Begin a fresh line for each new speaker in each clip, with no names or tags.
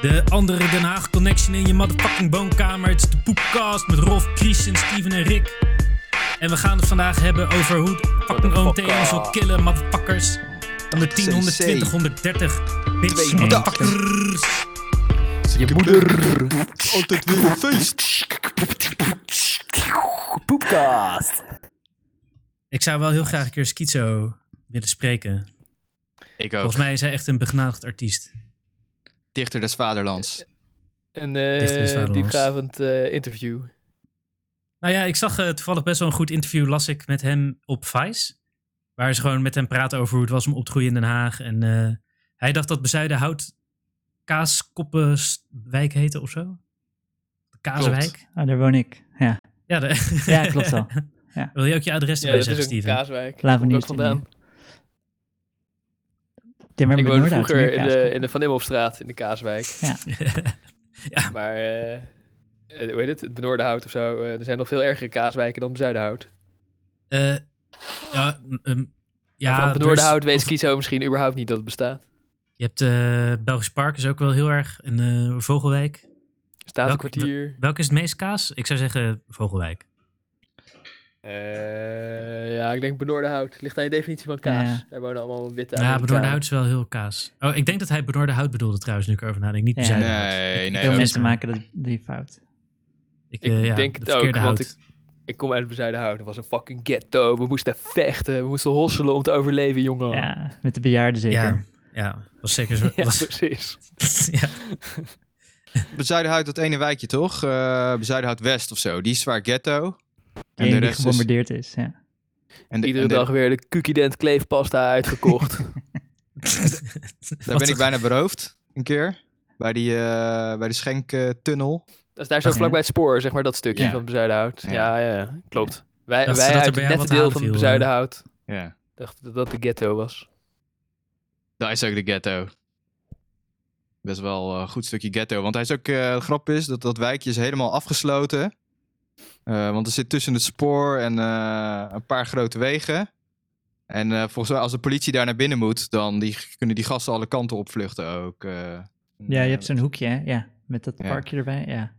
De andere Den Haag Connection in je motherfucking woonkamer. Het is de Poepcast met Rolf, Christian, Steven en Rick. En we gaan het vandaag hebben over hoe de fucking OMT
Motherfucker.
ons wil killen, motherfuckers. 110, 120, 130. Bitch,
Twee
motherfuckers.
Je moeder. Altijd Oh, weer een feest. Poepkast.
Ik zou wel heel graag een keer Schizo willen spreken.
Ik ook.
Volgens mij is hij echt een begnadigd artiest.
Dichter des Vaderlands.
Een
Dichter is waar,
eh
Lars.
diepgravend eh, interview.
Nou ja, ik zag eh, toevallig best wel een goed interview, las ik met hem op Vice. Waar ze gewoon met hem praten over hoe het was om op te groeien in Den Haag. En eh, hij dacht dat Bezuiden Hout Kaaskoppenwijk heette of zo. De Kaaswijk.
Ah, daar woon ik. Ja,
Ja, de-
Ja, klopt wel. Ja.
Wil je ook je adres
Ja,
erbij
dat is
zeggen,
ook een
Steven?
kaaswijk.
Lavenier.
Ook vandaan.
eh, Tim, maar
Ik
met
woonde
Noordhout,
vroeger in de,
Meerkaas.
in de Van Immelstraat in de kaaswijk. Maar eh, eh, hoe heet het? Het Benoordenhout of zo. eh, er zijn nog veel ergere kaaswijken dan Bezuidenhout.
Eh, ja, mm, mm,
Ja,
ja
van
er is-
Benoordenhout weet Kizo misschien überhaupt niet dat het bestaat.
je hebt eh Belgisch Park is ook wel heel erg. En eh, Vogelwijk.
Staat een
Welke-
kwartier.
Welke is het meest kaas? Ik zou zeggen Vogelwijk.
Eh, ja, ik denk Benoordenhout. Ligt aan je definitie van kaas.
Ja.
Daar wonen allemaal witte
Ja, Benoorde Hout is wel heel kaas. Oh, ik denk dat hij Benoorde Hout bedoelde trouwens, nu ik erover nadenk. Niet
Ja.
Bezuiden Hout.
Nee, nee.
Veel
ook.
ook.
mensen maken dat, die fout.
Ik,
Ik
eh, ja,
denk
de
het ook,
verkeerde
want
hout.
Ik kom uit Bezuidenhout. Het was een fucking ghetto. We moesten vechten. We moesten hosselen om te overleven, jongen.
Ja, met de bejaarden zeker.
Ja, ja, was zeker zo.
Ja,
was-
precies.
ja.
Bezuidenhout, dat ene wijkje toch? Eh Bezuidenhout West of zo. Die is zwaar ghetto.
Die ene die
rest is...
gebombardeerd is. ja.
En de-
Iedere
en de-
dag weer de Kukident kleefpasta uitgekocht.
Daar ben ik bijna beroofd. Een keer. Bij die, eh, bij de schenktunnel.
dat is daar zo
Ja.
vlak bij het spoor, zeg maar, dat stukje
Ja.
van Bezuidenhout. Ja,
Ja.
ja, ja, klopt. Wij,
Dachten ze
wij
dat er
uit
bij
het
jou
nette
wat
deel
aan
van
viel, hè?
Bezuidenhout
Ja.
dachten dat dat de ghetto was.
Dat is ook de ghetto. Best wel eh, een goed stukje ghetto. Want hij is ook, eh de grap is, dat dat wijkje is helemaal afgesloten. Eh, want er zit tussen het spoor en eh, een paar grote wegen. En eh, volgens mij, als de politie daar naar binnen moet, dan die, kunnen die gasten alle kanten opvluchten ook. eh.
ja, je hebt zo'n hoekje, hè? Ja, met dat
Ja.
parkje erbij. Ja, dat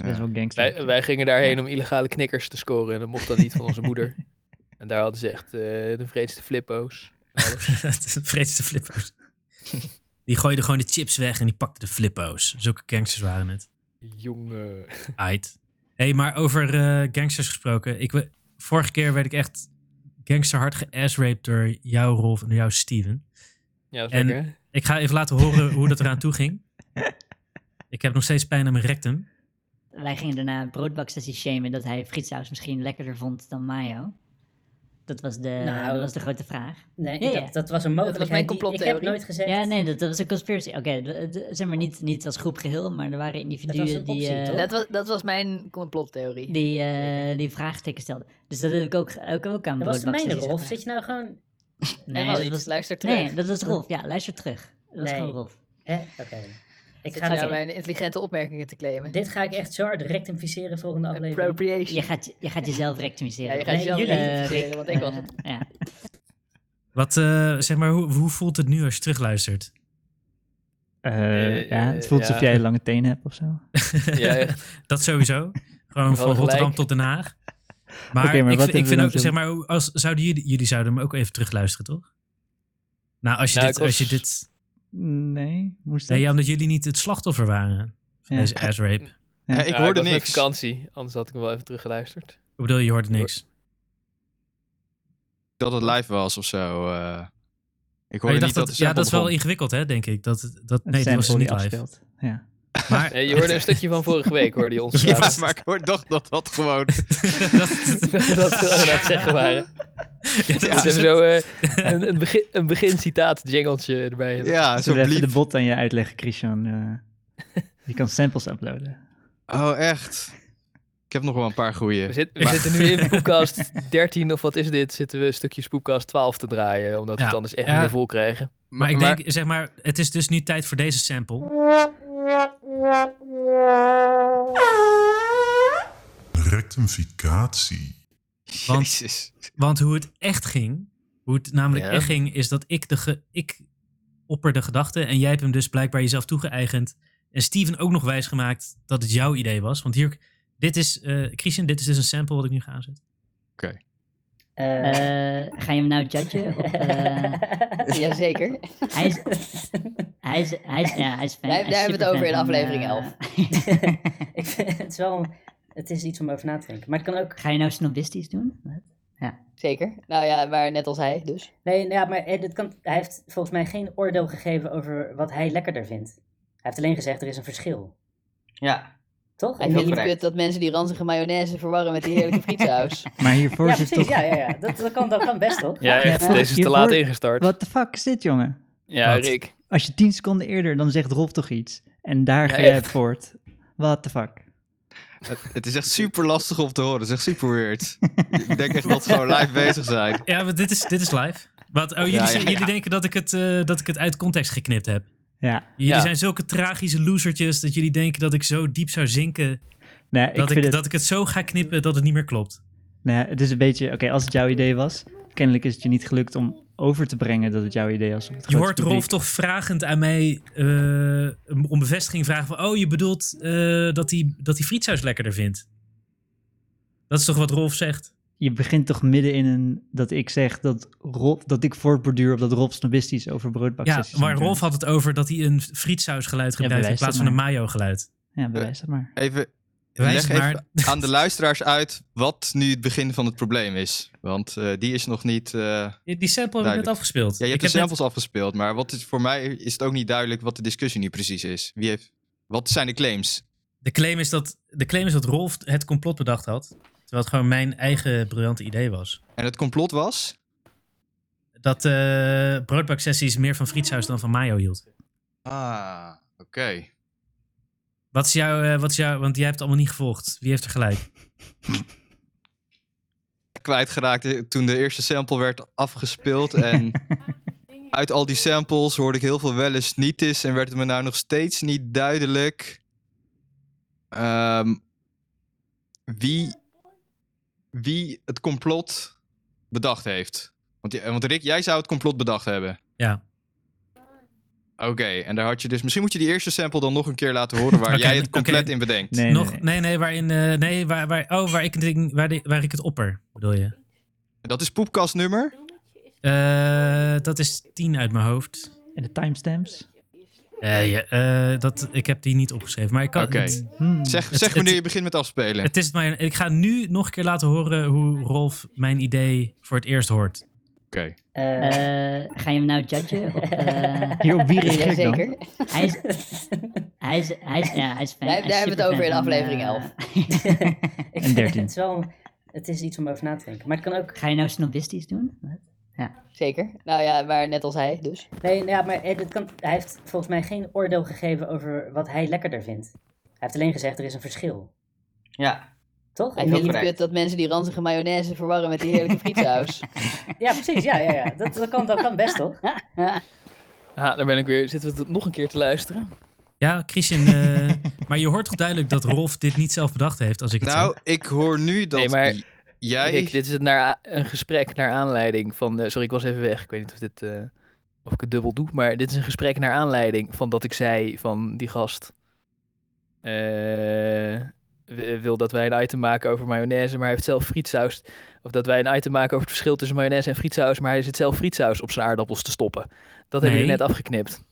is best
Ja.
wel gangster.
Wij, wij gingen daarheen om illegale knikkers te scoren en dat mocht dan niet van onze moeder. En daar hadden ze echt eh, de vreedste flippo's.
de vreedste flippo's. Die gooiden gewoon de chips weg en die pakten de flippo's. Zulke gangsters waren het.
Jongen.
Ait. Hé, hey, maar over eh, gangsters gesproken. Ik, we- vorige keer werd ik echt gangsterhard geassraped door jou, Rolf, en door jou, Steven.
Ja, dat is
En-
lekker, hè?
Ik ga even laten horen hoe dat eraan toe ging. Ik heb nog steeds pijn aan mijn rectum.
Wij gingen daarna broodbaksessie shamen dat hij frietsaus misschien lekkerder vond dan mayo. Dat was de,
Nou.
dat was de grote vraag. Ja,
Nee, dat,
ja.
dat was een mogelijkheid.
mijn
die- Ik
complottheorie.
heb nooit gezegd.
Ja, nee, dat, dat was een conspiracy. Oké, d- d- zeg maar niet, niet als groep geheel, maar er waren individuen
een
die,
optie,
eh,
toch?
Dat was, dat was mijn complottheorie.
die, eh, die vraagteken stelden. Dus dat heb ik ook, ook, ook aan
Dat was de mijne,
broodbaksessies
Rolf. Oh,
gevraagd.
Zit je nou gewoon...
Nee,
Nee, dat
niet.
was,
Luister terug.
nee, dat was Rolf. Ja, luister terug. Dat was
Nee.
gewoon Rolf.
Hè? Oké. Ik
Zit
ga
je nou
dit-
mijn intelligente opmerkingen te claimen.
Dit ga ik echt zo hard rectificeren volgende aflevering.
Appropriation.
Je gaat, je gaat jezelf
Ja,
rectificeren. Eh,
je gaat jezelf
jullie,
rectificeren, want ik was het.
Ja.
Wat, eh, zeg maar, hoe, hoe voelt het nu als je terugluistert?
Eh,
eh,
ja, het voelt
ja.
alsof jij lange tenen hebt of zo. Oké,
Ja, echt.
Dat sowieso. Gewoon van
gelijk.
Rotterdam tot Den Haag. Maar,
Oké, maar
ik, vind- ik
wat hebben we nou
vind
dan
ook,
zo-
zeg maar, hoe- als, zouden jullie, jullie zouden hem ook even terugluisteren, toch? Nou, als je,
Nou,
dit,
ik was-
als je dit...
Nee, moest
Nee,
dat?
ja, omdat jullie niet het slachtoffer waren van
Ja.
deze assrape. Ik
Ja.
Eh, ik
Ja,
hoorde
was met
niks.
vakantie, anders had ik hem wel even teruggeluisterd.
bedoel, je hoorde niks.
Dat het live was of zo. eh. ik
Maar
hoorde
je
niet
dacht
dat,
dat,
de
ja, dat is
sample
wel
begon.
ingewikkeld, hè, denk ik. Dat, dat,
Het
nee, dat
sample
was dus niet
die
live.
afspeelt. Ja.
Maar
Nee, je hoorde een stukje van vorige week, hoorde je ons.
Ja,
praten.
maar ik hoorde toch dat dat gewoon...
dat,
dat we aan het zeggen waren.
ja,
Ja,
dat
ze
is
hebben
het.
zo eh, een, een, begin, een begincitaat jingeltje erbij.
Ja,
Zo
zo bliep.
even de bot aan je uitleggen, Christian. eh. je kan samples uploaden.
Oh, echt? Ik heb nog wel een paar
We,
goeie.
zit- we zitten nu in Spoepcast 13 of wat is dit? Zitten we een stukje Spoepcast 12 te draaien, omdat we
Ja,
het anders echt
ja.
niet meer vol krijgen.
Maar ik denk, zeg maar, het is dus nu tijd voor deze sample.
Rectificatie.
want-
Jezus.
Want hoe het echt ging, hoe het namelijk
Ja.
echt ging, is dat ik de ge- ik opperde gedachte en jij hebt hem dus blijkbaar jezelf toegeëigend. En Steven ook nog wijsgemaakt dat het jouw idee was. Want hier, dit is, eh Christian, dit is dus een sample wat ik nu ga aanzetten.
Eh,
Eh, ga je hem nou judgen? Op, eh,
Jazeker.
hij is, hij is, hij is, ja, hij is fan.
Daar-
hij is
daar hebben we
superfan
het over in
van,
aflevering
eh,
11.
ik vind het is wel, het is iets om over na te denken. Maar het kan ook,
Ga je nou snobistisch doen? Wat?
Zeker. Nou ja, maar net als hij dus.
nee, nou ja, maar eh, dit kan, hij heeft volgens mij geen oordeel gegeven over wat hij lekkerder vindt. Hij heeft alleen gezegd, er is een verschil.
Ja.
Toch?
Hij
En
vindt het
correct.
kut dat mensen die ranzige mayonaise verwarren met die heerlijke frietsaus.
Maar hiervoor
Ja,
zit
precies.
toch...
Ja, ja, ja. Dat, dat, kan, dat kan best, toch?
Ja, echt.
Ja,
Deze is te
hiervoor-
laat ingestart.
What the fuck is dit, jongen?
Ja,
Wat?
Rick.
Als je tien seconden eerder, dan zegt Rolf toch iets. En daar
Ja,
ga jij
echt.
op voort. What the fuck?
Het, het is echt super lastig om te horen. Het is echt super weird. ik denk echt dat ze gewoon live bezig zijn.
Ja, want dit is, dit is live. Wat, oh, jullie,
Ja, ja,
zien-
ja.
jullie denken dat ik, het, eh, dat ik het uit context geknipt heb.
Ja.
Jullie
Ja.
zijn zulke tragische losertjes dat jullie denken dat ik zo diep zou zinken.
Nee, ik
dat,
vind
ik,
het...
dat ik het zo ga knippen dat het niet meer klopt.
Nee, het is een beetje... Oké, als het jouw idee was... Kennelijk is het je niet gelukt om over te brengen dat het jouw idee was. op het
Je
grote
hoort
publiek.
Rolf toch vragend aan mij eh, om bevestiging vragen van... Oh, je bedoelt eh, dat hij dat die frietsaus lekkerder vindt. Dat is toch wat Rolf zegt?
Je begint toch midden in een... Dat ik zeg dat, Rolf, dat ik voortborduur op dat Rolf snobistisch over
Ja,
broodbaksessies...
maar Rolf had het over dat hij een frietsausgeluid gebruikt in
bewijs
plaats
dat
van een mayo-geluid.
Ja, bewijs dat maar.
Even,
Wijs
leg
maar-
even aan de luisteraars uit wat nu het begin van het probleem is. Want eh, die is nog niet... eh,
Die sample heb ik net
Duidelijk.
afgespeeld.
Ja, je
ik
hebt de
heb net-
samples afgespeeld, maar wat is, voor mij is het ook niet duidelijk wat de discussie nu precies is. Wie heeft, wat zijn de claims?
De claim, is dat, de claim is dat Rolf het complot bedacht had. Terwijl het gewoon mijn eigen briljante idee was.
En het complot was?
Dat eh broodbaksessies meer van frietsaus dan van mayo hield.
Ah, oké.
Wat is jouw, eh, wat is jouw, want jij hebt het allemaal niet gevolgd. Wie heeft er gelijk?
Kwijtgeraakt eh, toen de eerste sample werd afgespeeld en uit al die samples hoorde ik heel veel wel eens niet is en werd het me nou nog steeds niet duidelijk ehm, wie, wie het complot bedacht heeft. Want, die- eh, want Rick, jij zou het complot bedacht hebben.
Ja.
Oké, en daar had je dus. Misschien moet je die eerste sample dan nog een keer laten horen waar
Oké,
jij het
oké.
compleet in bedenkt.
Nee,
Nog,
nee,
nee,
nee.
nee, waarin, eh, nee, waar, waar, oh, waar ik, het ding- waar, de- waar ik het opper, bedoel je?
Dat is poepkastnummer.
Eh, dat is 10 uit mijn hoofd.
En de timestamps?
Eh, ja, eh, dat, ik heb die niet opgeschreven, maar ik kan.
Oké.
Het,
Hmm.
Zeg,
Het-
zeg
het-
wanneer je begint met afspelen.
het is mijn, ik ga nu nog een keer laten horen hoe Rolf mijn idee voor het eerst hoort.
Oké.
Eh,
Eh, ga je hem nou judgen? Op, eh,
Hier, op wie reageer ik dan?
Jazeker.
hij is, hij is, hij is, ja, hij is fan.
Daar-
hij is
daar hebben we het over in
superfan van,
aflevering
eh,
11.
ik
en
vind
13.
Het, wel, het is iets om over na te denken. Maar het kan ook,
Ga je nou snobistisch doen? Wat?
Zeker. Nou ja, maar net als hij dus.
nee, nou ja, maar eh, dit kan, hij heeft volgens mij geen oordeel gegeven over wat hij lekkerder vindt. Hij heeft alleen gezegd, er is een verschil.
Ja.
Toch?
Hij
En
vindt
niet-
het
correct.
kut dat mensen die ranzige mayonaise verwarren met die heerlijke frietsaus.
Ja, precies. Ja, ja, ja. Dat, dat, kan, dat kan best, toch?
Ah, daar ben ik weer. Zitten we het nog een keer te luisteren?
Ja, Christian, eh, maar je hoort toch duidelijk dat Rolf dit niet zelf bedacht heeft als ik het
Nou,
zeg?
ik hoor nu dat
Nee, maar-
j- jij.
Rick, dit is het naar a- een gesprek naar aanleiding van. eh, sorry, ik was even weg. Ik weet niet of, dit, eh, of ik het dubbel doe. Maar dit is een gesprek naar aanleiding van dat ik zei van die gast. eh, w- wil dat wij een item maken over mayonaise, maar hij heeft zelf frietsaus. Of dat wij een item maken over het verschil tussen mayonaise en frietsaus, maar hij zit zelf frietsaus op zijn aardappels te stoppen. Dat hebben
Nee.
jullie net afgeknipt.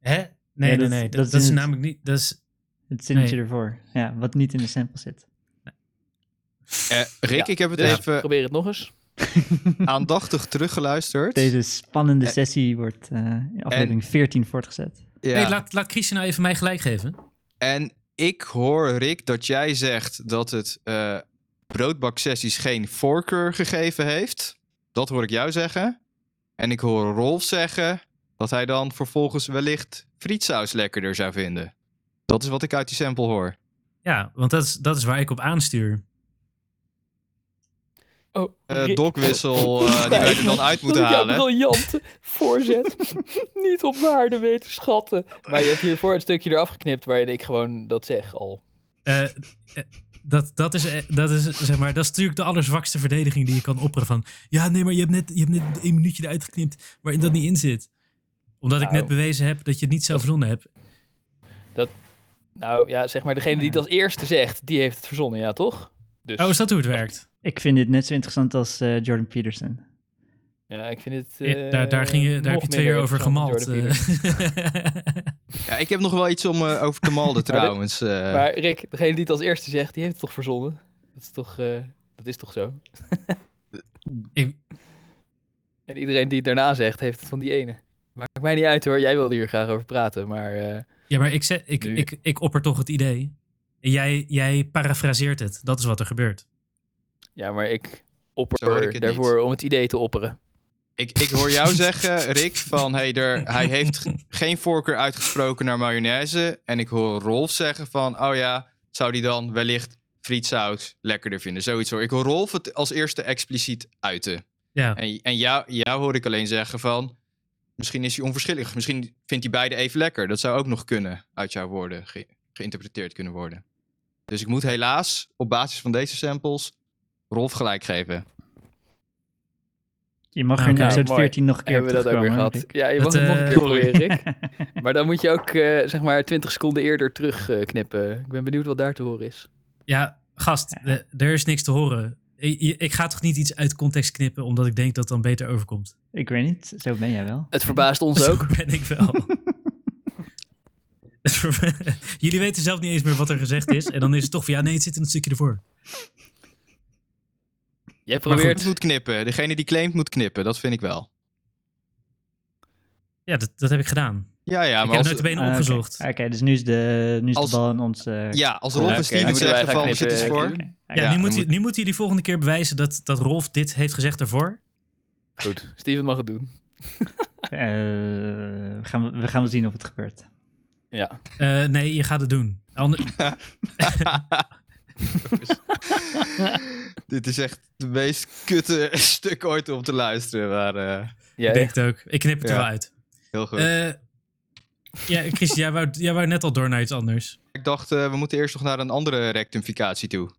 Hè? Nee,
Ja,
nee,
dat-
nee. Dat,
dat is
dat is
in het-
namelijk niet. Dat is,
Het zinnetje
Nee.
ervoor. Ja, wat niet in de sample zit.
Eh, Rick, ik heb het
Dus
even
probeer het nog eens.
aandachtig teruggeluisterd.
Deze spannende
En-
sessie wordt eh, in aflevering 14 voortgezet.
Ja.
Nee, laat, laat Christian nou even mij gelijk geven.
En ik hoor, Rick, dat jij zegt dat het eh broodbaksessies geen voorkeur gegeven heeft. Dat hoor ik jou zeggen. En ik hoor Rolf zeggen dat hij dan vervolgens wellicht frietsaus lekkerder zou vinden. Dat is wat ik uit die sample hoor.
Ja, want dat is, dat is waar ik op aanstuur.
Oh,
Eh dokwissel eh, die wij er dan uit moeten
Ja,
halen.
briljante voorzet. Niet op waarde weten schatten. Maar je hebt hiervoor het stukje eraf geknipt waarin ik gewoon dat zeg al.
Eh, eh, dat, dat, is, eh, dat is, zeg maar, dat is natuurlijk de allerzwakste verdediging die je kan opperen van... Ja, nee, maar je hebt net, je hebt net één minuutje eruit geknipt waarin dat niet in zit. Omdat ik
Nou.
net bewezen heb dat je het niet zelf verzonnen hebt.
Nou ja, zeg maar, degene die het als eerste zegt, die heeft het verzonnen, ja toch? Dus,
Oh, is dat hoe het werkt?
Ik vind dit net zo interessant als eh, Jordan Peterson.
ja, ik vind het... eh,
Ja, daar daar, ging je, daar heb je twee uur over gemald. eh.
Ja, ik heb nog wel iets om eh, over te malden
Maar dit-
trouwens. eh.
Maar Rick, degene die het als eerste zegt, die heeft het toch verzonnen? Dat is toch, eh, dat is toch zo?
Ik-
En iedereen die het daarna zegt, heeft het van die ene. Maakt mij niet uit hoor, jij wilde hier graag over praten, maar... eh,
Ja, maar ik, zet, ik,
Nu-
ik, ik opper toch het idee. En jij, jij parafraseert het. Dat is wat er gebeurt.
ja, maar ik
Zo hoor ik
opper
het
daarvoor om het idee te opperen.
Ik, ik hoor jou zeggen, Rick, van hey, er, hij heeft g- geen voorkeur uitgesproken naar mayonaise. En ik hoor Rolf zeggen van, oh ja, zou die dan wellicht frietsaus lekkerder vinden? Zoiets hoor. Ik hoor Rolf het als eerste expliciet uiten.
Ja.
En, en jou, jou hoor ik alleen zeggen van, misschien is hij onverschillig. Misschien vindt hij beide even lekker. Dat zou ook nog kunnen uit jouw woorden ge- geïnterpreteerd kunnen worden. Dus ik moet helaas op basis van deze samples Rolf gelijk geven.
Je mag er
Oké,
in episode
Ah, mooi.
14 nog een keer
Hebben we dat ook weer gehad?
terugkomen, hoor, Rick.
Ja, je mag
Dat,
het nog een
eh,
keer proberen, Rick. Maar dan moet je ook eh, zeg maar 20 seconden eerder terugknippen. ik ben benieuwd wat daar te horen is.
Ja, gast, de- er is niks te horen. Ik, je- ik ga toch niet iets uit context knippen omdat ik denk dat het dan beter overkomt.
Ik weet niet, zo ben jij wel.
Het verbaast ons ook.
Zo ben ik wel. Het verbe- Jullie weten zelf niet eens meer wat er gezegd is. En dan is het toch van ja, nee, het zit in het stukje ervoor.
Jij
goed.
probeert.
Het moet knippen. Degene die claimt moet knippen. Dat vind ik wel.
Ja, dat, dat heb ik gedaan.
Ja, ja,
ik heb
maar als,
nooit de benen
Ah, oké.
opgezocht.
Oké, dus nu is de, nu is
Als-
de bal in ons... eh,
ja, als
Ja,
Rolf
oké,
en Steven
moeten wij
zeggen
gaan
van, zit
knippen,
eens voor.
Rick?
Ja,
Ja,
nu,
dan
moet, je-
moet-
nu moet jullie volgende keer bewijzen dat, dat Rolf dit heeft gezegd ervoor.
Goed, Steven mag het doen.
eh, gaan we, we gaan wel zien of het gebeurt.
Ja.
Eh, nee, je gaat het doen. Ander-
Dit is echt de meest kutte stuk ooit om te luisteren. Maar eh,
Jij,
Ik denk het ook. Ik knip het er
Ja.
wel uit.
heel goed.
Eh, ja, Christian, jij wou, jij wou net al door naar iets anders.
ik dacht, eh, we moeten eerst nog naar een andere rectificatie toe.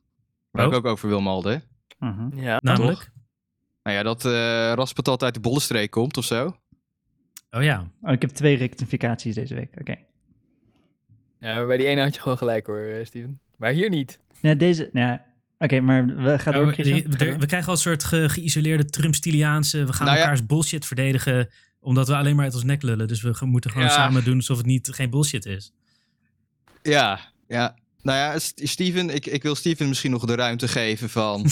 Waar
Oh.
ik ook over wil malden.
Mhm.
ja,
Namelijk?
toch?
Nou ja, dat eh raspatat uit de bollenstreek komt of zo.
Oh ja.
Oh, ik heb twee rectificaties deze week. Oké.
Ja, maar bij die ene had je gewoon gelijk hoor, eh, Steven. Maar hier niet.
Nou, deze... Nou, ja, Oké, maar we gaan
Oh,
door,
we-
Christian.
we-
Ga door.
we krijgen al een soort ge- geïsoleerde Trumpstiliaanse. We gaan
Nou ja.
elkaars bullshit verdedigen. Omdat we alleen maar uit ons nek lullen. Dus we ge- moeten gewoon
Ja.
samen doen alsof het niet, geen bullshit is.
Ja, ja. Nou ja, S- Steven, ik, ik wil Steven misschien nog de ruimte geven van...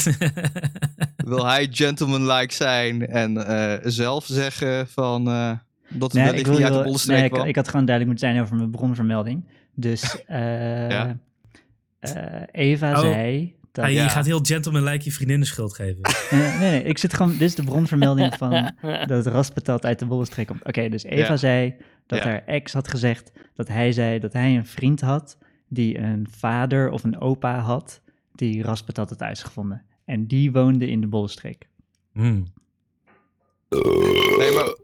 wil hij gentleman-like zijn en eh, zelf zeggen van... eh, dat het
Nee,
wellicht
wil
niet
je
uit de
wel-
bollenstreek
nee, ik,
kwam?
ik had gewoon duidelijk moeten zijn over mijn bronvermelding. Dus eh,
Ja.
eh, Eva
Oh.
zei dat...
Hij
Ja.
gaat heel gentleman-like je vriendinnen schuld geven.
Nee, nee, nee, ik zit gewoon... Dit is de bronvermelding van dat het raspatat uit de bollenstreek komt. Oké, dus Eva
Ja.
zei dat
Ja.
haar ex had gezegd dat hij zei dat hij een vriend had die een vader of een opa had die raspatat had uitgevonden. En die woonde in de bollenstreek.
Hmm.
Nee, maar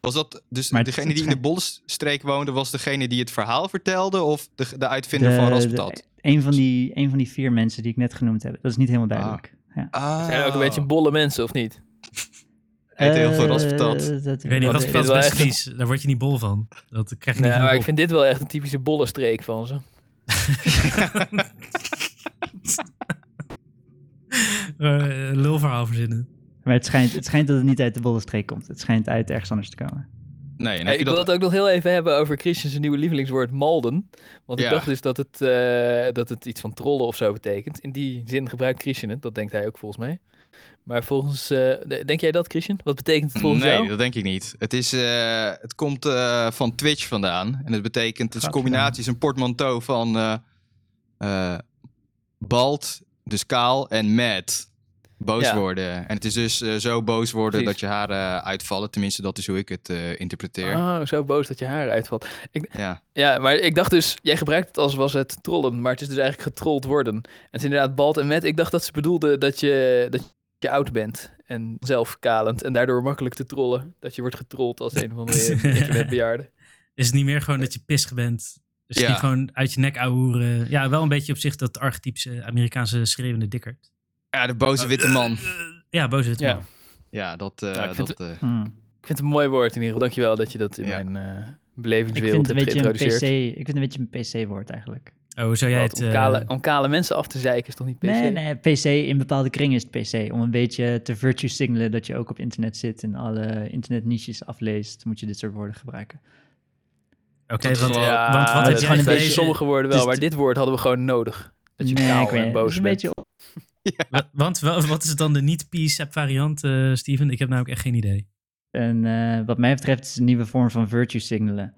was dat dus
Maar het-
degene die in de Bollenstreek woonde, was degene die het verhaal vertelde of de, de uitvinder
De-
van
de-
Raspatat?
Een van, die, een van die vier mensen die ik net genoemd heb. Dat is niet helemaal duidelijk. Ja.
Ah,
Zijn er ook een beetje bolle mensen of niet?
Eet heel veel
Eh,
Raspatat.
dat- dat-
Ik weet niet,
dat-
wat
dit
is
wel
best
echt een-
vies. Daar word je niet bol van. Dat krijg je niet
Nee,
genoeg
maar Nou, ik
op.
vind dit wel echt een typische bolle streek van ze.
Eh, lulverhaal verzinnen.
Maar het schijnt, het schijnt dat het niet uit de bollenstreek komt. Het schijnt uit ergens anders te komen.
Nee, en
Hey,
heb
ik
je
wil
dat...
het ook nog heel even hebben over Christian's nieuwe lievelingswoord malden. Want
Ja.
ik dacht dus dat het, eh, dat het iets van trollen of zo betekent. In die zin gebruikt Christian het, dat denkt hij ook volgens mij. Maar volgens, eh, de- denk jij dat Christian? Wat betekent het volgens jou?
Nee, dat denk ik niet. Het, is, eh, het komt eh, van Twitch vandaan. En het betekent, het is een combinatie, is een portmanteau van eh, eh, bald, dus kaal, en mad. Boos
Ja.
worden. En het is dus eh, zo boos worden
Precies.
dat je haren eh, uitvallen. Tenminste, dat is hoe ik het eh, interpreteer.
Oh, zo boos dat je haar uitvalt.
Ja.
Ja, maar ik dacht dus, jij gebruikt het als was het trollen, maar het is dus eigenlijk getrold worden. En het is inderdaad bald en met. Ik dacht dat ze bedoelde dat je, dat je oud bent en zelfkalend en daardoor makkelijk te trollen. Dat je wordt getrold als een van de internetbejaarden.
Is het niet meer gewoon dat je pissig bent? Is het
Ja.
niet gewoon uit je nek ouwen? Ja, wel een beetje op zich dat archetypische Amerikaanse schreeuwende dikkerd.
ja, de boze witte man.
Ja, boze witte
Ja.
man.
Ja, dat... eh,
Ja, ik vind
dat eh,
Hmm.
Ik vind het een mooi woord in ieder geval. Dankjewel dat je dat in
Ja.
mijn eh
Ik vind
belevingswereld
het
hebt
een beetje een
geïntroduceerd.
PC. Ik vind het een beetje een PC-woord eigenlijk.
Oh, zou jij
Want
het...
om,
eh,
kale, om kale mensen af te zeiken is toch niet PC?
Nee, nee, PC, in bepaalde kringen is het PC. Om een beetje te virtue signalen dat je ook op internet zit en alle internetniches afleest, moet je dit soort woorden gebruiken.
Oké,
Dat
want,
is wel-
Ja,
want wat
dat
heb
is
jij
een beetje
gelezen?
Sommige woorden wel,
dus
maar
het-
dit woord hadden we gewoon nodig. Dat je kaal
ik weet
en
niet, het is
boos
een
bent.
beetje op-
Wa- Want wa- wat is dan de niet-PSAP variant, eh, Steven? Ik heb namelijk echt geen idee.
En eh, wat mij betreft is het een nieuwe vorm van virtue signalen.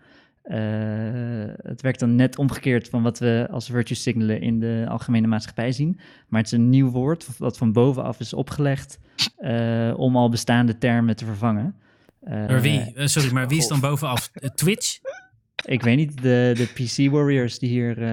Eh, het werkt dan net omgekeerd van wat we als virtue signalen in de algemene maatschappij zien. Maar het is een nieuw woord wat van bovenaf is opgelegd eh, om al bestaande termen te vervangen. Eh,
Maar wie? Eh, sorry, maar wie is dan
God.
bovenaf? Eh, Twitch?
Ik weet niet, de, de PC Warriors die hier eh,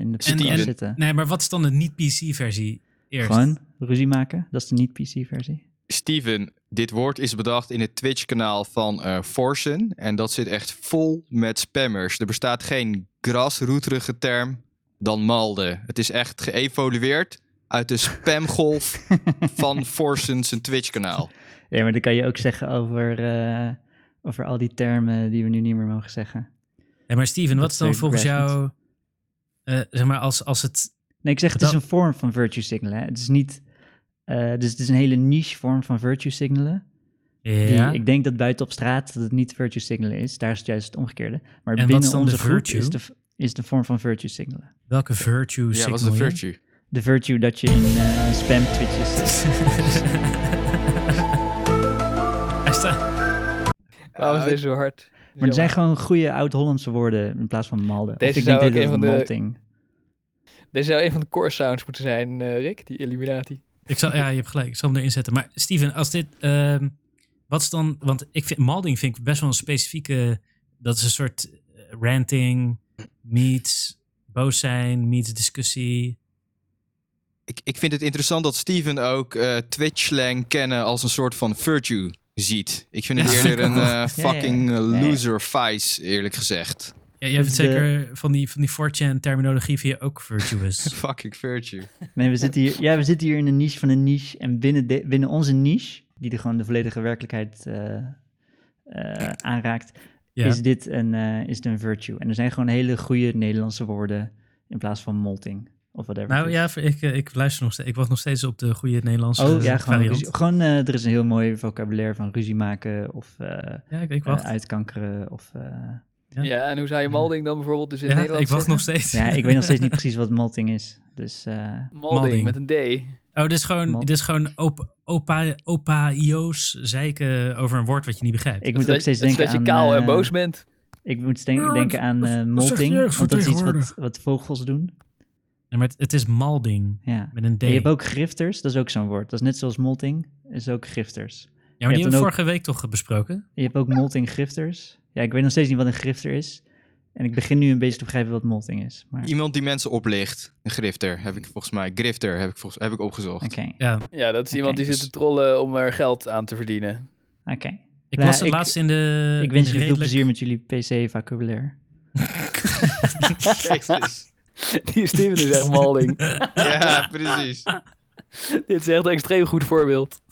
in de
En-
podcast
en-
zitten.
Nee, maar wat is dan de niet-PC-versie eerst?
Gewoon ruzie maken, dat is de niet-PC-versie.
Steven, dit woord is bedacht in het Twitch-kanaal van eh Forsen. En dat zit echt vol met spammers. Er bestaat geen grasroeterige term dan malde. Het is echt geëvolueerd uit de spamgolf van Forsen zijn Twitch-kanaal.
Ja, maar dat kan je ook zeggen over, eh, over al die termen die we nu niet meer mogen zeggen.
Nee, maar Steven, wat is dan
Dat
volgens
weet ik
jou... eh, zeg maar, als, als het...
Nee, ik zeg het is
Dat-
een vorm van virtue signalen. hè. Het is niet, eh, dus het is een hele niche vorm van virtue signalen. Die,
Ja,
Ik denk dat buiten op straat dat het niet virtue signalen is. Daar is het juist het omgekeerde. Maar
wat is
binnen
dan
onze
de
groep
virtue?
is de, is de vorm van virtue signalen.
welke virtue
Ja, wat is
signal
een
je?
virtue?
De virtue dat je in eh, spam twitches zit.
Hij staat-
Waarom is deze zo hard?
Maar het zijn gewoon goede oud-Hollandse woorden in plaats van malden. Of
Deze
ik
zou
denk
ook
dat het
een van de-
malting.
Deze zou een van de core sounds moeten zijn, eh, Rick, die Illuminati.
ik zal, ja, je hebt gelijk. Ik zal hem erin zetten. Maar Steven, als dit... ehm, wat is dan... Want ik vind, malding vind ik best wel een specifieke... Dat is een soort eh, ranting, meets, boos zijn, meets discussie.
Ik, ik vind het interessant dat Steven ook eh, Twitch-slang kennen als een soort van virtue ziet. Ik vind het
Ja.
eerder een eh,
Ja, ja, ja.
fucking eh,
ja.
loser vice, eerlijk gezegd.
Ja, jij vindt
De-
zeker van die, van die 4chan terminologie vind je ook virtuous.
Fucking virtue.
Nee, we zitten, hier, ja, we zitten hier in een niche van een niche. En binnen, de- binnen onze niche, die er gewoon de volledige werkelijkheid eh, eh, aanraakt,
Ja.
is, dit een, eh, is dit een virtue. En er zijn gewoon hele goede Nederlandse woorden in plaats van molting of whatever.
Nou
het
ja, ik, eh, ik luister nog steeds. Ik wacht nog steeds op de goede
is.
Nederlandse
Oh ja,
eh,
gewoon,
variant.
ruzie- gewoon eh, er is een heel mooi vocabulaire van ruzie maken of eh,
Ja, ik, ik wacht.
eh, uitkankeren. Of, eh,
Ja.
Ja. en hoe zou je Malding dan bijvoorbeeld dus in
Ja,
Nederland
ik wacht nog
zeggen?
steeds.
ja, ik weet nog steeds niet precies wat molting is. Dus eh,
Malding,
Malding.
met een D.
Oh, dit is gewoon,
Man.
dit is gewoon op, opa, opa Io's zeiken over een woord wat je niet begrijpt.
ik
Dat
moet ook steeds denken
dat je
aan...
kaal en
eh,
boos bent.
Ik moet denk-
Ja,
denken
wat-
aan
wat-
eh,
wat zeg
molting,
je ergens
want dat is iets wat,
vertegenwoordig?
wat vogels doen.
Nee, maar het, het is malding
Ja.
met een D.
En je hebt ook grifters, dat is ook zo'n woord. Dat is net zoals molting, is ook grifters.
ja, maar
je
die
hebt
hebben we
dan ook-
vorige week toch eh, besproken?
Je hebt ook molting grifters. Ja, ik weet nog steeds niet wat een grifter is. En ik begin nu een beetje te begrijpen wat molting is. Maar oké,
Iemand die mensen oplicht. Een grifter heb ik volgens mij. Grifter heb ik, volgens, heb ik opgezocht.
Ja,
Ja, dat is iemand die
Oké, dus-
zit te trollen om er geld aan te verdienen.
oké.
ik
Nou,
las het
ik-
laatst in de...
ik wens
in Eh,
jullie veel
redelijk-
plezier met jullie PC-vocabulaire.
Christus.
Die Steven is echt Malding.
ja, precies.
Dit is echt een extreem goed voorbeeld.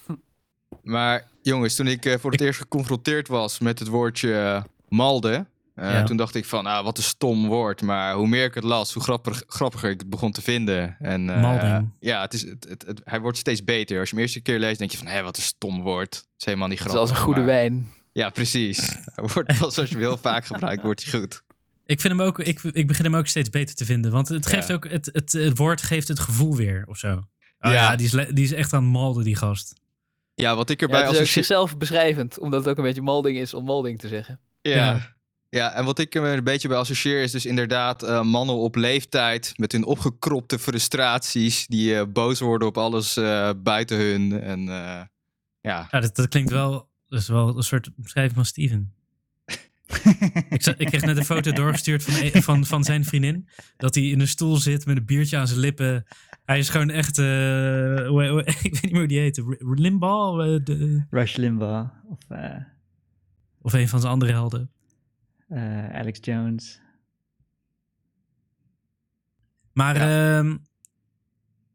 Maar jongens, toen ik eh, voor het eerst geconfronteerd was met het woordje eh, malde... eh,
Ja.
toen dacht ik van, ah, wat een stom woord. Maar hoe meer ik het las, hoe grappig, grappiger ik het begon te vinden. En, eh,
Malding.
Ja, het is, het, het, het- hij wordt steeds beter. Als je hem eerst een keer leest, denk je van, hé, wat een stom woord. Het is helemaal niet grappig.
Zoals een goede
maar-
wijn.
Ja, precies. Hij wordt pas als je hem heel vaak gebruikt, wordt hij goed.
Ik, vind hem ook, ik, ik begin hem ook steeds beter te vinden. Want het, geeft
Ja.
ook, het, het, het woord geeft het gevoel weer, of zo. Oh, ja,
Ja.
die, is, le- die is echt aan het malden, die gast.
Ja, wat ik
Ja,
erbij
het is ook
als
zichzelf beschrijvend, omdat het ook een beetje Malding is om Malding te zeggen.
Ja.
Ja. Ja, en wat ik er een beetje bij associeer is dus inderdaad eh, mannen op leeftijd met hun opgekropte frustraties die eh, boos worden op alles eh, buiten hun. En eh, ja,
Ja, dat, dat klinkt wel, dat is wel een soort omschrijving van Steven. ik, za- ik kreeg net een foto doorgestuurd van, een- van, van zijn vriendin. Dat hij in een stoel zit met een biertje aan zijn lippen. Hij is gewoon echt, eh, hoe- hoe- ik weet niet meer hoe die heet. R- Limbaugh eh, de-
Rush Limbaugh of eh,
of een van zijn andere helden.
eh, Alex Jones.
Maar ehm,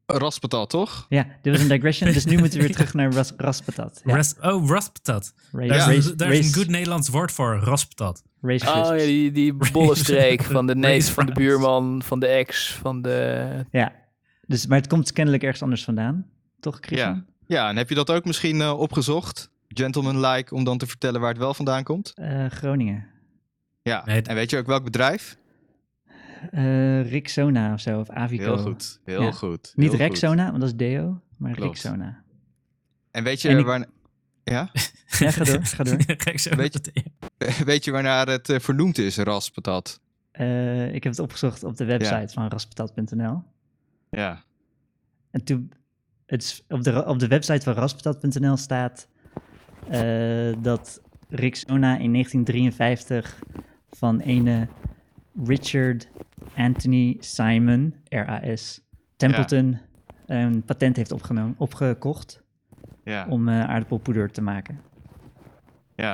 raspatat, toch?
Ja, dit was een digression, dus nu moeten we weer terug naar ras, raspatat. Ja.
Ras- oh, rasptat.
Ra-
Daar,
race-
is, een- daar is een
race-
goed Nederlands woord voor, rasptat.
race
Oh ja,
crisps.
die, die bollenstreek van de neef, van de
Race
buurman, van de ex, van de...
Ja, dus, maar het komt kennelijk ergens anders vandaan, toch Christian?
Ja, en heb je dat ook misschien eh, opgezocht? Gentleman-like, om dan te vertellen waar het wel vandaan komt?
Eh, Groningen.
Ja.
Nee, het-
En weet je ook welk bedrijf?
Eh Rixona of zo, of Avico.
Heel goed, heel
Ja.
goed. heel
Niet
goed.
Rexona, want dat is Deo, maar
Klopt.
Rixona.
En weet je,
En ik-
waar... ja?
Ja, ga door, ga door.
Kijk zo.
Weet weet je waarnaar het eh, vernoemd is, raspatat?
Eh, ik heb het opgezocht op de website van raspatat.nl.
Ja.
En toen, het is, op, de, ra- op de website van raspatat.nl staat eh, dat Rixona in 1953 van ene Richard Anthony Simon, RAS, Templeton, een patent heeft opgenomen, opgekocht
Ja.
om eh, aardappelpoeder te maken.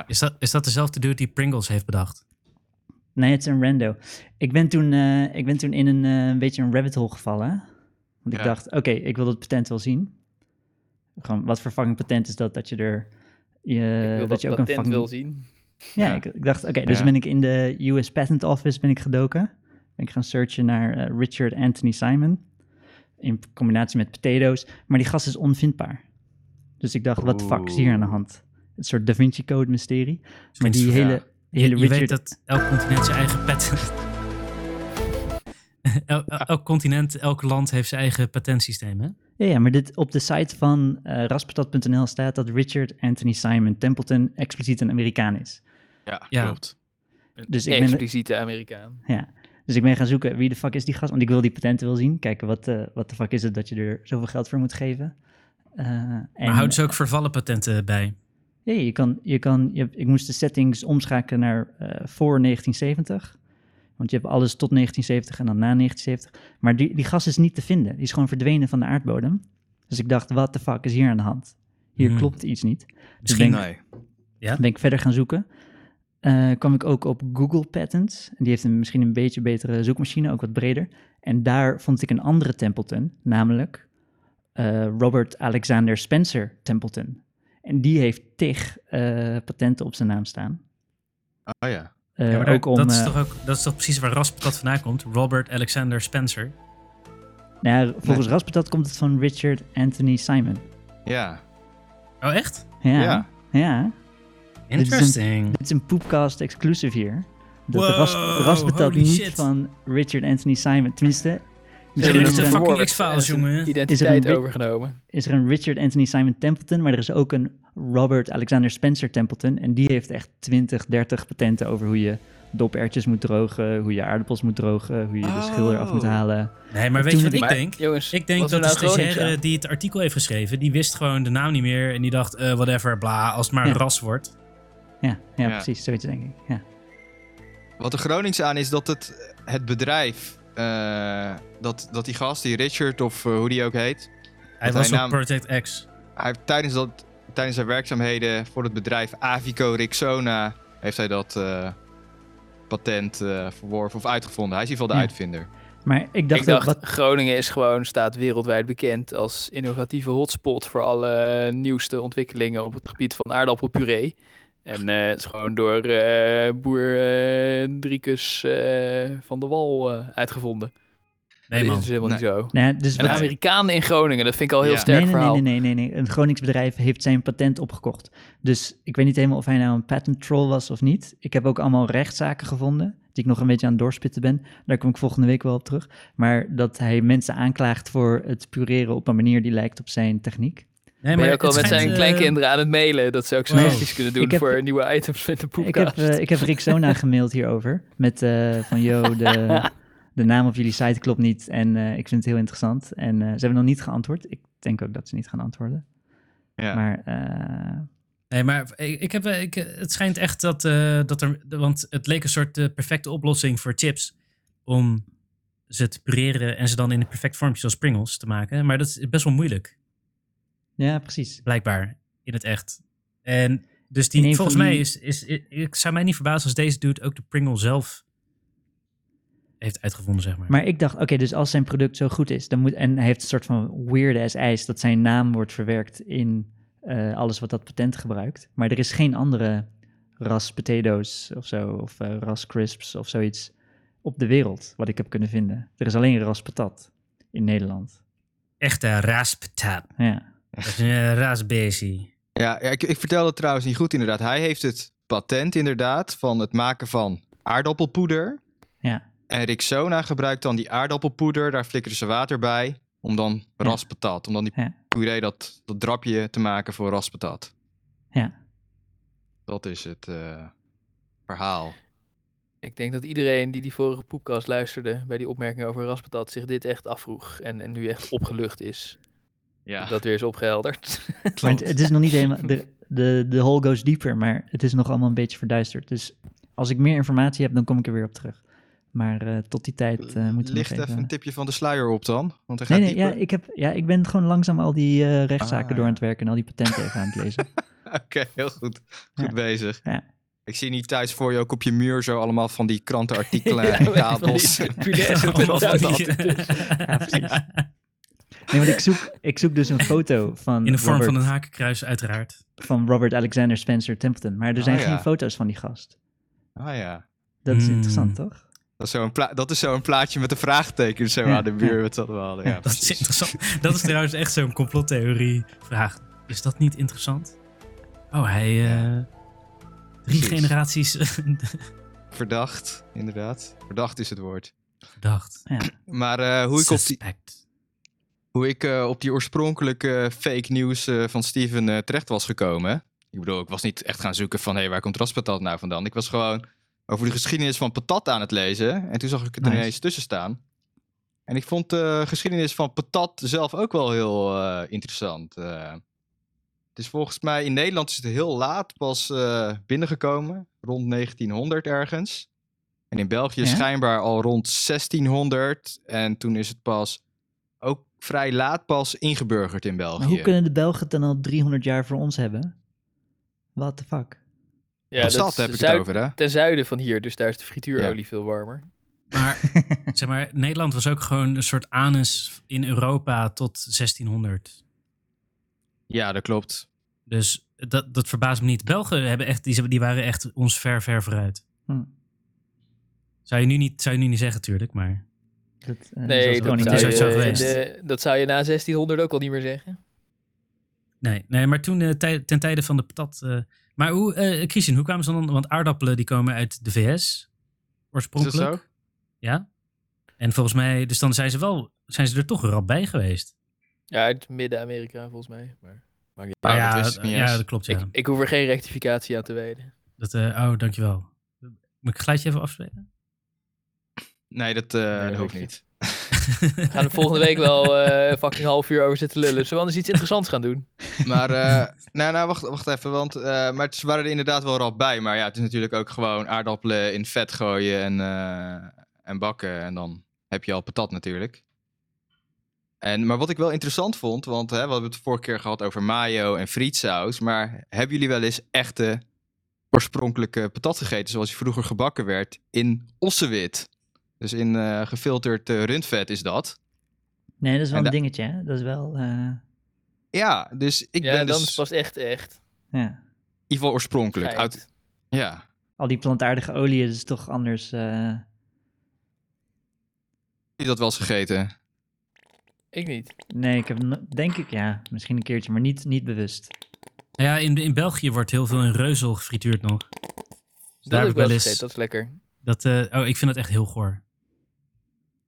Is dat, is dat dezelfde dude die Pringles heeft bedacht?
Nee, het is een rando. Ik ben toen, eh, ik ben toen in een, eh, een beetje een rabbit hole gevallen. Want ik
Ja.
dacht, oké, ik wil dat patent wel zien. Gewoon, wat voor fucking patent is dat? Dat je er... Je,
ik wil
Eh, dat,
dat
je ook
patent
een fucking...
wil zien.
Ja,
Ja.
Ik, ik dacht, oké, dus
Ja.
ben ik in de US Patent Office ben ik gedoken. Ben ik gaan searchen naar eh, Richard Anthony Simon. In combinatie met potatoes. Maar die gast is onvindbaar. Dus ik dacht, wat fuck is hier aan de
Oeh.
hand? Een soort Da Vinci Code mysterie. Maar die
iets voor-
hele, die hele
Je, je
Richard...
weet dat elk continent zijn eigen patent... El- el- elk continent, elk land heeft zijn eigen patentsysteem, hè?
Ja, ja, maar dit, op de site van eh raspatat.nl staat dat Richard Anthony Simon Templeton expliciet een Amerikaan is.
Ja,
Ja.
klopt.
Dus ik, ben,
Expliciete Amerikaan.
ja, dus ik ben gaan zoeken wie de fuck is die gast, want ik wil die patenten wel zien. Kijken wat, eh wat de fuck is het dat je er zoveel geld voor moet geven. Eh, en,
Maar houdt ze ook vervallen patenten bij?
Ja, je kan, je kan, je hebt- ik moest de settings omschakelen naar eh, voor 1970. Want je hebt alles tot 1970 en dan na 1970. Maar die, die gas is niet te vinden. Die is gewoon verdwenen van de aardbodem. Dus ik dacht, wat de fuck is hier aan de hand? Hier
Hmm.
klopt iets niet.
Misschien
denk-
Nee.
ben ik verder gaan zoeken. Eh, kwam ik ook op Google Patents. En die heeft een, misschien een beetje betere zoekmachine, ook wat breder. En daar vond ik een andere Templeton, namelijk eh, Robert Alexander Spencer Templeton. En die heeft tig eh, patenten op zijn naam staan.
Oh ja.
Eh,
Ja, maar daar-
ook om,
dat, is
eh,
toch ook, dat is toch precies waar Raspatat vandaan komt? Robert Alexander Spencer.
nou ja, volgens Raspatat komt het van Richard Anthony Simon.
Ja.
Oh, echt?
Ja, ja.
Ja.
is een-
Interesting.
Dit is een Poepcast exclusive hier. Dat
Wow,
ras, Raspatat
holy
niet
shit.
van Richard Anthony Simon. Tenminste,
Ja,
misschien
dit is de
een-
fucking
Woord.
X-Files,
En zijn
jongen.
Is
Identiteit
er een-
overgenomen.
is er een Richard Anthony Simon Templeton, maar er is ook een Robert Alexander Spencer Templeton. En die heeft echt 20, 30 patenten over hoe je dopertjes moet drogen, hoe je aardappels moet drogen, hoe je de schil eraf moet
Oh.
halen.
Nee, maar weet
Toen
je wat
het-
ik
Maar,
denk?
jongens,
Ik denk
wat
dat
we
de
nou Gronings
stagiaire
aan-
die het artikel heeft geschreven, die wist gewoon de naam niet meer. En die dacht, eh, whatever, bla, als het maar een
Ja.
Hm.
ras wordt.
Ja,
Ja.
ja, precies, zoiets denk ik. Ja.
Wat er Gronings aan is dat het, het bedrijf, eh, dat, dat die gast, die Richard of eh, hoe die ook heet,
Hij
hij
was op
naam-
Project X.
hij heeft tijdens, dat, tijdens zijn werkzaamheden voor het bedrijf Avico Rixona, heeft hij dat eh, patent eh, verworven of uitgevonden. Hij is in ieder geval de
Ja.
uitvinder.
Maar ik dacht,
Ik dacht,
ook, wat,
Groningen is gewoon, staat wereldwijd bekend als innovatieve hotspot voor alle eh, nieuwste ontwikkelingen op het gebied van aardappelpuree. En eh, het is gewoon door eh, boer eh Driekus eh, van de Wal eh, uitgevonden.
Nee,
dat
man.
is helemaal niet zo.
nou, ja, dus
En
wat-
Amerikanen in Groningen, dat vind ik al heel
Ja.
sterk
nee, nee,
verhaal.
nee, nee, nee, nee. Een Gronings bedrijf heeft zijn patent opgekocht. Dus ik weet niet helemaal of hij nou een patent troll was of niet. Ik heb ook allemaal rechtszaken gevonden, die ik nog een beetje aan het doorspitten ben. Daar kom ik volgende week wel op terug. Maar dat hij mensen aanklaagt voor het pureren op een manier die lijkt op zijn techniek.
Nee,
Ben je
het
ook al met
schijnt,
zijn
eh,
kleinkinderen aan het mailen dat ze ook
Wow.
suggesties kunnen doen
Ik heb-
voor nieuwe items met de
Ik heb,
podcast.
eh, ik heb Rick Sona gemaild hierover. Met eh, van, yo, de, de naam op jullie site klopt niet. En eh, ik vind het heel interessant. En eh, ze hebben nog niet geantwoord. Ik denk ook dat ze niet gaan antwoorden.
Ja.
Maar eh,
Nee, maar ik, ik heb, eh, ik, eh, het schijnt echt dat, eh, dat er. Want het leek een soort eh, perfecte oplossing voor chips. om ze te pureren en ze dan in een perfect vormpje zoals Pringles te maken. Maar dat is best wel moeilijk,
ja, precies.
blijkbaar, in het echt. En dus
In
die,
een
volgens
van
mij
die-
is, is, Ik zou mij niet verbazen als deze dude ook de Pringle zelf heeft uitgevonden, zeg maar.
Maar ik dacht, oké, dus als zijn product zo goed is, dan moet, en hij heeft een soort van weird-ass eis dat zijn naam wordt verwerkt in eh, alles wat dat patent gebruikt. Maar er is geen andere ras potatoes of zo, of eh, ras crisps of zoiets op de wereld, wat ik heb kunnen vinden. Er is alleen ras patat in Nederland.
Echte rasptap.
Ja.
Dat is een eh, raasbezie.
Ja, ja ik, ik vertel het trouwens niet goed inderdaad. Hij heeft het patent inderdaad van het maken van aardappelpoeder.
Ja.
En Rixona gebruikt dan die aardappelpoeder, daar flikkeren ze water bij, om dan raspatat, om dan die
Ja.
puree, dat, dat drapje te maken voor raspatat.
Ja.
Dat is het eh, verhaal.
Ik denk dat iedereen die die vorige podcast luisterde bij die opmerking over raspatat zich dit echt afvroeg en, en nu echt opgelucht is.
Ja,
Dat weer is opgehelderd.
Maar het, het is nog niet helemaal. De, de, de hole goes deeper, maar het is nog allemaal een beetje verduisterd. Dus als ik meer informatie heb, dan kom ik er weer op terug. Maar eh, tot die tijd eh moeten we
Licht
nog
even
even...
een tipje van de sluier op dan, want hij
Nee,
gaat
nee, ja
dieper.
ik, heb, ja, ik ben gewoon langzaam al die eh, rechtszaken
Ah,
door
ja.
aan het werken en al die patenten even aan het lezen.
Oké, heel goed. Goed
Ja.
bezig.
Ja.
Ik zie niet thuis voor je ook op je muur zo allemaal van die krantenartikelen
Ja,
en
met van die
kabels.
punaise op de
Allemaal van die-
raspatat.
Ja, precies. Nee, want ik zoek, ik zoek dus een foto van,
In de vorm
Robert,
van een hakenkruis, uiteraard.
van Robert Alexander Spencer Templeton. Maar er zijn
Ah,
geen
ja.
foto's van die gast.
Ah ja.
Dat is
Hmm.
interessant, toch?
Dat is zo'n pla- dat is zo'n plaatje met een vraagteken zo
Ja,
aan de muur. Wat dat we hadden. Ja,
Dat is
precies.
interessant. Dat is trouwens echt zo'n complottheorie-vraag. Is dat niet interessant? Oh, hij... eh, drie
Precies.
generaties eh,
Verdacht, inderdaad. Verdacht is het woord.
dacht.
Maar eh, hoe ik, op die,
Suspect.
hoe ik eh, op die oorspronkelijke fake news eh, van Steven eh, terecht was gekomen. Ik bedoel, ik was niet echt gaan zoeken van... hé, hey, waar komt raspatat nou vandaan? Ik was gewoon over de geschiedenis van patat aan het lezen. En toen zag ik het er
Nice.
ineens tussen staan. En ik vond de geschiedenis van patat zelf ook wel heel eh, interessant. Eh, het is volgens mij in Nederland is het heel laat pas eh, binnengekomen. Rond 1900 ergens. En in België
Ja?
schijnbaar al rond 1600. En toen is het pas ook vrij laat pas ingeburgerd in België.
Maar hoe kunnen de Belgen het dan al 300 jaar voor ons hebben? What the fuck?
Ja,
Op
dat
stad
is
heb ik
zuid-
het over, hè?
Ten zuiden van hier, dus daar is de frituurolie veel warmer.
Maar, zeg maar, Nederland was ook gewoon een soort anus in Europa tot 1600.
Ja, dat klopt.
Dus dat, dat verbaast me niet. Belgen hebben echt, die, die waren echt ons ver, ver vooruit.
Hm.
Zou je nu niet, zou je nu niet zeggen, natuurlijk, maar...
Dat, eh, is
Nee,
gewoon
dat
niet
is
zou,
ook zo
je,
geweest.
de- dat zou je na 1600 ook al niet meer zeggen.
Nee, nee maar toen, eh, tij- ten tijde van de patat... eh, maar hoe, eh Christian, hoe kwamen ze dan... Want aardappelen die komen uit de VS, oorspronkelijk.
Is dat zo?
Ja. En volgens mij, dus dan zijn ze wel, zijn ze er toch rap bij geweest.
Ja, uit Midden-Amerika volgens mij. Maar, maakt niet
Oh,
Nou
uit.
ja,
dat wist ik niet
ja,
eens.
dat klopt, ja.
Ik, ik hoef er geen rectificatie aan te wijden.
Dat, eh, oh, dankjewel. Moet ik het geluidje even afspelen?
Nee, dat, eh,
dat
dat hoeft
weet
niet.
We gaan er volgende week wel eh fucking half uur over zitten lullen. Zullen we anders iets interessants gaan doen?
Maar, eh, nou, nou, wacht, wacht even. Want, eh, maar ze waren er inderdaad wel rap bij. Maar ja, het is natuurlijk ook gewoon aardappelen in vet gooien en, eh, en bakken. En dan heb je al patat natuurlijk. En, maar wat ik wel interessant vond, want hè, we hebben het de vorige keer gehad over mayo en frietsaus. Maar hebben jullie wel eens echte oorspronkelijke patat gegeten, zoals die vroeger gebakken werd in ossewit? Dus in eh, gefilterd eh, rundvet is dat.
Nee, dat is wel
En
een
da-
dingetje, hè? Dat is wel... eh,
Ja, dus ik
ja,
ben
dan
dus
is het pas echt echt.
ja.
in ieder geval oorspronkelijk.
Feit.
Uit, ja,
Al die plantaardige olie is toch anders... eh,
je dat wel eens gegeten?
Ik niet.
Nee, ik heb no- denk ik, ja, misschien een keertje, maar niet, niet bewust.
Nou ja, in, in België wordt heel veel in reuzel gefrituurd nog. Dus
dat heb ik wel eens
eens-
gegeten, dat is lekker.
Dat, eh, oh, ik vind dat echt heel goor.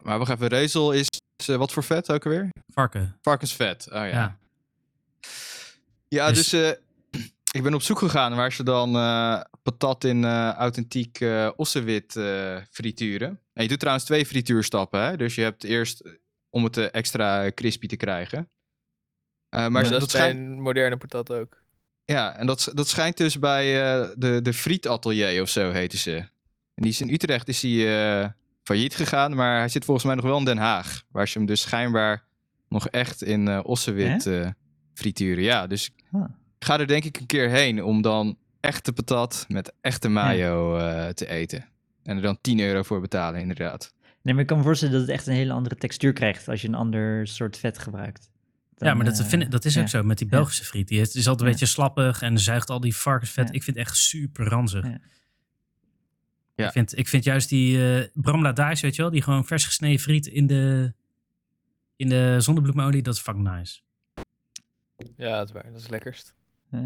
Maar wacht even, rezel is eh, wat voor vet ook alweer?
Varken,
Varkensvet. Oh ja.
ja.
Ja,
Dus-
dus, eh, ik ben op zoek gegaan waar ze dan eh, patat in eh, authentiek eh ossewit eh, frituren. En je doet trouwens twee frituurstappen, hè? Dus je hebt eerst eh, om het eh, extra crispy te krijgen. Eh, maar
Maar
ze-
dat, is bij
schijnt-
een moderne patat ook.
Ja, en dat, dat schijnt dus bij eh, de, de Frietatelier of zo heten ze. En die is in Utrecht is die, eh, failliet gegaan, maar hij zit volgens mij nog wel in Den Haag. Waar ze hem dus schijnbaar nog echt in eh ossewit eh, frituren. Ja, dus
Huh.
ik ga er denk ik een keer heen om dan echte patat met echte mayo eh, te eten. En er dan 10 euro voor betalen, inderdaad.
Nee, maar ik kan me voorstellen dat het echt een hele andere textuur krijgt als je een ander soort vet gebruikt. Dan,
ja, maar dat,
eh,
vind ik- dat is ook
ja.
zo met die Belgische friet. Die is, is altijd
Ja.
een beetje slappig en zuigt al die varkensvet.
Ja.
Ik vind het echt super ranzig.
Ja.
Ja.
Ik, vind, ik vind juist die eh Bram Ladaes, weet je wel, die gewoon vers gesneden friet in de, in de zonnebloemolie, dat is fucking nice.
Ja, dat is waar. Dat is het lekkerst.
eh,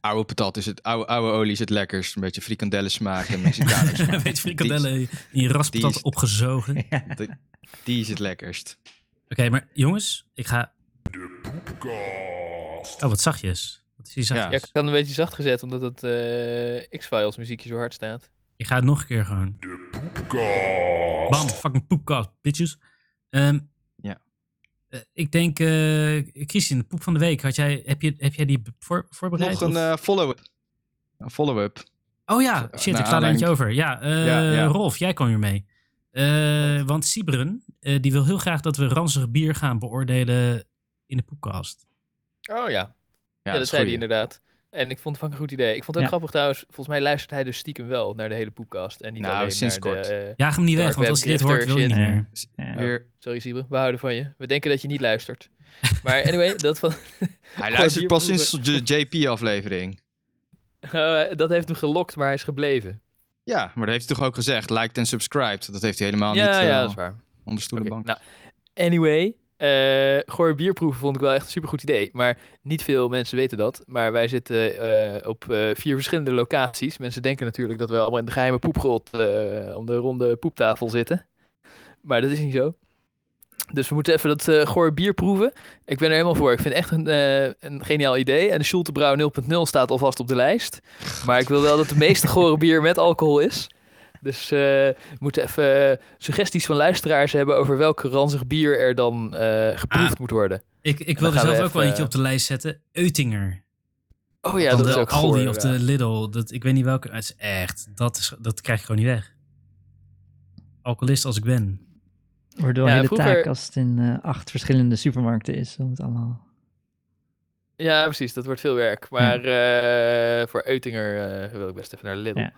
Oude patat is het, oude, oude olie is het lekkerst. Een beetje frikandellen smaak en Mexicanen
Een
smaak.
beetje frikandellen in je
die
raspatat
is-
opgezogen. Oké,
ja.
Die, die is het lekkerst.
maar jongens, ik ga... Oh, wat zachtjes. Wat is die
Ja.
zachtjes?
Ja, ik had een beetje zacht gezet, omdat het eh, X-Files muziekje zo hard staat.
Ik ga het nog een keer gewoon. De Bam, fucking poepkast, bitches. Ehm,
Ja.
eh, ik denk, eh Christian, de poep van de week. Had jij, heb, je, heb jij die be- voor, voorbereid?
Nog een
of-
eh, follow-up. Een follow-up.
oh ja, shit,
nou,
ik sla er eentje
aanleiding-
over. Ja, eh,
Ja, ja.
Rolf, jij kwam hier mee. Eh, want Siebrun, eh, die wil heel graag dat we ranzig bier gaan beoordelen in de poepkast.
Oh ja,
Ja,
Ja,
dat
dat
is
zei hij
goeie.
inderdaad. En ik vond het van een goed idee. Ik vond het ook
Ja.
grappig trouwens. Volgens mij luistert hij dus stiekem wel naar de hele poepkast. En niet
Nou,
alleen
sinds
naar
kort.
de... eh,
Jaag hem niet weg,
Dark
want
web
als hij dit hoort, wil je niet
grifter
shit.
meer. Dus
Ja.
Weer-
Sorry Sieber, we houden van je. We denken dat je niet luistert. Maar anyway, dat, van,
Hij luistert
bier
pas sinds de JP-aflevering.
eh, dat heeft hem gelokt, maar hij is gebleven.
Ja, maar dat heeft hij toch ook gezegd. Liked en subscribed. Dat heeft hij helemaal
ja,
niet
ja,
eh,
dat is waar.
onder stoel
Oké,
en bank.
Nou, anyway, eh goor bierproeven vond ik wel echt een supergoed idee. Maar niet veel mensen weten dat. Maar wij zitten eh, op eh, vier verschillende locaties. Mensen denken natuurlijk dat we allemaal in de geheime poepgrot eh, om de ronde poeptafel zitten. Maar dat is niet zo. Dus we moeten even dat eh goor bier proeven. Ik ben er helemaal voor. Ik vind het echt een, eh, een geniaal idee. En de Schultebrouw 0.0 staat alvast op de lijst. Maar ik wil wel dat de meeste gore bier met alcohol is. Dus eh, we moeten even suggesties van luisteraars hebben over welk ranzig bier er dan eh, geproefd
Ah.
moet worden.
Ik, ik
dan
wilde
gaan we
zelf ook
even-
wel eentje op de lijst zetten. Eutinger.
Oh ja,
van
dat
de
is ook
Aldi
goor,
of de
ja.
Lidl. Dat, ik weet niet welke. Het is echt, dat, is, dat krijg je gewoon niet weg. Alcoholist als ik ben.
Wordt wel een
Ja,
hele
vroeger-
taak als het in eh, acht verschillende supermarkten is. Om het allemaal...
Ja, precies. Dat wordt veel
Hm.
werk. Maar eh, voor Eutinger eh, wil ik best even naar de Lidl.
Ja.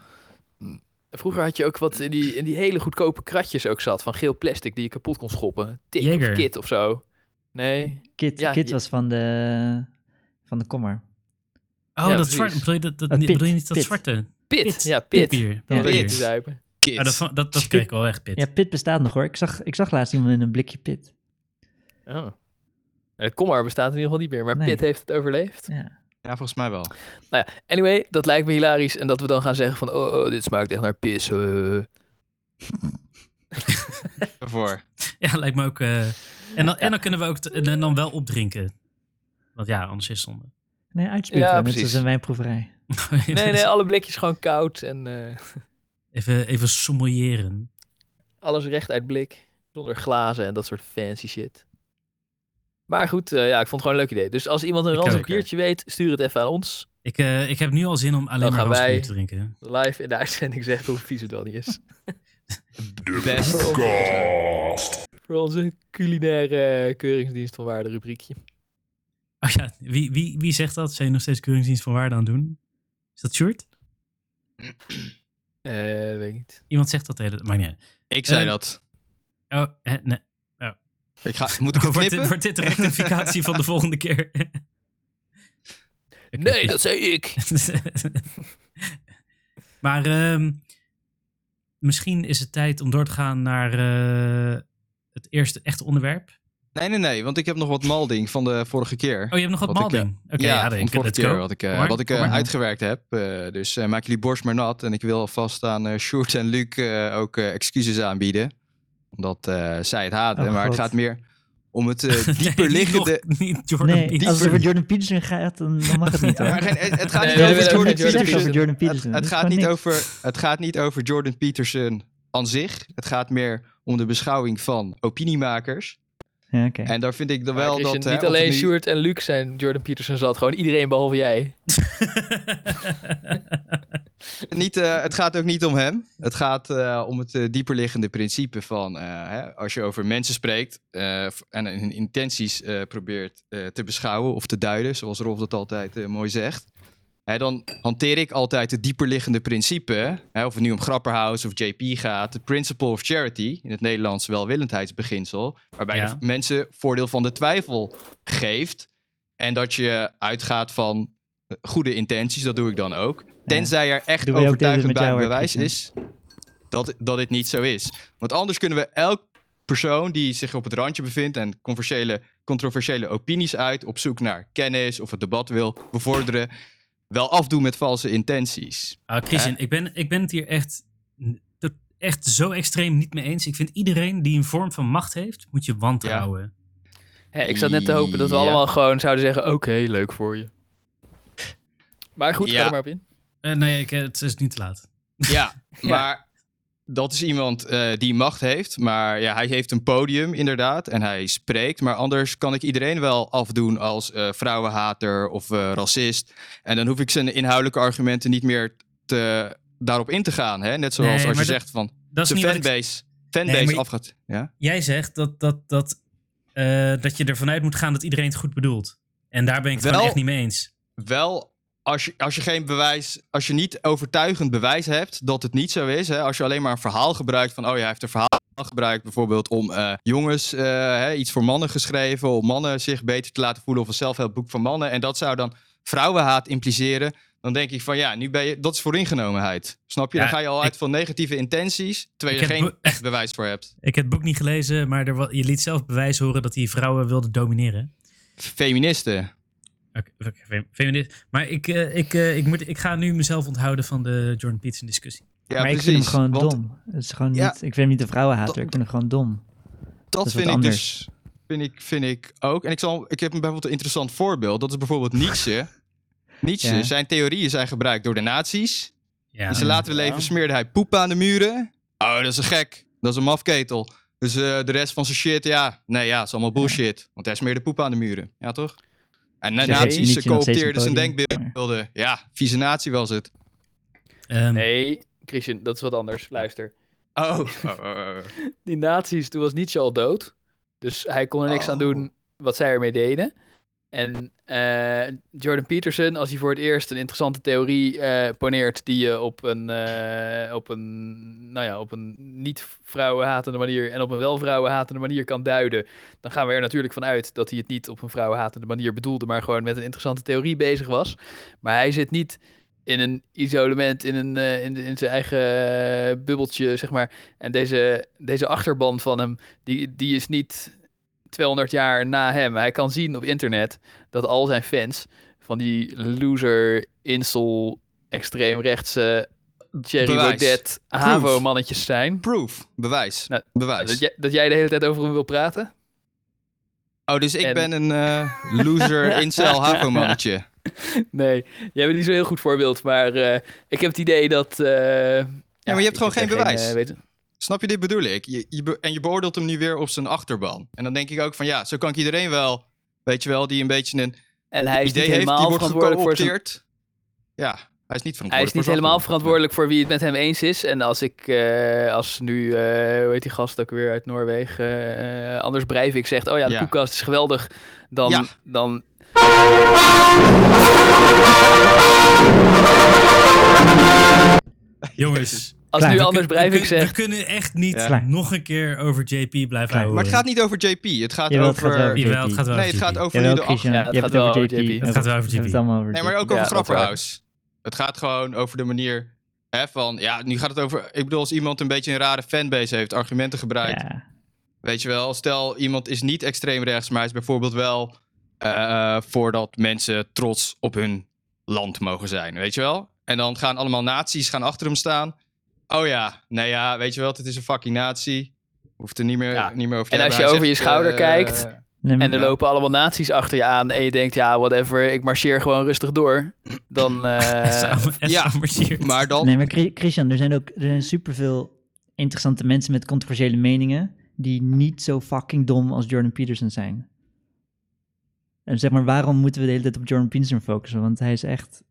Mm. Vroeger had je ook wat in die, in die hele goedkope kratjes ook zat. Van geel plastic die je kapot kon schoppen. Tik
Jaeger.
of kit of zo. Nee.
Kit,
Ja,
Kit
je-
was van de, van de kommer.
Oh, dat
precies.
zwarte. Bedoel je, dat, dat,
Eh,
niet-
pit,
bedoel je niet dat
pit.
zwarte?
Pit.
Pit.
Ja, pit.
Pitbier.
Ja.
Om bier
Pit.
te zuipen.
Kids.
Ah, dat, vond- dat, dat kreeg ik wel echt pit.
Ja, Pit bestaat nog hoor. Ik zag, ik zag laatst iemand in een blikje Pit.
Oh. Eh, Kommer bestaat in ieder geval niet meer. Maar
Nee.
pit heeft het overleefd.
Ja.
Ja, volgens mij wel.
Nou Anyway, dat lijkt me hilarisch. En dat we dan gaan zeggen van... Oh, oh, dit smaakt echt naar pis. eh.
Daarvoor.
Ja, lijkt me ook. eh, en, dan, en dan kunnen we ook t- en dan wel opdrinken. Want ja, anders is het zonde.
Nee, uitspugen.
Ja,
net
precies.
als een wijnproeverij.
Nee, nee, alle blikjes gewoon koud. En eh,
Even, even sommelieren.
alles recht uit blik. Zonder glazen en dat soort fancy shit. Maar goed, eh, ja, ik vond het gewoon een leuk idee. Dus als iemand een
Ik
ranzig
ook, ja.
biertje weet, stuur het even aan ons.
Ik, eh, ik heb nu al zin om alleen
Dan
maar
gaan wij-
rasbier te drinken.
Live in de uitzending zeggen hoe vies het wel niet is.
Best.
Voor onze culinaire eh, keuringsdienst van waarde rubriekje.
Oh ja, wie, wie, wie zegt dat? Zijn je nog steeds keuringsdienst van waarde aan het doen? Is dat Sjoerd?
Eh, weet ik niet.
Iemand zegt dat de hele... Maar nee.
Ik zei
Eh,
dat.
Oh, hè, nee.
Ik ga, moet ik het
wordt, dit,
knippen?
wordt dit de rectificatie van de volgende keer?
Nee, dat zei ik!
maar ehm, misschien is het tijd om door te gaan naar eh, het eerste echte onderwerp.
Nee, nee, nee. Want ik heb nog wat malding van de vorige keer.
Oh, je hebt nog wat,
Wat ik, eh,
malding. Oké,
ja,
ja,
van
nee,
de vorige
let's
keer
go.
wat ik, eh,
Kom maar,
wat ik
kom
eh,
maar.
uitgewerkt heb. Eh, dus eh, maak jullie borst maar nat. En ik wil alvast aan eh Sjoerd en Luc eh, ook eh, excuses aanbieden. Omdat eh, zij het haten.
Oh,
maar het
God.
gaat meer om het eh,
Nee,
dieper liggende...
Niet, nog- niet Jordan
Nee,
Peterson.
als het over Jordan Peterson gaat, dan, dan mag het niet
Ja,
hoor.
maar geen- het, het gaat
Nee,
niet
we
over
willen
Jordan
ook geen
Peterson.
Jordan
Peterson. over Jordan
Het, het
Peterson. Dat is
gaat
gewoon
niet
niks.
over, het gaat niet over Jordan Peterson aan zich. Het gaat meer om de beschouwing van opiniemakers.
Ja, oké.
En daar vind ik dan
Maar
wel
Christian,
dat... eh, hè,
niet
of het
alleen
nu-
Sjoerd en Luc zijn Jordan Peterson zat. Gewoon iedereen behalve jij.
niet, eh, het gaat ook niet om hem. Het gaat eh, om het eh, dieperliggende principe van eh, hè, als je over mensen spreekt eh, f- en hun intenties eh, probeert eh, te beschouwen of te duiden, zoals Rolf dat altijd eh, mooi zegt. hè, dan hanteer ik altijd het dieperliggende principe, hè, of het nu om Grapperhaus of JP gaat, het principle of charity, in het Nederlands welwillendheidsbeginsel, waarbij je
Ja.
mensen voordeel van de twijfel geeft en dat je uitgaat van eh, goede intenties, dat doe ik dan ook. Tenzij er echt
Doen wij ook
overtuigend
deze met
bij
jou,
bewijs
Christian?
is dat, dat dit niet zo is. Want anders kunnen we elk persoon die zich op het randje bevindt en controversiële, controversiële opinies uit, op zoek naar kennis of het debat wil bevorderen, wel afdoen met valse intenties.
Ah, Christian, ik ben, ik ben het hier echt, n- tot- echt zo extreem niet mee eens. Ik vind iedereen die een vorm van macht heeft, moet je wantrouwen.
Hè, ik zat net te hopen dat we
Ja.
allemaal gewoon zouden zeggen: oké, leuk voor je. Maar goed, ga
Ja.
er maar op in.
Eh, nee, ik, eh, het is niet te laat.
Ja,
Ja.
maar dat is iemand eh, die macht heeft, maar ja, hij heeft een podium inderdaad en hij spreekt, maar anders kan ik iedereen wel afdoen als eh, vrouwenhater of eh, racist. En dan hoef ik zijn inhoudelijke argumenten niet meer te, daarop in te gaan. Hè? Net zoals
Nee,
als je
maar dat-
zegt van
Dat is
de
niet wat ik-
fanbase, fanbase
Nee, maar je-
afgaat. Ja?
Jij zegt dat, dat, dat, eh, dat je ervan uit moet gaan dat iedereen het goed bedoelt. En daar ben ik het
Wel-
gewoon echt niet mee eens.
wel als je, als je geen bewijs, als je niet overtuigend bewijs hebt dat het niet zo is. Hè, als je alleen maar een verhaal gebruikt van, oh ja, hij heeft een verhaal gebruikt bijvoorbeeld om eh, jongens eh, hè, iets voor mannen geschreven, om mannen zich beter te laten voelen of een zelfhelpboek van mannen. En dat zou dan vrouwenhaat impliceren. Dan denk ik van ja, nu ben je, dat is vooringenomenheid. Snap je?
Ja,
dan ga je al
ik-
uit van negatieve intenties, terwijl je
Ik
er
heb
geen
be-
echt bewijs voor hebt.
Ik heb het boek niet gelezen, maar er, wa- je liet zelf bewijs horen dat die vrouwen wilden domineren.
Feministen.
Oké, oké, fem- feminist. Maar ik, eh, ik, eh, ik, moet, ik ga nu mezelf onthouden van de Jordan Peterson discussie.
Ja,
maar
precies.
ik vind hem gewoon
want
dom. Het is gewoon
Ja.
niet, ik vind hem niet een vrouwenhater, ik vind hem gewoon dom.
Dat,
Dat is wat
vind ik
anders.
dus. Vind ik, vind ik ook. En ik, zal, ik heb een bijvoorbeeld een interessant voorbeeld. Dat is bijvoorbeeld Nietzsche. Nietzsche,
Ja.
zijn theorieën zijn gebruikt door de nazi's.
Ja,
In zijn latere leven smeerde hij poep aan de muren. Oh, dat is een gek. Dat is een mafketel. Dus eh, de rest van zijn shit, ja. Nee, ja, is allemaal bullshit. Want hij smeerde poep aan de muren. Ja, toch? En de
Dus heeft
nazi's ze
Nietzsche nog steeds een
coopteerden nou, zijn
podium?
denkbeelden. Ja, vieze nazi was het.
Ehm,
Nee, Christian, dat is wat anders. Luister.
Oh. oh, oh, oh.
Die nazi's, toen was Nietzsche al dood. Dus hij kon er niks aan doen wat zij ermee deden. En eh, Jordan Peterson, als hij voor het eerst een interessante theorie eh, poneert die je op een, eh, op een, nou ja, op een niet vrouwenhatende manier en op een wel vrouwenhatende manier kan duiden, dan gaan we er natuurlijk vanuit dat hij het niet op een vrouwenhatende manier bedoelde, maar gewoon met een interessante theorie bezig was. Maar hij zit niet in een isolement, in, een, eh, in, in zijn eigen eh, bubbeltje, zeg maar. En deze, deze achterban van hem, die, die is niet 200 jaar na hem. Hij kan zien op internet dat al zijn fans van die loser, insel, extreemrechtse, Jerry
Bewijs.
Baudet, HAVO-mannetjes zijn.
Proof. Bewijs.
Nou,
Bewijs.
Dat jij, dat jij de hele tijd over hem wil praten?
Oh, dus ik
En-
ben een eh, loser, incel, havo-mannetje.
Nee, jij bent niet zo'n heel goed voorbeeld, maar eh, ik heb het idee dat... eh, ja,
maar je hebt
ik
gewoon
heb
geen
daar
bewijs.
eh, weet-
Snap je, dit bedoel ik. Je, je be- en je beoordeelt hem nu weer op zijn achterban. En dan denk ik ook van ja, zo kan ik iedereen wel, weet je wel, die een beetje een
En
idee
hij is
heeft,
niet
die
helemaal
wordt
verantwoordelijk voor zijn
gecoopteerd. Ja, hij is niet verantwoordelijk
Hij is niet
voor zijn
helemaal
achterban.
verantwoordelijk voor wie het met hem eens is. En als ik, eh, als nu, eh, hoe heet die gast ook weer uit Noorwegen, eh, Anders Breivik zegt, oh ja, de
Ja.
koelkast is geweldig, dan,
Ja.
dan...
Jongens,
Als
Klaar,
nu
we
Anders
kun- we,
Breivik
kun-
zegt,
we kunnen echt niet
Ja.
Klaar.
nog een keer over JP blijven
Klaar.
houden.
Maar het gaat niet over JP. Het gaat
Jawel, het gaat
over.
wel over
Jawel, het
JP.
gaat wel
nee,
over
het gaat
JP.
over
Jawel,
nu de ach-
Christian,
Ja,
je hebt het over JP.
Het
gaat wel over
Je hebt
JP.
het allemaal over
Nee,
JP.
maar ook
Ja,
over
dat is waar.
Grapperhaus. Het gaat gewoon over de manier hè, van. Ja, nu gaat het over. Ik bedoel, als iemand een beetje een rare fanbase heeft, argumenten gebruikt.
Ja.
Weet je wel, stel iemand is niet extreem rechts, maar hij is bijvoorbeeld wel eh, voor dat mensen trots op hun land mogen zijn, weet je wel? En dan gaan allemaal nazi's gaan achter hem staan. Oh ja, nou ja, weet je wel, het is een fucking nazi. Hoeft er niet meer,
Ja.
niet meer over te
En als
hebben.
je
Hij
over je
zegt,
schouder
eh,
kijkt,
Nee, maar-
en er lopen allemaal nazi's achter je aan en je denkt, ja, whatever, ik marcheer gewoon rustig door, dan... eh,
ja,
ja,
Maar dan,
Nee, maar Chri- Christian, er zijn ook er zijn superveel interessante mensen met controversiële meningen die niet zo fucking dom als Jordan Peterson zijn. En zeg maar, waarom moeten we de hele tijd op Jordan Peterson focussen? Want hij is echt,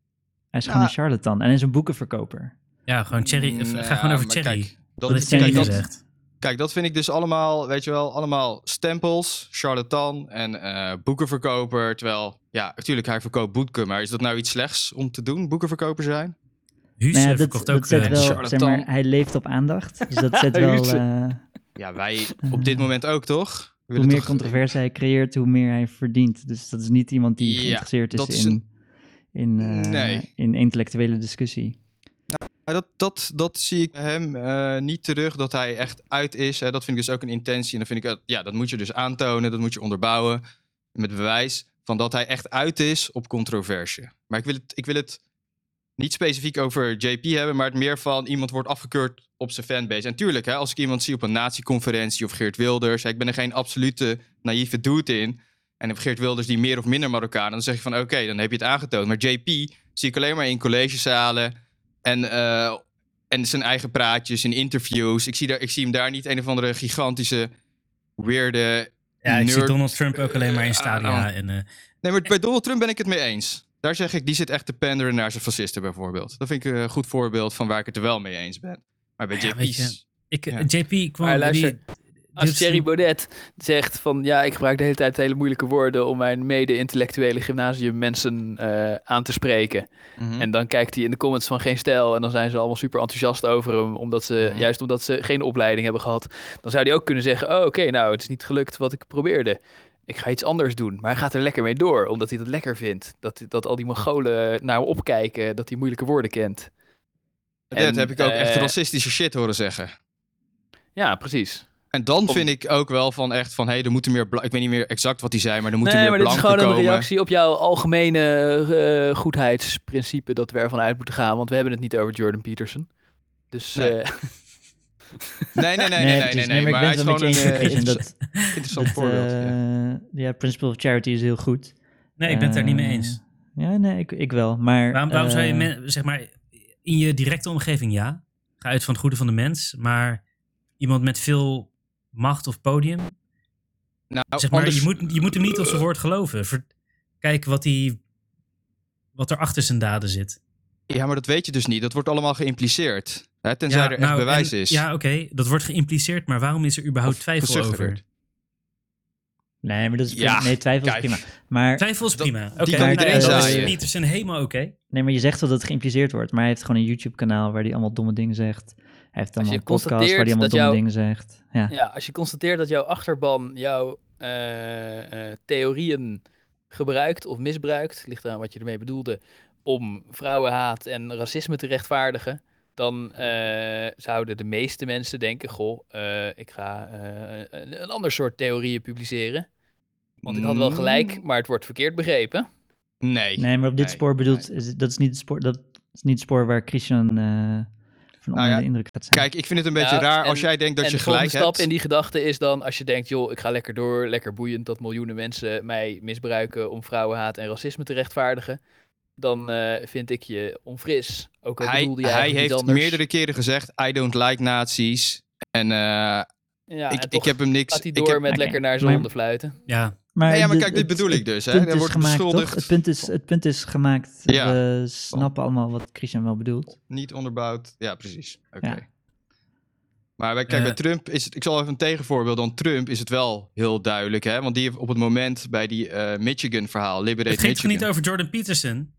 hij is gewoon
Ja.
een charlatan en hij is een boekenverkoper.
Mm,
Dus
Ja, gewoon Cherry.
Nou
ga gewoon
ja,
over
maar
Cherry.
kijk, dat,
Wat
is
heeft Cherry
Thierry
dat,
gezegd?
Kijk, dat vind ik dus allemaal, weet je wel, allemaal stempels, charlatan en eh, boekenverkoper. Terwijl, ja, natuurlijk, hij verkoopt boeken, maar is dat nou iets slechts om te doen, boekenverkoper zijn?
Huus
Nou ja, dat,
verkocht ook...
dat zet
eh,
wel,
charlatan.
zeg maar, hij leeft op aandacht. Dus dat zet wel,
Huus.
eh,
Ja, wij op dit moment ook, toch? We
hoe
willen
meer
toch-
controverse hij creëert, hoe meer hij verdient. Dus dat is niet iemand die
Ja,
geïnteresseerd is,
dat is
in, in, eh,
Nee.
in intellectuele discussie.
Maar dat, dat, dat zie ik bij hem eh, niet terug, dat hij echt uit is. Hè. Dat vind ik dus ook een intentie. En dan vind ik, dat- ja, dat moet je dus aantonen, dat moet je onderbouwen. Met bewijs van dat hij echt uit is op controverse. Maar ik wil het, ik wil het niet specifiek over JP hebben, maar het meer van iemand wordt afgekeurd op zijn fanbase. En tuurlijk, hè, als ik iemand zie op een natieconferentie of Geert Wilders, hè, ik ben er geen absolute naïeve dude in. En heb Geert Wilders die meer of minder Marokkaan, dan zeg je van oké, dan heb je het aangetoond. Maar JP zie ik alleen maar in collegezalen en, eh, en zijn eigen praatjes in interviews. Ik zie, daar, ik zie hem daar niet een of andere gigantische, weirde.
ja, ik zie
nerd-
Donald Trump ook alleen maar in stadia.
aan-
En, eh,
Nee, maar bij Donald Trump ben ik het mee eens. Daar zeg ik, die zit echt te panderen naar zijn fascisten bijvoorbeeld. Dat vind ik een goed voorbeeld van waar ik het er wel mee eens ben. Maar bij
Ja,
JP's...
weet je, ik,
Ja.
JP kwam...
Maar luister,
die-
Als
dit-
Thierry Baudet zegt van ja, ik gebruik de hele tijd hele moeilijke woorden om mijn mede-intellectuele gymnasiummensen eh, aan te spreken.
Mhm.
En dan kijkt hij in de comments van geen stijl en dan zijn ze allemaal super enthousiast over hem, omdat ze,
Mhm.
juist omdat ze geen opleiding hebben gehad. Dan zou hij ook kunnen zeggen, oh oké, nou het is niet gelukt wat ik probeerde. Ik ga iets anders doen. Maar hij gaat er lekker mee door, omdat hij dat lekker vindt. Dat, dat al die Mongolen naar hem opkijken, dat hij moeilijke woorden kent.
dat heb ik ook echt
eh,
racistische shit horen zeggen.
Ja, precies.
En dan
Om-
vind ik ook wel van echt van... Hé, hey, er moeten meer... bla- Ik weet niet meer exact wat hij zei, maar er moeten
Nee, maar
meer
dit is
blanken
gewoon
komen.
een reactie op jouw algemene eh, goedheidsprincipe dat we ervan uit moeten gaan. Want we hebben het niet over Jordan Peterson. Dus
Nee.
eh,
Nee, nee, nee, nee, nee, nee,
precies.
nee, maar hij
ik
is
ben het
gewoon
wel met je
een
eens,
eh,
Chris, en
interessa-
dat,
interessant
dat,
voorbeeld.
eh,
ja.
ja. Principle of Charity is heel goed.
Nee, ik ben het daar niet mee
Eh,
eens.
Ja, nee, ik, ik wel. Maar,
Waarom, waarom zou je,
eh,
men- zeg maar, in je directe omgeving ja, ga uit van het goede van de mens, maar iemand met veel macht of podium,
Nou,
zeg maar,
anders-
je, moet, je moet hem niet op zijn woord geloven. Ver- kijk wat, hij, wat er achter zijn daden zit.
Ja, maar dat weet je dus niet. Dat wordt allemaal geïmpliceerd. Hè, tenzij er echt
nou,
bewijs
en-
is.
Ja, oké, dat wordt geïmpliceerd, maar waarom is er überhaupt
Of
twijfel over?
gesuggereerd.
Nee, maar dat is
Ja,
prima. Nee, twijfel
kijk.
is prima. Maar,
Twijfel is
Dat-
prima. Oké,
kan
nou ja,
iedereen
dat is
zaaien.
niet, zijn helemaal oké.
nee, maar je zegt wel dat het geïmpliceerd wordt. Maar hij heeft gewoon een YouTube-kanaal waar hij allemaal domme dingen zegt. Hij heeft allemaal
je
een podcast waar hij
constateert
allemaal
dat
domme
jouw-
dingen zegt. Ja.
ja, als je constateert dat jouw achterban jouw eh, eh, theorieën gebruikt of misbruikt, ligt eraan wat je ermee bedoelde, om vrouwenhaat en racisme te rechtvaardigen, dan eh, zouden de meeste mensen denken, goh, eh, ik ga eh, een, een ander soort theorieën publiceren. Want ik had wel gelijk, maar het wordt verkeerd begrepen.
Nee.
Nee, maar op dit
Nee,
spoor bedoelt, is, dat, is niet het spoor, dat is niet het spoor waar Christian eh, van onder
Nou ja,
de indruk gaat zijn.
Kijk, ik vind het een beetje
Ja,
raar als
en-
jij denkt dat
en
je
de volgende
gelijk
stap
hebt.
in die gedachte is dan, als je denkt, joh, ik ga lekker door, lekker boeiend dat miljoenen mensen mij misbruiken om vrouwenhaat en racisme te rechtvaardigen, dan eh, vind ik je onfris. Ook al
Hij,
bedoelde je
hij
eigenlijk
heeft
iets anders.
meerdere keren gezegd, I don't like nazi's. En eh,
Ja,
ik,
en
ik
toch
heb hem niks...
gaat hij
ik
door
heb-
met
Oké,
lekker naar
maar-
zijn honden fluiten.
Ja,
maar,
Nee, ja, maar
de-
kijk, dit
het-
bedoel ik
het
dus, hè.
punt
Hij
is
wordt
gemaakt,
beschuldigd.
Toch? Het, punt is, het punt is gemaakt.
Ja.
We snappen allemaal wat Christian wel bedoelt.
Niet onderbouwd. Ja, precies. Oké.
Ja.
Maar bij- kijk, bij
Eh.
Trump is het... Ik zal even een tegenvoorbeeld. Dan Trump is het wel heel duidelijk, hè. Want die heeft op het moment bij die eh, Michigan-verhaal... Liberate
het ging toch
Michigan.
niet over Jordan Peterson?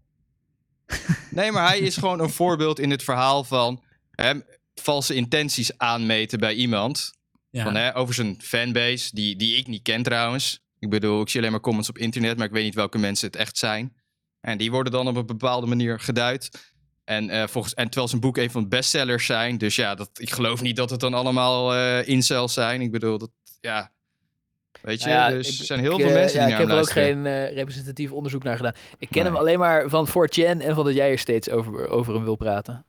Nee, maar hij is gewoon een voorbeeld in het verhaal van... Hè, valse intenties aanmeten bij iemand.
Ja.
Van, hè, over zijn fanbase, die, die ik niet ken trouwens. Ik bedoel, ik zie alleen maar comments op internet, maar ik weet niet welke mensen het echt zijn. En die worden dan op een bepaalde manier geduid. En, eh, volgens, en terwijl zijn boek een van de bestsellers zijn. Dus ja, dat, ik geloof niet dat het dan allemaal eh incels zijn. Ik bedoel, dat, ja. Weet je,
Nou ja,
dus
ik-
er zijn heel
ik,
veel
eh,
mensen
ja,
die
Ik
naar hem
heb er ook
luisteren.
geen eh, representatief onderzoek naar gedaan. Ik ken
Nee.
hem alleen maar van 4chan en van dat jij er steeds over, over hem wil praten.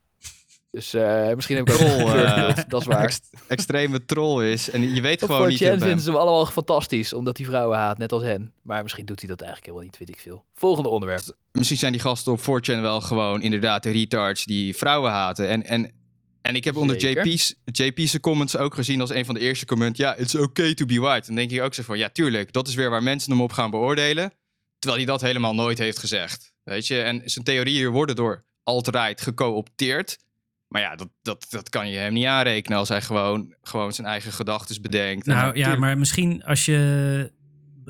Dus eh, misschien heb ik ook
Troll,
een verkeerd
eh,
beeld, dat is waar.
ex- extreme troll is. En je weet
Op
gewoon
4chan
niet... op hem.
vinden ze hem allemaal fantastisch, omdat hij vrouwen haat, net als hen. Maar misschien doet hij dat eigenlijk helemaal niet, weet ik veel. Volgende onderwerp.
misschien zijn die gasten op 4chan wel gewoon inderdaad de retards die vrouwen haten. En, en, en ik heb onder
Zeker.
JP's, JP's comments ook gezien als een van de eerste comments. Ja, it's okay to be white. Dan denk ik ook zo van, ja tuurlijk, dat is weer waar mensen hem op gaan beoordelen. Terwijl hij dat helemaal nooit heeft gezegd. Weet je, en zijn theorieën worden door alt-right gecoopteerd. Maar ja, dat, dat, dat kan je hem niet aanrekenen als hij gewoon, gewoon zijn eigen gedachten bedenkt. En
Nou ja,
tuurlijk-
maar misschien als je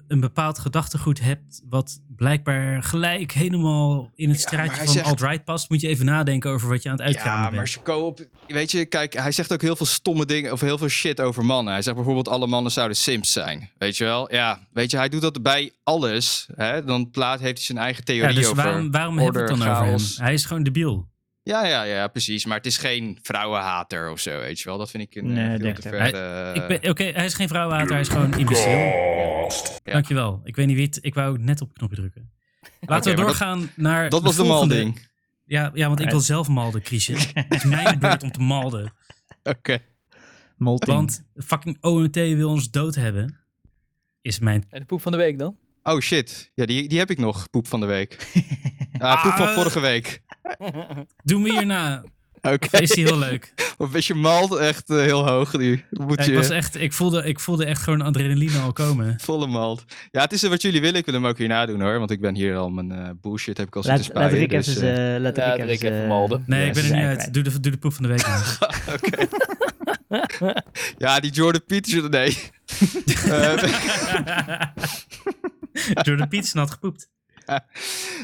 een bepaald gedachtegoed hebt... wat blijkbaar gelijk helemaal in het
Ja, maar
straatje
hij
van
zegt-
alt-right past... moet je even nadenken over wat je aan het uitgaan
Ja, maar
bent.
als je co-op... Weet je, kijk, hij zegt ook heel veel stomme dingen... of heel veel shit over mannen. Hij zegt bijvoorbeeld alle mannen zouden sims zijn. Weet je wel? Ja, weet je, hij doet dat bij alles. Hè? Dan plaat heeft hij zijn eigen theorie
Ja, dus
over
waarom, waarom hebben we het
order,
dan over hem?
chaos.
Hij is gewoon debiel.
Ja, ja, ja, precies. Maar het is geen vrouwenhater of zo, weet je wel. Dat vind ik een
Nee,
eh, veel
denk
te
ik
ver...
ook.
eh,
Ik ben- Oké, hij is geen vrouwenhater, hij is gewoon imbecil.
Ja.
Dankjewel. Ik weet niet wie het... Ik wou net op het knopje drukken. Laten
maar
we
dat-
doorgaan naar
Dat was de
volgende-
malding.
Ja, ja, want ik wil zelf malden, Kriesje. Het is mijn beurt om te malden.
Oké.
Molting.
Want fucking OMT wil ons dood hebben. Is mijn...
En de poep van de week dan?
Oh shit. Ja, die, die heb ik nog. Poep van de week. Ah, poep van
Ah.
vorige week.
Doen we hierna.
Oké.
Is die heel leuk.
Of is je malt echt eh, heel hoog nu? Moet
Ja,
je...
ik, was echt, ik, voelde, ik voelde echt gewoon adrenaline al komen.
Volle malt. Ja, het is eh, wat jullie willen. Ik wil hem ook hierna doen hoor. Want ik ben hier al mijn eh, bullshit heb ik al zitten
Laat, laat
spuien.
Rick
dus,
even
eh,
ze- laat
laat
Rick
Rick
even eh,
even
ze-
malden.
Nee,
Ja,
ik ben
ze
er nu
zijn
uit.
kwijt.
Doe de, doe de poep van de week. maar.
eh, Ja, die Jordan Peterson. Nee. Eh,
Door de pizza nat gepoept.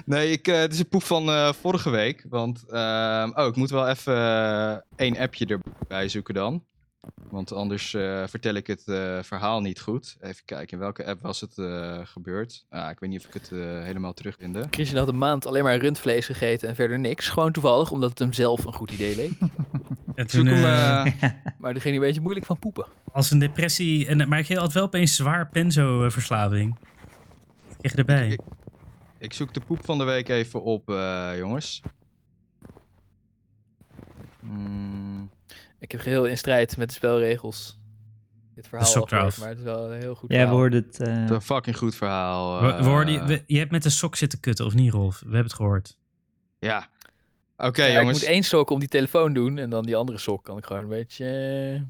nee, ik, eh, het is een poep van eh, vorige week. Want, ehm, oh, ik moet wel even eh, één appje erbij zoeken dan. Want anders eh, vertel ik het eh, verhaal niet goed. Even kijken, in welke app was het eh, gebeurd? Ah, ik weet niet of ik het eh, helemaal terugvinde.
Christian had een maand alleen maar rundvlees gegeten en verder niks. Gewoon toevallig, omdat het hem zelf een goed idee leek.
En toen,
Zoek hem...
eh,
eh,
Maar er ging hij een beetje moeilijk van poepen.
als een depressie. En, maar ik had wel opeens zwaar penzo-verslaving. Ik kreeg erbij.
Ik zoek de poep van de week even op, eh, jongens. Mm,
Ik heb geheel in strijd met de spelregels. Dit verhaal
sok
al gehoord,
eraf.
maar het is wel een heel goed
Ja, we
verhaal.
hoorden het. eh,
het is een fucking goed verhaal.
We- we
eh,
hoorden- we- je hebt met de sok zitten kutten, of niet, Rolf? We hebben het gehoord.
Ja. Oké,
Ja,
jongens.
Ik moet één sok om die telefoon doen en dan die andere sok kan ik gewoon een beetje eh,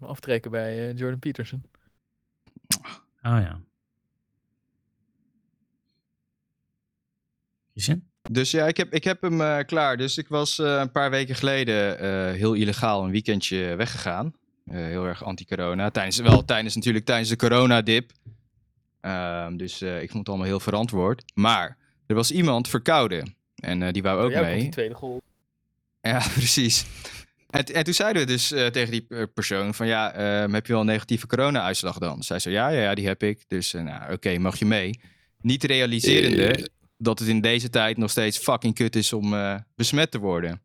me aftrekken bij eh, Jordan Peterson.
Oh ja. Christian?
Dus ja, ik heb, ik heb hem eh, klaar. Dus ik was eh, een paar weken geleden eh, heel illegaal een weekendje weggegaan. Eh, heel erg anti-corona. Tijdens, wel tijdens natuurlijk tijdens de coronadip. Ehm, dus eh, ik vond het allemaal heel verantwoord. Maar er was iemand verkouden. En eh, die wou ook
Voor jou komt
mee.
die tweede goal.
Ja, precies. En, en toen zeiden we dus eh, tegen die eh, persoon van ja, ehm, heb je wel een negatieve corona-uitslag dan? Zij zei ja, ja, ja, die heb ik. Dus eh, nou, oké, mag je mee. Niet realiserende dat het in deze tijd nog steeds fucking kut is om eh, besmet te worden.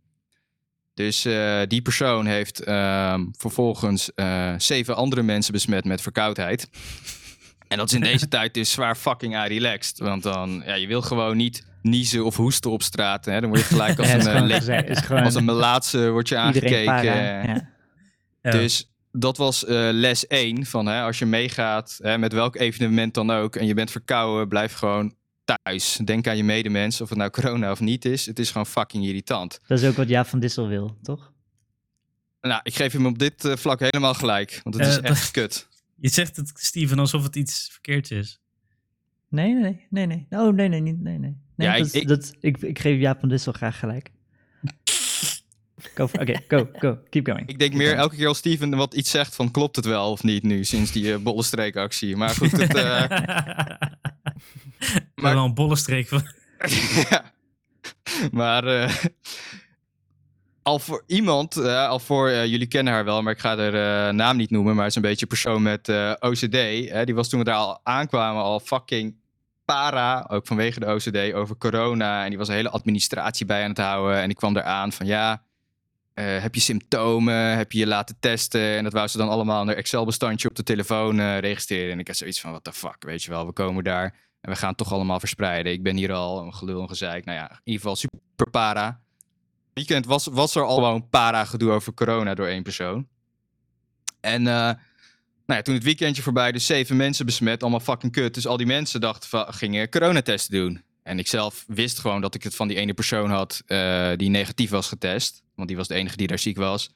Dus eh, die persoon heeft ehm, vervolgens eh, zeven andere mensen besmet met verkoudheid. En dat is in deze tijd dus zwaar fucking aan relaxed. Want dan, ja, je wil gewoon niet niezen of hoesten op straat. Hè? Dan word je gelijk als
ja,
een
het is
eh,
gewoon
le-
gezegd, het is gewoon
als een melaatse word je
iedereen
aangekeken.
para, ja.
Ja.
Dus dat was eh, les 1 van hè, als je meegaat hè, met welk evenement dan ook en je bent verkouden, blijf gewoon thuis. Denk aan je medemens, of het nou corona of niet is. Het is gewoon fucking irritant.
Dat is ook wat Jaap van Dissel wil, toch?
Nou, ik geef hem op dit eh, vlak helemaal gelijk, want het
Eh,
is
dat-
echt kut.
Je zegt het, Steven, alsof het iets verkeerds is.
Nee, nee, nee, nee. Oh, nee, nee, niet. Nee, nee. nee
Ja, ik-
dat,
ik-
ik, dat, ik, ik geef Jaap van Dissel graag gelijk. Go for- Oké, go, go. Keep going.
Ik denk meer elke keer als Steven wat iets zegt van klopt het wel of niet nu, sinds die eh, bolle streekactie. Maar goed, het, eh,
Ik ben wel een bolle streek van.
ja. Maar eh, al voor iemand, eh, al voor eh, jullie kennen haar wel, maar ik ga haar eh, naam niet noemen. Maar het is een beetje een persoon met eh, OCD. Hè, die was toen we daar al aankwamen al fucking para, ook vanwege de OCD, over corona. En die was een hele administratie bij aan het houden. En ik kwam daar aan van ja, eh, heb je symptomen? Heb je je laten testen? En dat wou ze dan allemaal in haar Excel-bestandje op de telefoon eh, registreren. En ik had zoiets van, what the fuck, weet je wel, we komen daar. En we gaan het toch allemaal verspreiden. Ik ben hier al een gelul en gezeik. Nou ja, in ieder geval super para. Weekend was, was er al wel een para gedoe over corona door één persoon. En eh, nou ja, toen het weekendje voorbij, dus zeven mensen besmet, allemaal fucking kut. Dus al die mensen dachten van, gingen coronatesten doen. En ik zelf wist gewoon dat ik het van die ene persoon had eh, die negatief was getest. Want die was de enige die daar ziek was.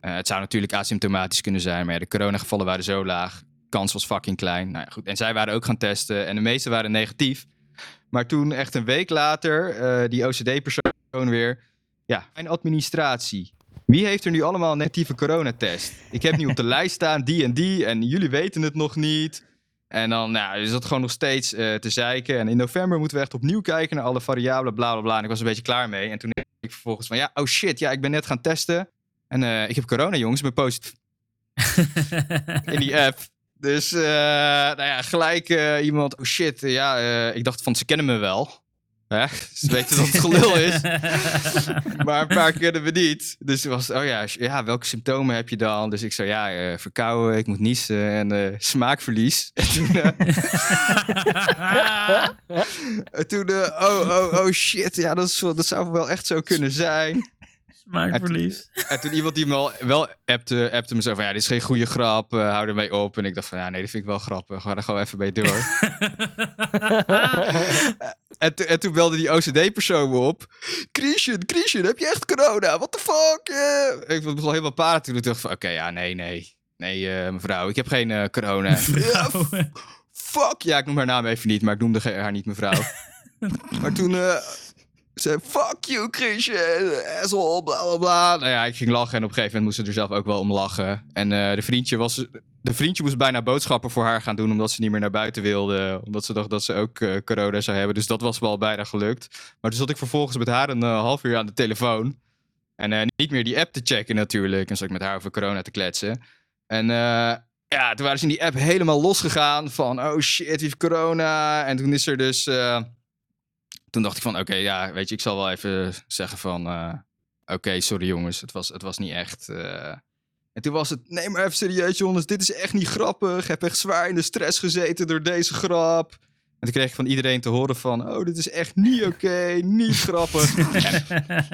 Eh, het zou natuurlijk asymptomatisch kunnen zijn, maar ja, de coronagevallen waren zo laag kans was fucking klein. Nou ja, goed. En zij waren ook gaan testen en de meeste waren negatief. Maar toen, echt een week later, eh, die OCD-persoon weer. Ja, mijn administratie. Wie heeft er nu allemaal een negatieve coronatest? Ik heb nu op de lijst staan die en die en jullie weten het nog niet. En dan nou, is dat gewoon nog steeds eh, te zeiken. En in november moeten we echt opnieuw kijken naar alle variabelen, bla bla bla. En ik was een beetje klaar mee. En toen dacht ik vervolgens van ja, oh shit, ja, ik ben net gaan testen. En eh, ik heb corona, jongens, ik ben positief in die app. Dus eh, nou ja, gelijk eh, iemand, oh shit, eh, ja, eh, ik dacht van ze kennen me wel. Hè? Ze weten dat het gelul is. maar een paar kennen we niet. Dus toen was het, oh ja, sh- ja, welke symptomen heb je dan? Dus ik zei, ja, eh, verkouden, ik moet niezen en eh, smaakverlies. En toen, eh, en toen eh, oh, oh, oh shit, ja, dat, is, wel- dat zou wel echt zo kunnen zijn.
Smaakverlies.
En toen iemand die me al wel appte, appte me zo van, ja, dit is geen goede grap, eh, hou ermee op. En ik dacht van, ja, nee, dat vind ik wel grappig, ga er gewoon even mee door. En, toen- en toen belde die OCD-persoon me op. Christian, Christian, heb je echt corona? What the fuck? eh?" Ik was al helemaal para toen. Ik dacht van, oké, ja, nee, nee. Nee, eh, mevrouw, ik heb geen eh, corona. Ja,
Vrouw.
f- fuck. Ja, ik noem haar naam even niet, maar ik noemde ge- haar niet mevrouw. maar toen eh, zei fuck you, Christian, asshole, bla, bla, bla. Nou ja, ik ging lachen en op een gegeven moment moest ze er zelf ook wel om lachen. En eh, de, vriendje was, de vriendje moest bijna boodschappen voor haar gaan doen, omdat ze niet meer naar buiten wilde. Omdat ze dacht dat ze ook eh, corona zou hebben. Dus dat was wel bijna gelukt. Maar toen zat ik vervolgens met haar een eh, half uur aan de telefoon. En eh, niet meer die app te checken natuurlijk. En zat ik met haar over corona te kletsen. En eh, ja, toen waren ze in die app helemaal losgegaan van... Oh shit, wie heeft corona? En toen is er dus... eh, toen dacht ik van, oké, ja, weet je, ik zal wel even zeggen van... eh, oké, sorry jongens, het was, het was niet echt... eh. En toen was het, nee maar even serieus jongens, dit is echt niet grappig. Heb echt zwaar in de stress gezeten door deze grap. En toen kreeg ik van iedereen te horen van... Oh, dit is echt niet oké, niet grappig.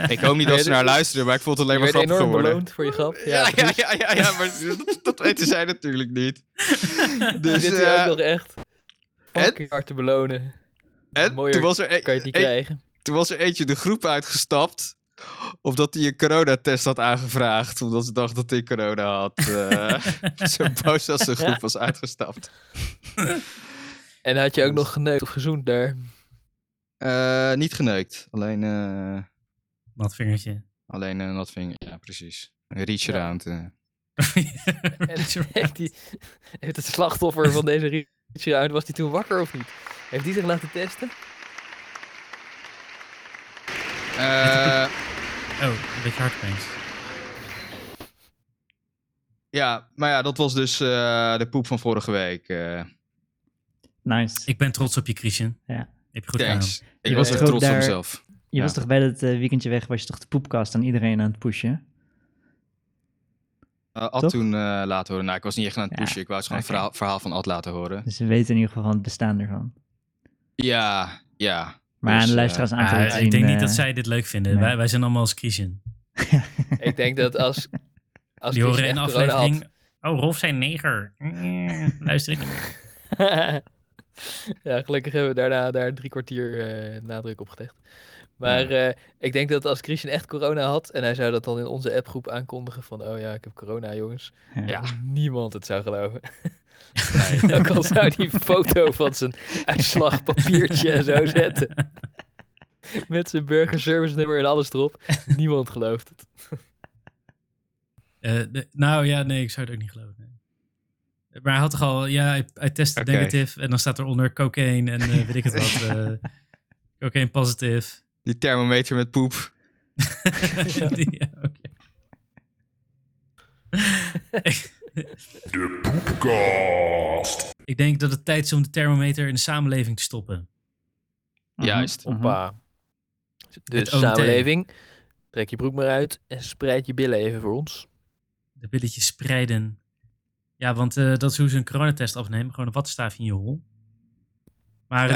Ik hoop niet dat ze naar luisteren, maar ik vond het
Je
alleen maar
werd
grappig
enorm
geworden.
beloond voor je grap. Ja,
Ja, ja,
precies.
ja, ja, ja, maar dat, dat weten zij natuurlijk niet. Dus
Zit hij
eh,
ook nog echt
en?
fucking hard te belonen.
en
mooier
toen, was er e-
Kan je het niet
e-
krijgen.
toen was er eentje de groep uitgestapt. Omdat hij een coronatest had aangevraagd. Omdat ze dacht dat hij corona had. eh. zo boos dat de groep was uitgestapt.
En had je ook nog geneukt of gezoend daar.
Eh, niet geneukt. Alleen, eh
Nat vingertje.
alleen eh, een nat vinger. Ja, precies. Een reach
Ja.
around. eh.
En heeft, die, heeft het slachtoffer van deze rietje uit, was die toen wakker of niet? Heeft die zich laten testen?
Eh,
Oh, een beetje hard opeens.
ja, maar ja, dat was dus eh, de poep van vorige week. eh.
Nice.
Ik ben trots op je, Christian.
Ja.
Heb je goed
thanks. Ik
Je
was
was
echt
toch
trots op
daar-
mezelf.
je
ja.
was toch bij dat eh, weekendje weg, was je toch de poepkast aan iedereen aan het pushen?
Eh, Ad
Toch?
toen eh, laten horen. Nou, ik was niet echt aan het
Ja,
pushen. Ik wou het gewoon
oké.
verhaal, verhaal van Ad laten horen.
Dus we weten in ieder geval van het bestaan ervan.
Ja, ja.
Maar
Dus,
aan de
eh,
luisteraars aan
gedaan.
te
Ah,
laten zien,
ik denk niet
eh,
dat zij dit leuk vinden.
nee.
Wij, wij zijn allemaal als Christian.
Ik denk dat als... als
Die horen
Christian
in de
echt corona had-
aflevering. Oh, Rolf zijn neger. Mm, Luister ik.
ja, gelukkig hebben we daarna daar drie kwartier eh, nadruk op gelegd. Maar eh, ik denk dat als Christian echt corona had en hij zou dat dan in onze appgroep aankondigen van oh ja, ik heb corona jongens.
Ja.
Ja, niemand het zou geloven. Nee. Ook al zou die foto van zijn uitslagpapiertje en zo zetten. Met zijn burgerservice nummer en alles erop. Niemand gelooft het.
Eh, de- nou ja, nee, ik zou het ook niet geloven. nee. Maar hij had toch al, ja, hij, hij testte
Oké.
negatief en dan staat eronder cocaine en eh, weet ik het wat. eh, cocaine positief.
Die thermometer met poep.
Die- ja, oké.
De Poepkast.
Ik denk dat het tijd is om de thermometer in de samenleving te stoppen.
Mhm,
Juist.
mhm.
Hoppa. Dus
Het OMT.
samenleving, trek je broek maar uit en spreid je billen even voor ons.
De billetjes spreiden. Ja, want eh, dat is hoe ze een coronatest afnemen. Gewoon een wattenstaafje in je hol. Maar eh,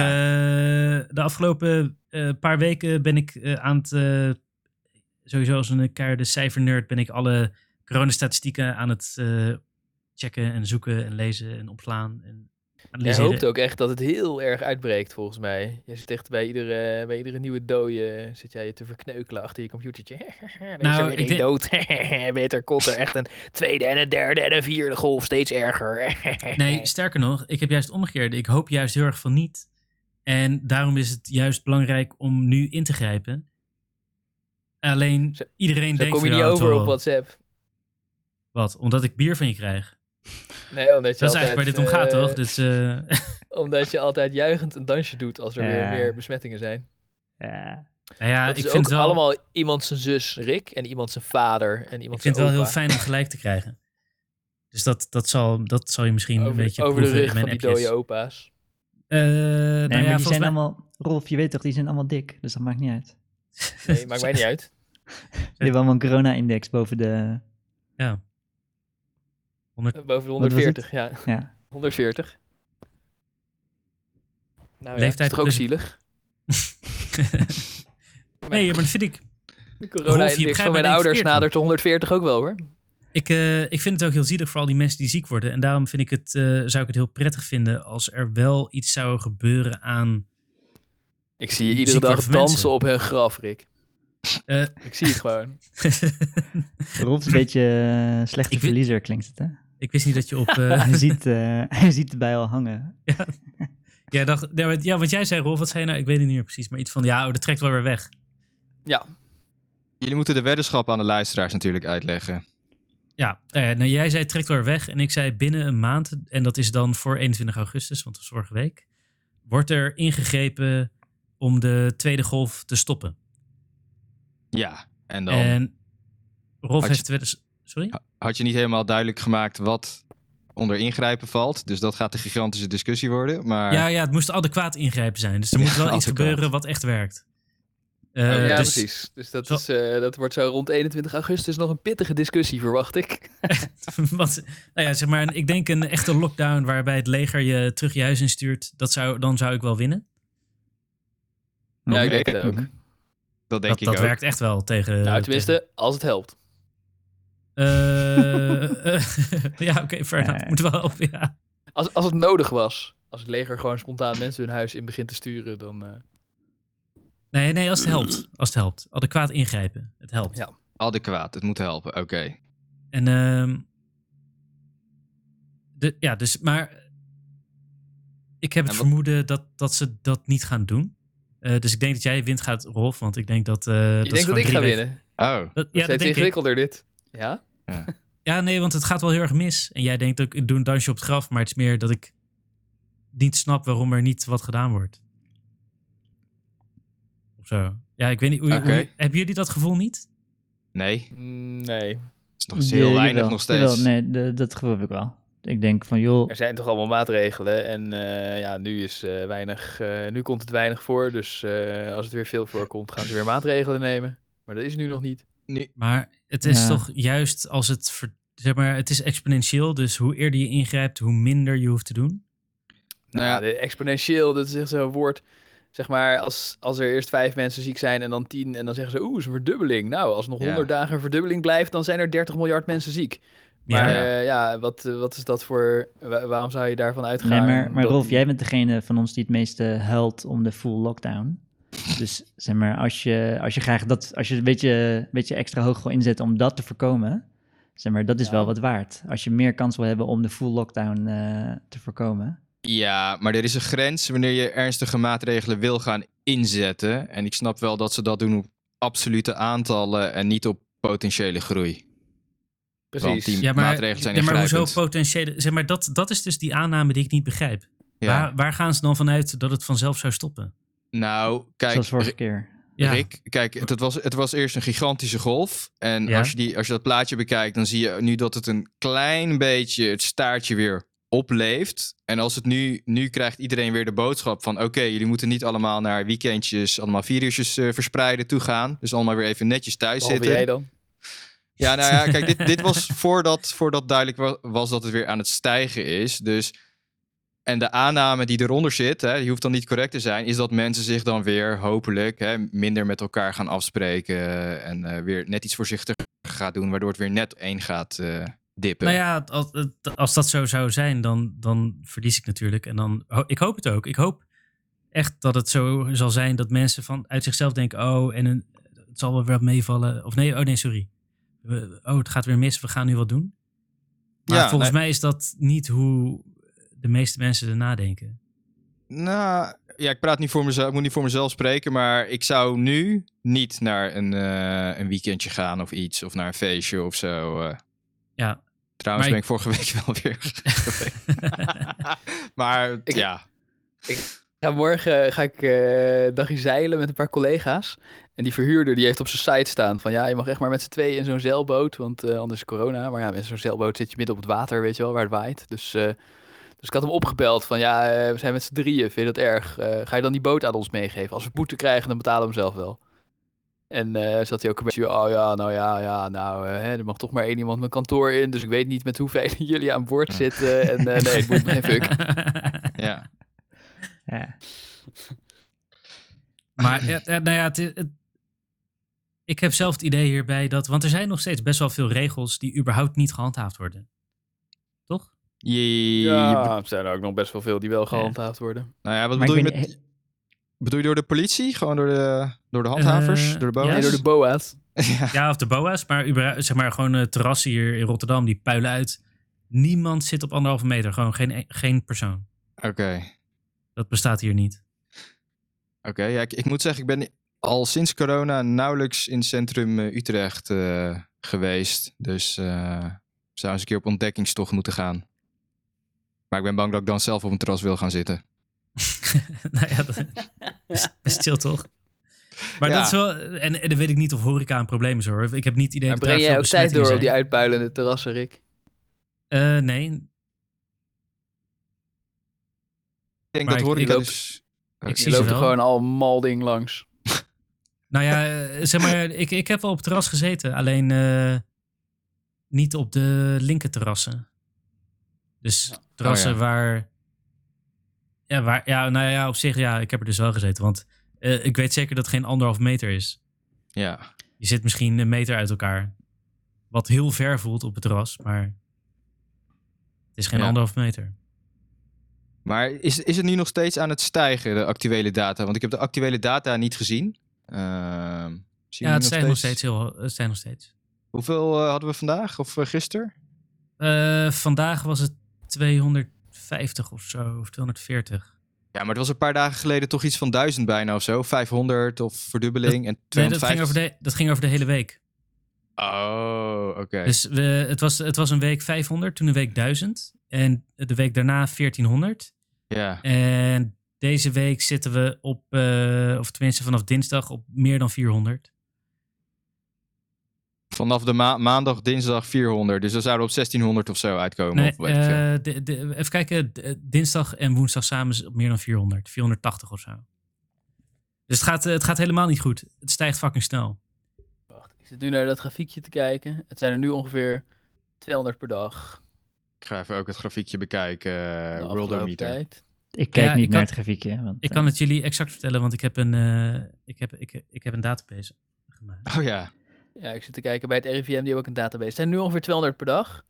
de afgelopen eh, paar weken ben ik eh, aan het... eh, sowieso als een keiharde cijfernerd ben ik alle coronastatistieken aan het eh, checken en zoeken en lezen en opslaan. En
Jij
analyseren.
hoopt ook echt dat het heel erg uitbreekt, volgens mij. Je zit echt bij iedere, bij iedere nieuwe dooie, zit jij je te verkneukelen achter je computertje. Er is
Nou,
er weer
ik
één
denk-
dood. Beter komt er echt een tweede en een derde en een vierde golf, steeds erger.
Nee, sterker nog, ik heb juist het omgekeerde. Ik hoop juist heel erg van niet. En daarom is het juist belangrijk om nu in te grijpen. Alleen
Zo-
iedereen
Zo
denkt
kom je
van,
niet
ja, het
over
zal wel.
op WhatsApp.
Wat? Omdat ik bier van je krijg.
Nee, omdat je
Dat is
altijd,
eigenlijk waar dit om gaat,
eh,
toch? Dus, eh,
Omdat je altijd juichend een dansje doet als er weer
Ja.
meer besmettingen zijn.
Ja.
nou ja,
dat
ik
is
vind
ook
het wel,
allemaal iemand zijn zus Rick en iemand zijn vader en
ik
iemand
vind het
zijn
wel heel
opa.
fijn om gelijk te krijgen. Dus dat, dat, zal, dat zal je misschien
over,
een beetje
over de
proeven
rug
in mijn
van die
appjes.
dode opa's.
Eh, nou
Nee,
ja,
maar die
volgens
zijn
mij-
allemaal... Rolf, je weet toch, die zijn allemaal dik. Dus dat maakt niet uit.
Nee, maakt mij niet uit.
Die hebben allemaal een corona-index boven de...
Boven de
was het?
140, ja.
Ja.
140. Nou ja,
Leeftijd
is toch ook
plus-
zielig?
nee, maar dat vind ik.
De
Rolf, je
corona-index
begrijpt
van
mij
mijn
denk
ouders
verkeerd,
nadert de 140 ook wel hoor.
Ik, eh, ik vind het ook heel zielig voor al die mensen die ziek worden. En daarom vind ik het, eh, zou ik het heel prettig vinden als er wel iets zou gebeuren aan.
Ik zie je
Ziek
iedere dag
worden van
dansen
mensen.
op hun graf, Rick.
Eh.
Ik zie het gewoon.
Rolf is een beetje eh, slechte
Ik weet-
verliezer, klinkt het, hè?
ik wist niet dat je op. eh,
hij, ziet, eh, hij ziet de bijl hangen.
ja, dacht, ja, wat- ja, wat jij zei, Rolf, wat zei je nou? Ik weet het niet meer precies. Maar iets van, ja, oh, dat trekt wel weer weg.
Ja,
Jullie moeten de weddenschap aan de luisteraars natuurlijk uitleggen.
Ja, nou ja, nou, jij zei trekt wel weer weg. En ik zei binnen een maand, en dat is dan voor 21 augustus, want dat is vorige week. Wordt er ingegrepen om de tweede golf te stoppen.
Ja, en dan
En Rolf
Had je-
heeft wel eens- Sorry?
had je niet helemaal duidelijk gemaakt wat onder ingrijpen valt. Dus dat gaat een gigantische discussie worden. Maar
Ja, ja, het moest adequaat ingrijpen zijn. Dus er moet
Ja,
wel iets
adequaat. Oh,
gebeuren wat echt werkt. Eh,
ja,
dus-
precies. Dus dat,
Zo-
is, eh, dat wordt zo rond 21 augustus nog een pittige discussie, verwacht ik.
Want, nou ja, zeg maar, een- ik denk een echte lockdown waarbij het leger je terug je huis instuurt, dat zou, dan zou ik wel winnen.
Ja, ik
Oké.
denk dat ook.
Mhm.
dat denk
Dat,
ik
dat
ook.
werkt echt wel tegen.
Nou, tenminste, als het helpt.
tegen- eh, eh, ja, oké, fair enough.
Nee.
Moet wel helpen, ja.
Als, als het nodig was. Als het leger gewoon spontaan mensen hun huis in begint te sturen, dan... eh,
Nee, nee, als het helpt. Als het helpt. Adequaat ingrijpen. Het helpt.
Ja.
Adequaat, het moet helpen. Oké.
En, ehm, de, ja, dus, maar ik heb het
En wat-
vermoeden dat, dat ze dat niet gaan doen. Eh, dus ik denk dat jij wint gaat, Rolf, want ik denk dat... eh
je denkt dat ik ga winnen?
Oh,
Dat, ja,
Dat is
dat
steeds
denk ik.
ingewikkelder dit. Ja?
Ja, nee, want het gaat wel heel erg mis. En jij denkt ook, ik doe een dansje op het graf, maar het is meer dat ik niet snap waarom er niet wat gedaan wordt. Of zo. Ja, ik weet niet. Hoe, hoe-
Oké.
hebben jullie dat gevoel niet?
nee. Het
Mm, Nee.
is nog heel
Ja,
weinig
jawel,
nog steeds.
jawel, nee, de- dat gevoel heb ik wel. Ik denk van, joh,
Er zijn toch allemaal maatregelen en eh, ja, nu, is, eh, weinig, eh, nu komt het weinig voor. Dus eh, als het weer veel voorkomt, gaan ze weer maatregelen nemen. Maar dat is nu nog niet.
Maar het is
Ja.
toch juist als het, ver- zeg maar, het is exponentieel. Dus hoe eerder je ingrijpt, hoe minder je hoeft te doen.
Nou ja,
Nou, de exponentieel, dat is echt zo'n woord. Zeg maar, als, als er eerst vijf mensen ziek zijn en dan tien... en dan zeggen ze, oeh, is een verdubbeling. Nou, als nog
Ja.
honderd dagen een verdubbeling blijft... dan zijn er 30 miljard mensen ziek. Maar
Maar-
ja, ja wat, eh, wat is dat voor... wa- waarom zou je daarvan uitgaan?
Nee, maar, maar
dat
Rolf,
die-
jij bent degene van ons die het meeste huilt om de full lockdown. Dus zeg maar, als je, als je graag dat, als je een beetje, een beetje extra hoog wil inzetten om dat te voorkomen, zeg maar, dat is
Ja.
wel wat waard. Als je meer kans wil hebben om de full lockdown eh, te voorkomen.
Ja, maar er is een grens wanneer je ernstige maatregelen wil gaan inzetten. En ik snap wel dat ze dat doen op absolute aantallen en niet op potentiële groei. Want
Precies.
die
Ja, maar,
maatregelen zijn
ja, maar hoezo
ingrijpend.
potentiële... Zeg maar, dat, dat is dus die aanname die ik niet begrijp.
Ja.
Waar, waar gaan ze dan vanuit dat het vanzelf zou stoppen?
Nou, kijk,
zoals vorige keer.
Ja.
Rick, kijk, het, het was, het was eerst een gigantische golf. En
Ja.
als, je die, als je dat plaatje bekijkt, dan zie je nu dat het een klein beetje het staartje weer opleeft. En als het nu, nu krijgt iedereen weer de boodschap van... oké, jullie moeten niet allemaal naar weekendjes allemaal virusjes eh, verspreiden toe gaan. Dus allemaal weer even netjes thuis
Behalve
zitten.
jij dan?
Ja, nou ja, kijk, dit, dit was voordat, voordat duidelijk wa- was dat het weer aan het stijgen is. Dus, en de aanname die eronder zit, hè, die hoeft dan niet correct te zijn, is dat mensen zich dan weer hopelijk hè, minder met elkaar gaan afspreken en eh, weer net iets voorzichtiger gaat doen, waardoor het weer net op één gaat eh, dippen.
Nou ja, als, als dat zo zou zijn, dan, dan verlies ik natuurlijk. En dan, ho- ik hoop het ook. Ik hoop echt dat het zo zal zijn dat mensen van, uit zichzelf denken: oh, en een, het zal wel weer meevallen. Of nee, oh nee, sorry. We- oh, het gaat weer mis, we gaan nu wat doen. Maar
Ja,
volgens mij is dat niet hoe de meeste mensen er nadenken.
Nou, ja, ik praat niet voor mezelf, ik moet niet voor mezelf spreken, maar ik zou nu niet naar een, eh, een weekendje gaan of iets, of naar een feestje of zo. eh.
Ja.
Trouwens
Maar
ben ik vorige week wel weer. maar
Ik-
ja,
Ja, morgen ga ik eh, een dagje zeilen met een paar collega's. En die verhuurder die heeft op zijn site staan van ja, je mag echt maar met z'n tweeën in zo'n zeilboot, want eh, anders is corona. Maar ja, met zo'n zeilboot zit je midden op het water, weet je wel, waar het waait. Dus, eh, dus ik had hem opgebeld van ja, eh, we zijn met z'n drieën, vind je dat erg? Eh, ga je dan die boot aan ons meegeven? Als we boete krijgen, dan betalen we hem zelf wel. En eh zat hij ook een beetje, oh ja, nou ja, ja, nou, eh, hè, er mag toch maar één iemand mijn kantoor in, dus ik weet niet met hoeveel jullie aan boord zitten. En eh, nee, ik moet geen fuck.
ja.
Ja.
Maar ja, ja, nou ja, het, het- ik heb zelf het idee hierbij dat. Want er zijn nog steeds best wel veel regels die überhaupt niet gehandhaafd worden. Toch?
Je,
Ja, er zijn er ook nog best wel veel die wel gehandhaafd worden.
Nou ja, wat
Maar ik
bedoel je,
weet
met,
niet-
bedoel je door de politie? Gewoon door de, door de handhavers?
Eh,
door de
ja.
boa's?
Nee, door de boa's.
Ja.
Ja, of de BOA's, maar überhaupt- zeg maar gewoon eh, terrassen hier in Rotterdam, die puilen uit. Niemand zit op anderhalve meter, gewoon geen, e- geen persoon.
Oké,
Dat bestaat hier niet.
oké. Ja, ik, ik moet zeggen, ik ben al sinds corona nauwelijks in centrum eh, Utrecht eh, geweest. Dus eh zou eens een keer op ontdekkingstocht moeten gaan. Maar ik ben bang dat ik dan zelf op een terras wil gaan zitten.
nou ja, dat is, is chill toch? Maar
Ja.
dat is wel, en, en dan weet ik niet of horeca een probleem is hoor. Ik heb niet het idee
Maar
dat daar
breng jij
veel
ook tijd door op die
besmettingen
uitpuilende terrassen, Rick?
zijn. Eh, nee,
Ik denk
Maar
dat
ik-
hoor ik
ik
dat
loop-
dus...
ik
Je
zie ze
loopt er
wel.
gewoon al malding langs.
Nou ja, eh, zeg maar, ik, ik heb wel op het terras gezeten, alleen eh, niet op de linker terrassen. Dus terrassen
ja.
waar, ja, waar, ja, nou ja, op zich, ja, ik heb er dus wel gezeten, want eh, ik weet zeker dat het geen anderhalf meter is.
Ja,
Je zit misschien een meter uit elkaar, wat heel ver voelt op het terras, maar het is geen
Ja.
anderhalf meter.
maar is, is het nu nog steeds aan het stijgen, de actuele data? Want ik heb de actuele data niet gezien. Ehm, zien we
ja,
nu
het zijn nog steeds heel, het zijn nog steeds.
Hoeveel eh, hadden we vandaag of eh, gisteren?
Eh, vandaag was het 250 of zo, of 240.
Ja, maar het was een paar dagen geleden toch iets van duizend bijna of zo. 500 of verdubbeling en
Nee, dat, ging
250.
over de, dat ging over de hele week.
Oh, oké.
Dus we, het, was, het was een week 500, toen een week 1000. En de week daarna 1400.
ja.
En deze week zitten we op, eh, of tenminste vanaf dinsdag, op meer dan 400.
Vanaf de ma- maandag, dinsdag 400. Dus dan zouden we op 1600 of zo uitkomen.
Nee,
of weet ik veel.
eh, de- de- even kijken, d- eh, dinsdag en woensdag samen is op meer dan 400. 480 of zo. Dus het gaat, eh, het gaat helemaal niet goed. Het stijgt fucking snel.
Wacht, ik zit nu naar dat grafiekje te kijken. Het zijn er nu ongeveer 200 per dag.
Ik ga even ook het grafiekje bekijken.
de
Uh,
afgelopen
Worldometer.
tijd.
Ik kijk
Ja,
niet
ik
naar
kan-
het grafiekje. Want,
Ik
eh,
kan het jullie exact vertellen, want ik heb een, eh, ik heb, ik, ik heb een database gemaakt.
Oh ja.
Ja, ik zit te kijken bij het RIVM, die hebben ook een database. Het zijn nu ongeveer 200 per dag.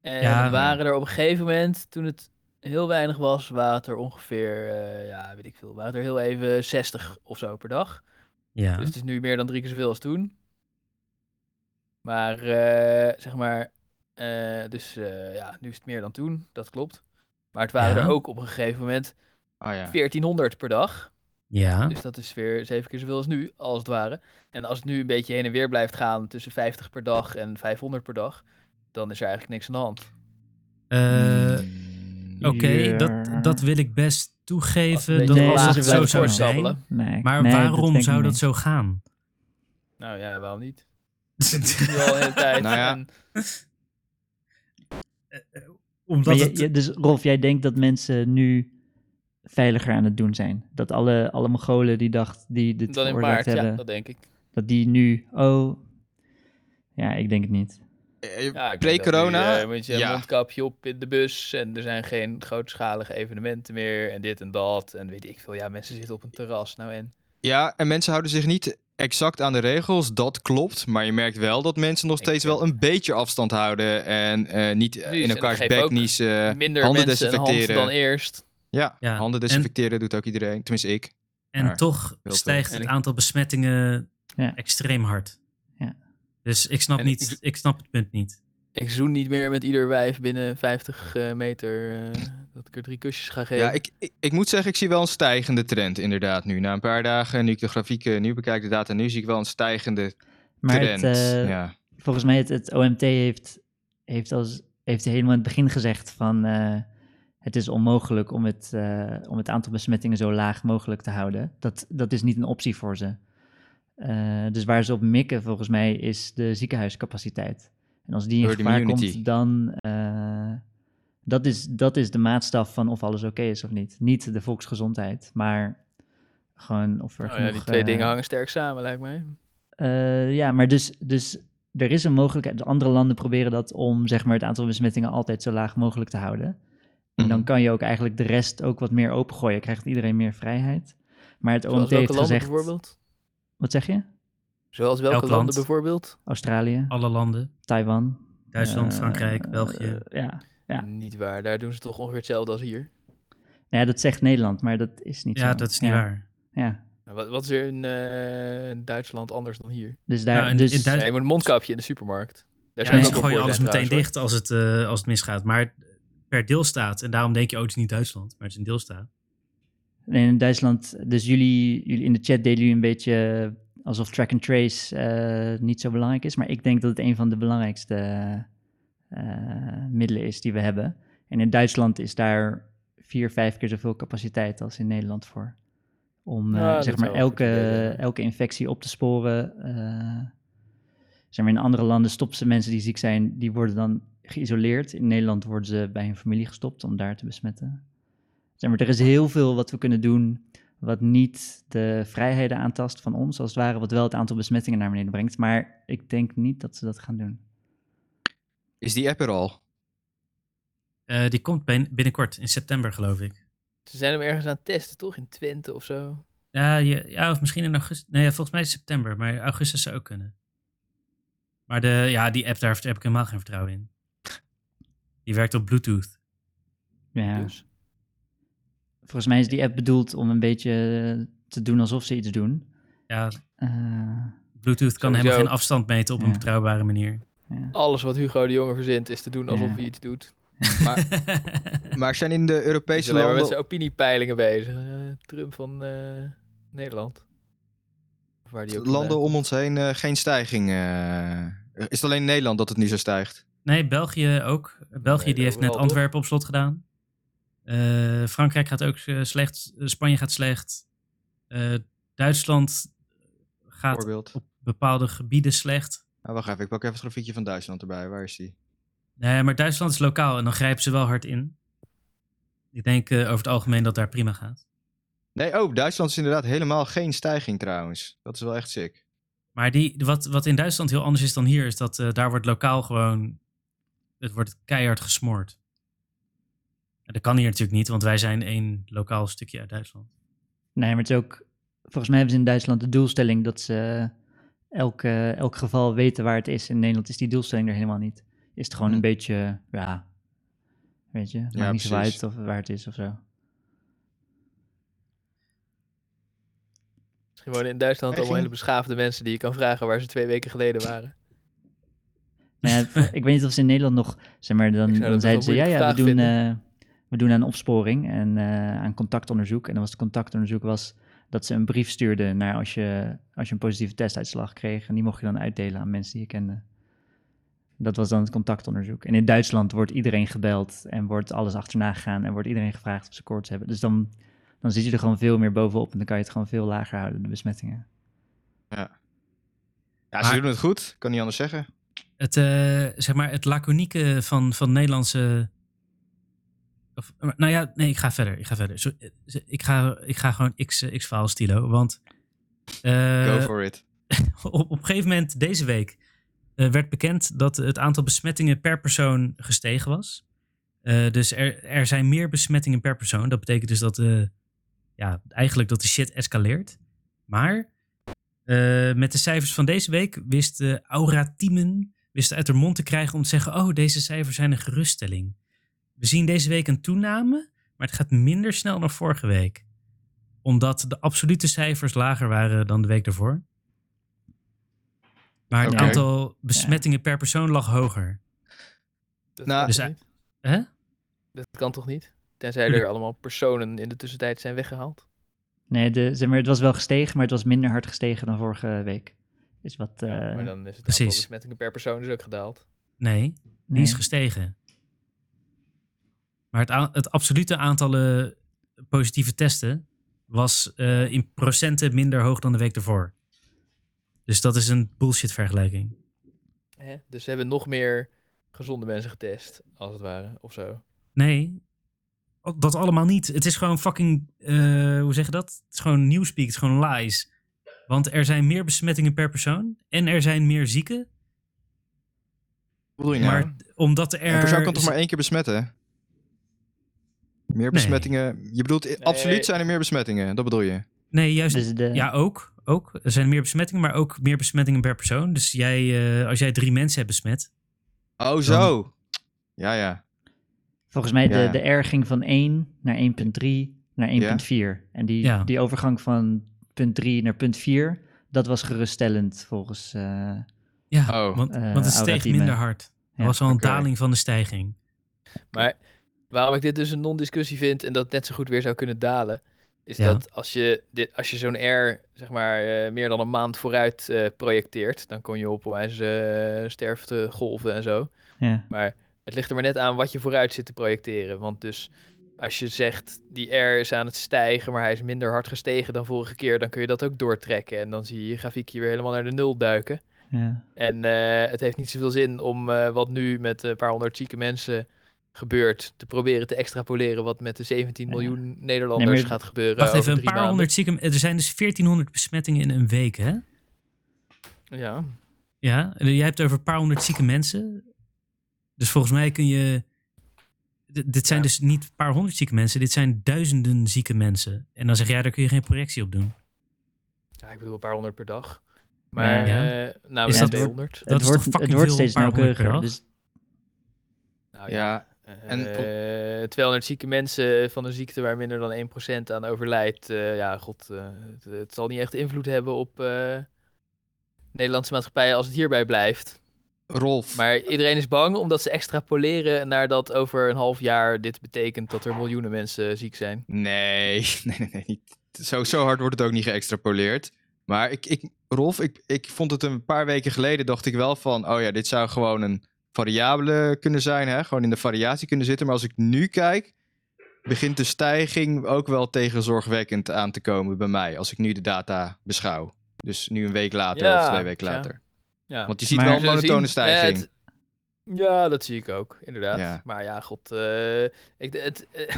En
Ja.
er waren er op een gegeven moment, toen het heel weinig was, waren het er ongeveer, eh, ja, weet ik veel, waren het er heel even 60 of zo per dag.
Ja.
Dus het is nu meer dan drie keer zoveel als toen. Maar eh, zeg maar, eh, dus eh, ja, nu is het meer dan toen, dat klopt. Maar het waren
Ja.
er ook op een gegeven moment
Oh ja.
1400 per dag.
Ja.
Dus dat is weer zeven keer zoveel als nu, als het ware. En als het nu een beetje heen en weer blijft gaan tussen 50 per dag en 500 per dag, dan is er eigenlijk niks aan de hand.
Eh,
Mm.
Oké, dat, dat wil ik best
Als
toegeven
het
dat
een
als
beetje lager
het zo
blijft
zou zijn.
voortsabbelen.
nee,
Maar
nee,
waarom
denk ik
zou
niet.
dat zo gaan?
Nou ja, waarom niet? Nu al de hele tijd.
Nou ja.
En
Omdat
Maar je-
het,
je- dus Rolf, jij denkt dat mensen nu veiliger aan het doen zijn? Dat alle, alle Mongolen die dacht, die dit
dan in
veroorzaakt
maart,
hebben,
ja, dat denk ik.
dat die nu, oh... Ja, ik denk het niet.
Eh,
Ja, ik denk dat
Pre-corona?
nu, eh, Moet je een
ja.
mondkapje op in de bus en er zijn geen grootschalige evenementen meer en dit en dat en weet ik veel. Ja, mensen zitten op een terras nou en...
ja, en mensen houden zich niet exact aan de regels. Dat klopt. Maar je merkt wel dat mensen nog
Ik
steeds
vind-
wel een beetje afstand houden. En eh, niet eh,
Precies,
in
en dat
elkaars
geeft
bek
ook
niezen.
Minder
handen
mensen een hand
desinfecteren.
dan eerst.
Ja,
Ja,
handen
en-
desinfecteren doet ook iedereen. Tenminste, ik.
en
maar
toch
wel
stijgt
terug.
het aantal besmettingen
Ja.
extreem hard.
Ja.
Dus ik snap,
En
niet,
ik-
ik snap het punt niet.
Ik zoen niet meer met ieder wijf binnen 50 eh, meter. eh, Dat ik er drie kusjes ga geven.
Ja, ik, ik, ik moet zeggen, ik zie wel een stijgende trend inderdaad nu. Na een paar dagen, nu ik de grafieken nu bekijk, de data nu, zie ik wel een stijgende
Maar het,
trend.
eh,
ja.
volgens mij het, het OMT heeft, heeft, als, heeft helemaal in het begin gezegd van eh, het is onmogelijk om het, eh, om het aantal besmettingen zo laag mogelijk te houden. Dat, dat is niet een optie voor ze. Eh, dus waar ze op mikken volgens mij is de ziekenhuiscapaciteit. En als die in
Herd
gevaar
immunity.
komt, dan... eh, dat, is, dat is de maatstaf van of alles oké is of niet. Niet de volksgezondheid, maar gewoon of er
Nou ja,
genoeg...
die twee
eh,
dingen hangen sterk samen, lijkt mij.
eh, ja, maar dus, dus er is een mogelijkheid. De andere landen proberen dat om zeg maar, het aantal besmettingen altijd zo laag mogelijk te houden. En dan
Mhm.
kan je ook eigenlijk de rest ook wat meer opengooien. Krijgt iedereen meer vrijheid. Maar het
Zoals
OMT
welke
heeft
landen
gezegd...
bijvoorbeeld?
Wat zeg je?
Zoals welke
Elk
landen
land.
bijvoorbeeld?
Australië,
Alle landen.
Taiwan.
Duitsland,
eh,
Frankrijk, België.
eh, ja. Ja.
Niet waar, daar doen ze toch ongeveer hetzelfde als hier.
Nou ja, dat zegt Nederland, maar dat is niet zo.
ja, dat is niet
Ja,
waar.
Ja.
Nou, Wat, wat is er in eh, Duitsland anders dan hier?
Dus daar,
Nou, in-
dus,
in Duits-
Nee, je moet een mondkapje in de supermarkt. Daar
Ja,
zijn
nee,
mensen
ze ook wel
gooien
voor,
alles
hè,
meteen
trouwens,
dicht als het, eh, als het misgaat. Maar per deelstaat. En daarom denk je, oh, het is niet Duitsland, maar het is een deelstaat.
Nee, in Duitsland, dus jullie, jullie in de chat deden jullie een beetje alsof track and trace eh, niet zo belangrijk is. Maar ik denk dat het een van de belangrijkste eh, middelen is die we hebben. En in Duitsland is daar vier, vijf keer zoveel capaciteit als in Nederland voor. Om eh,
Ja, dat
zeg
zou
maar
wel een
elke,
goed idee zijn, ja.
elke infectie op te sporen. eh. zeg maar in andere landen stoppen ze mensen die ziek zijn, die worden dan geïsoleerd. In Nederland worden ze bij hun familie gestopt om daar te besmetten. Zeg maar, er is heel veel wat we kunnen doen wat niet de vrijheden aantast van ons, als het ware, wat wel het aantal besmettingen naar beneden brengt. Maar ik denk niet dat ze dat gaan doen.
Is die app er al?
Eh, die komt bin- binnenkort, in september geloof ik.
hè. Ze zijn hem ergens aan het testen, toch? In Twente of zo.
Ja, je- ja of misschien in augustus. Nee, ja, volgens mij is het september, maar augustus zou ook kunnen. Maar de, ja, die app, daar heb ik helemaal geen vertrouwen in. Die werkt op Bluetooth.
Ja.
Dus.
Volgens mij is die app bedoeld om een beetje eh, te doen alsof ze iets doen.
Ja,
Eh,
Bluetooth kan
Sowieso.
helemaal geen afstand meten op een
Ja.
betrouwbare manier.
Alles wat Hugo de Jonge verzint is te doen alsof
Ja.
hij iets doet.
Maar zijn in de
Hij is
Europese
alleen maar met
landen...
zijn opiniepeilingen bezig. Eh, Trump van eh, Nederland. Of Waar die ook
landen
vandaan
om ons heen eh, geen stijging. eh. is het alleen Nederland dat het nu zo stijgt?
Nee, België ook. België
Nee,
die heeft net
overal, toch?
Antwerpen op slot gedaan. Eh, Frankrijk gaat ook eh, slecht. Eh, Spanje gaat slecht. Eh, Duitsland gaat
Voorbeeld.
op bepaalde gebieden slecht.
Nou, wacht even, ik pak even het grafiekje van Duitsland erbij. Waar is die?
Nee, maar Duitsland is lokaal en dan grijpen ze wel hard in. Ik denk eh, over het algemeen dat daar prima gaat.
Nee, oh, Duitsland is inderdaad helemaal geen stijging trouwens. Dat is wel echt sick.
Maar die, wat, wat in Duitsland heel anders is dan hier, is dat eh, daar wordt lokaal gewoon. Het wordt keihard gesmoord. En dat kan hier natuurlijk niet, want wij zijn één lokaal stukje uit Duitsland.
nee, maar het is ook. Volgens mij hebben ze in Duitsland de doelstelling dat ze elk, eh, elk geval weten waar het is. In Nederland is die doelstelling er helemaal niet. Is het gewoon
Hm.
een beetje, ja, weet je, maakt niet zo
precies.
uit of, waar het is of zo.
is. Misschien wonen in Duitsland
Hij
allemaal hele
ging-
beschaafde mensen die je kan vragen waar ze twee weken geleden waren.
Nou ja, het- ik weet niet of ze in Nederland nog, zeg maar, dan,
Ik zou
dan
dat
zeiden
best
ze,
wel
ja,
een
ja, we doen,
moeilijke
eh, we doen aan opsporing en eh, aan contactonderzoek. En dan was het contactonderzoek was dat ze een brief stuurden naar als je, als je een positieve testuitslag kreeg. En die mocht je dan uitdelen aan mensen die je kende. Dat was dan het contactonderzoek. En in Duitsland wordt iedereen gebeld en wordt alles achterna gegaan en wordt iedereen gevraagd of ze koorts hebben. Dus dan, dan zit je er gewoon veel meer bovenop en dan kan je het gewoon veel lager houden, de besmettingen.
Ja, ze
Maar-
doen het goed. Kan niet anders zeggen.
het, eh, zeg maar, het laconieke van, van Nederlandse. Of, nou ja, nee, ik ga verder. Ik ga verder. Zo- eh, ze- ik, ga, ik ga gewoon x, eh, x-file stilo. Want eh,
Go for it.
op, op een gegeven moment deze week eh, werd bekend dat het aantal besmettingen per persoon gestegen was. Eh, dus er, er zijn meer besmettingen per persoon. Dat betekent dus dat, eh, ja, eigenlijk dat de shit escaleert. Maar eh, met de cijfers van deze week wist eh Aura Thiemen wist uit haar mond te krijgen om te zeggen: Oh, deze cijfers zijn een geruststelling. We zien deze week een toename, maar het gaat minder snel dan vorige week. Omdat de absolute cijfers lager waren dan de week daarvoor. Maar het
Oké.
aantal besmettingen per persoon lag hoger.
Dat
Nou,
kan
Dus
toch
hij-
niet?
Hè?
Dat kan toch niet? Tenzij er allemaal personen in de tussentijd zijn weggehaald.
Nee, de, zeg maar, het was wel gestegen, maar het was minder hard gestegen dan vorige week. Is wat. eh
Ja, maar dan is het aantal
precies.
besmettingen per persoon dus ook gedaald.
Nee, die
nee.
is gestegen. Maar het, a- het absolute aantal eh, positieve testen was eh, in procenten minder hoog dan de week ervoor. Dus dat is een bullshit vergelijking.
Hè? Dus ze hebben nog meer gezonde mensen getest, als het ware, of zo.
Nee, al- dat allemaal niet. Het is gewoon fucking, eh, hoe zeg je dat? Het is gewoon newspeak, het is gewoon lies. Want er zijn meer besmettingen per persoon en er zijn meer zieken.
Hoe bedoel je nou?
Maar omdat er...
Een persoon kan toch maar één keer besmetten? Meer besmettingen. Je bedoelt, i- absoluut zijn er meer besmettingen. Dat bedoel je.
Nee, juist
dus de,
Ja, ook. ook. Er zijn meer besmettingen, maar ook meer besmettingen per persoon. Dus jij, eh, als jij drie mensen hebt besmet.
Oh, zo. Ja, ja.
Volgens mij
Ja.
de, de R ging van 1 naar 1.3 naar 1.4. En die,
Ja.
die overgang van punt 3 naar punt 4, dat was geruststellend volgens... eh,
Ja,
Oh.
want,
Eh,
want het
oude
steeg
teamen.
minder hard. Er
Ja,
was al een
oké.
daling van de stijging.
Maar waarom ik dit dus een non-discussie vind en dat net zo goed weer zou kunnen dalen, is
Ja.
dat als je, dit, als je zo'n R zeg maar eh, meer dan een maand vooruit eh, projecteert, dan kon je op eh, wijze sterftegolven en zo.
ja.
Maar het ligt er maar net aan wat je vooruit zit te projecteren. Want dus als je zegt, die R is aan het stijgen, maar hij is minder hard gestegen dan vorige keer, dan kun je dat ook doortrekken. En dan zie je je grafiekje weer helemaal naar de nul duiken.
ja.
En eh, het heeft niet zoveel zin om eh, wat nu met een paar honderd zieke mensen gebeurt, te proberen te extrapoleren wat met de 17
Ja.
miljoen Nederlanders
Nee, maar-
gaat gebeuren.
Wacht
over
even, een
drie
paar
maanden.
honderd zieken. Er zijn dus 1400 besmettingen in een week, hè?
Ja.
Ja, en jij hebt het over een paar honderd zieke mensen. Dus volgens mij kun je. D- dit zijn
Ja.
dus niet een paar honderd zieke mensen, dit zijn duizenden zieke mensen. En dan zeg jij, daar kun je geen projectie op doen.
ja, ik bedoel een paar honderd per dag. Maar
Ja.
eh nou,
Is
is
dat-
dat 200?
Dat
het
is toch
wordt, het
fucking
wordt
veel,
steeds
een paar honderd per
nauwkeuriger.
dag?
Dus
Nou,
Ja.
En
En-
200 zieke mensen van een ziekte waar minder dan 1% aan overlijdt. eh, ja, god, eh, het, het zal niet echt invloed hebben op eh, Nederlandse maatschappij als het hierbij blijft.
Rolf.
Maar iedereen is bang omdat ze extrapoleren naar dat over een half jaar dit betekent dat er miljoenen mensen ziek zijn.
Nee, nee, nee, nee. Niet. Zo, zo hard wordt het ook niet geëxtrapoleerd. Maar ik, ik, Rolf, ik, ik vond het een paar weken geleden, dacht ik wel van, oh ja, dit zou gewoon een variabele kunnen zijn, hè? gewoon in de variatie kunnen zitten. Maar als ik nu kijk, begint de stijging ook wel tegen zorgwekkend aan te komen bij mij, als ik nu de data beschouw. Dus nu een week later
Ja,
of twee weken
ja.
later.
Ja.
Want je ziet
Maar-
wel
We
een
zullen
monotone
zien. Eh,
stijging.
het- ja, dat zie ik ook, inderdaad.
Ja.
Maar ja, god, eh, ik, het, eh,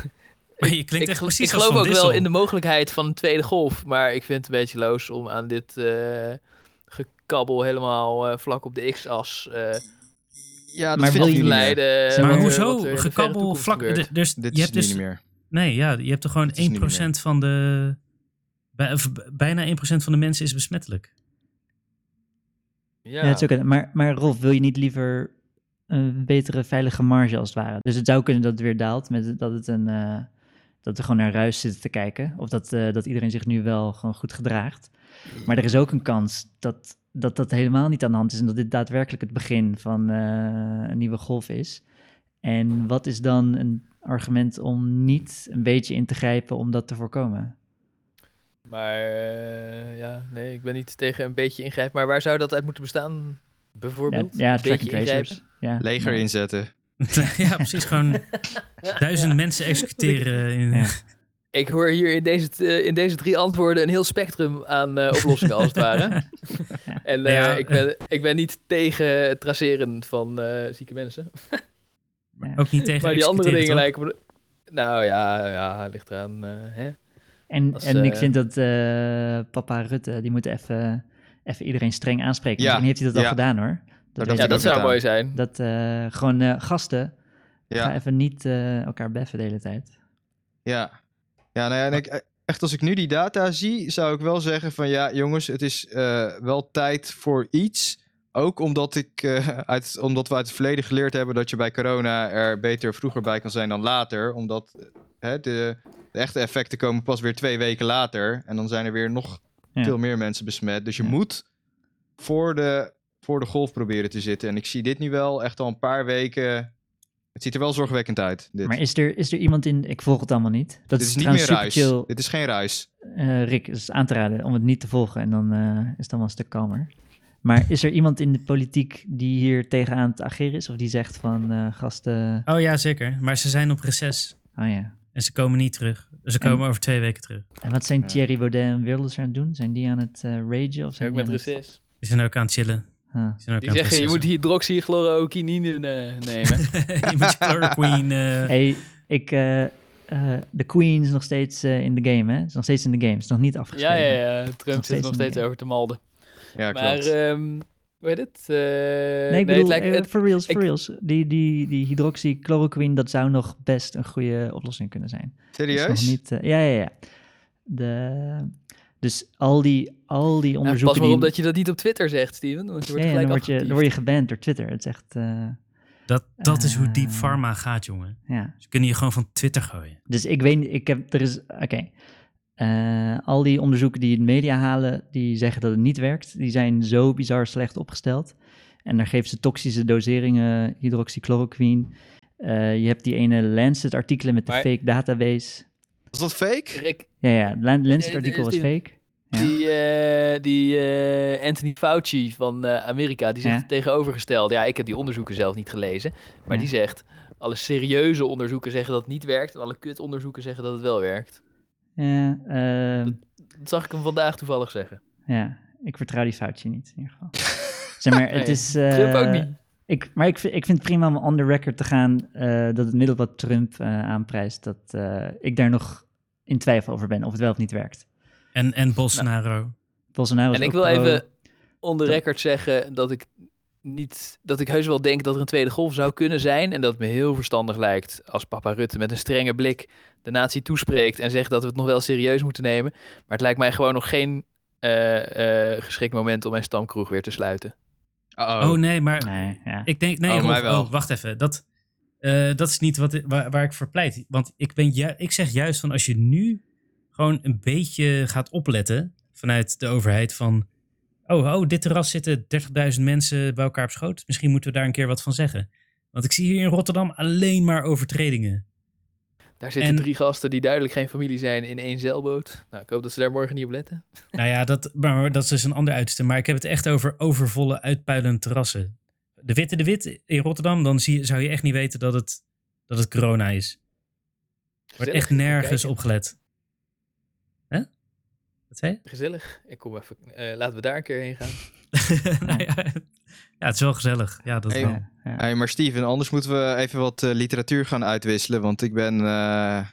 Maar je klinkt
ik,
echt
gel-
precies
ik
als
geloof
Van
ook wel
Dissel.
in de mogelijkheid van een tweede golf, maar ik vind het een beetje loos om aan dit eh, gekabbel helemaal eh, vlak op de x-as eh,
Ja, dat
Maar
vind
wil
ik
je
niet
te
meer.
leiden.
Zeg
Maar
eh,
hoezo?
wat er in de verre
Gekabbel
toekomst
vlak.
gebeurt.
d- Dus
Dit
je
is
hebt dus.
niet meer.
Nee, ja, je hebt er gewoon
Dit is niet
1% van de. bij- of b- bijna 1% van de mensen is besmettelijk.
ja, het is ook een- maar, maar Rolf, wil je niet liever een betere veilige marge als het ware? Dus het zou kunnen dat het weer daalt, met, dat, het een, eh, dat we gewoon naar ruis zitten te kijken. Of dat, eh, dat iedereen zich nu wel gewoon goed gedraagt. Maar er is ook een kans dat dat, dat helemaal niet aan de hand is en dat dit daadwerkelijk het begin van eh, een nieuwe golf is. En wat is dan een argument om niet een beetje in te grijpen om dat te voorkomen?
Maar eh, ja, nee, ik ben niet tegen een beetje ingrijpen. Maar waar zou dat uit moeten bestaan?
Ja,
Bijvoorbeeld?
ja
een
track
beetje
and tracers. Ja,
Leger
Ja.
inzetten.
ja, precies. Gewoon duizend mensen executeren. In,
Ja.
Ik hoor hier in deze, t- eh, in deze drie antwoorden een heel spectrum aan eh, oplossingen, als het ware. En eh,
Nou Ja.
ik, ben, ik ben niet tegen het traceren van eh, zieke mensen.
Ook niet tegen
Maar die andere
executeren,
dingen
toch?
lijken me... Nou ja, ja ligt eraan. eh, hè?
En,
Als,
en ik
eh,
vind dat eh, papa Rutte, die moet even, even iedereen streng aanspreken.
Ja,
Misschien heeft hij dat
ja.
al gedaan hoor. Dat
dat
weet
Ja,
ik
dat
niet.
ook
zou
gedaan.
mooi zijn.
dat eh, gewoon eh, gasten, ga
Ja,
even niet eh, elkaar beffen de hele tijd.
ja. Ja, nou ja, en ik, echt als ik nu die data zie, zou ik wel zeggen van ja, jongens, het is eh, wel tijd voor iets. Ook omdat, ik, eh, uit, omdat we uit het verleden geleerd hebben dat je bij corona er beter vroeger bij kan zijn dan later. Omdat eh, hè, de, de echte effecten komen pas weer twee weken later. En dan zijn er weer nog
Ja.
veel meer mensen besmet. Dus je
Ja.
moet voor de, voor de golf proberen te zitten. En ik zie dit nu wel echt al een paar weken Het ziet er wel zorgwekkend uit. Dit,
Maar is er, is er iemand in... Ik volg het allemaal niet. Dat
dit is, niet meer
trouwens super
ruis.
chill.
Dit is geen ruis.
Eh, Rick, is aan te raden om het niet te volgen. En dan eh, is het allemaal een stuk kalmer. Maar is er iemand in de politiek die hier tegenaan te ageren is? Of die zegt van eh, gasten...
Oh ja, zeker. Maar ze zijn op reces
Oh ja.
en ze komen niet terug. Ze komen over twee weken terug.
En wat zijn Thierry Baudet en Wilders aan het doen? Zijn die aan het eh ragen? Of zijn
Ook
die
met
aan het-
reces.
Die zijn ook aan het chillen.
Ah.
Die, zijn ook
Die
aan het
zeggen, je moet
recessen.
hydroxychloroquinine eh, nemen.
je moet je chloroquine... eh,
Hey, ik... eh, eh, de Queen is nog steeds eh, in de game, hè? Is nog steeds in de game. Is nog niet
ja,
afgeschreven.
ja, ja. Trump
steeds
zit nog
een
steeds
ding.
over te malden.
Ja,
Maar,
eh,
klopt.
ehm, hoe heet het? Eh,
Nee, ik bedoel,
het lijkt-
eh,
het-
for reals, for
ik-
reals. Die, die, die hydroxychloroquine, dat zou nog best een goede oplossing kunnen zijn. Dat is nog
Serieus?
Niet, eh, ja, ja, ja. De, dus al die, al die
Ja, pas
onderzoeken...
maar op
die,
dat je dat niet op Twitter zegt, Steven. Want je
ja,
wordt
ja, dan,
gelijk
word je, dan word je geband door Twitter. Het is echt... eh,
dat dat is hoe deep
Ah.
Eh.
pharma gaat, jongen.
ja.
Ze kunnen je gewoon van Twitter gooien.
Dus ik weet niet, ik heb, er is, oké. Eh, al die onderzoeken die in de media halen, die zeggen dat het niet werkt, die zijn zo bizar slecht opgesteld. En daar geven ze toxische doseringen, hydroxychloroquine. Eh, je hebt die ene Lancet-artikelen met de
Maar-
fake database.
Was dat fake?
Rick,
Ja, ja, het Lan-
eh,
Lancet-artikel was
Steven.
fake. Ja.
die, eh, die eh, Anthony Fauci van eh, Amerika, die zegt
Ja.
het tegenovergestelde. Ja, ik heb die onderzoeken zelf niet gelezen. Maar
Ja.
die zegt, alle serieuze onderzoeken zeggen dat het niet werkt. En alle kutonderzoeken zeggen dat het wel werkt.
Ja, ehm,
Dat zag ik hem vandaag toevallig zeggen.
ja, ik vertrouw die foutje niet in ieder geval. zeg maar, het
Nee,
is... eh,
Trump ook niet.
Ik, maar ik, vind- ik vind het prima om on the record te gaan eh, dat het middel wat Trump eh, aanprijst, dat eh, ik daar nog in twijfel over ben of het wel of niet werkt.
En, en Bolsonaro.
Bolsonaro is
En ik
ook
wil
pro-
even on the
Dat-
record zeggen dat ik niet dat ik heus wel denk dat er een tweede golf zou kunnen zijn en dat het me heel verstandig lijkt als papa Rutte met een strenge blik de natie toespreekt en zegt dat we het nog wel serieus moeten nemen. Maar het lijkt mij gewoon nog geen eh, eh, geschikt moment om mijn stamkroeg weer te sluiten.
Uh-oh.
Oh nee, maar
Nee, ja.
ik denk... Nee,
Oh,
Rolf,
mij wel.
oh, wacht even. Dat, eh, dat is niet wat, waar, waar ik voor pleit. Want ik, ben ju- ik zeg juist van als je nu gewoon een beetje gaat opletten vanuit de overheid van... Oh, oh, dit terras zitten 30.000 mensen bij elkaar op schoot. Misschien moeten we daar een keer wat van zeggen. Want ik zie hier in Rotterdam alleen maar overtredingen.
Daar zitten
En-
drie gasten die duidelijk geen familie zijn in één zeilboot. Nou, ik hoop dat ze daar morgen niet op letten.
Nou ja, dat, maar dat is dus een ander uiterste. Maar ik heb het echt over overvolle, uitpuilende terrassen. De Witte de Wit in Rotterdam, dan zie, je- zou je echt niet weten dat het, dat het corona is. Er wordt
Gezellig,
echt
ik kom
nergens
kijken.
op gelet. Hè? Wat zei je?
Gezellig. Ik kom even. eh, laten we daar een keer heen gaan.
nou ja, ja, het is wel gezellig. Ja, dat
Hey,
wel.
Ja, ja.
Hey, maar Steven, anders moeten we even wat eh, literatuur gaan uitwisselen. Want ik ben eh,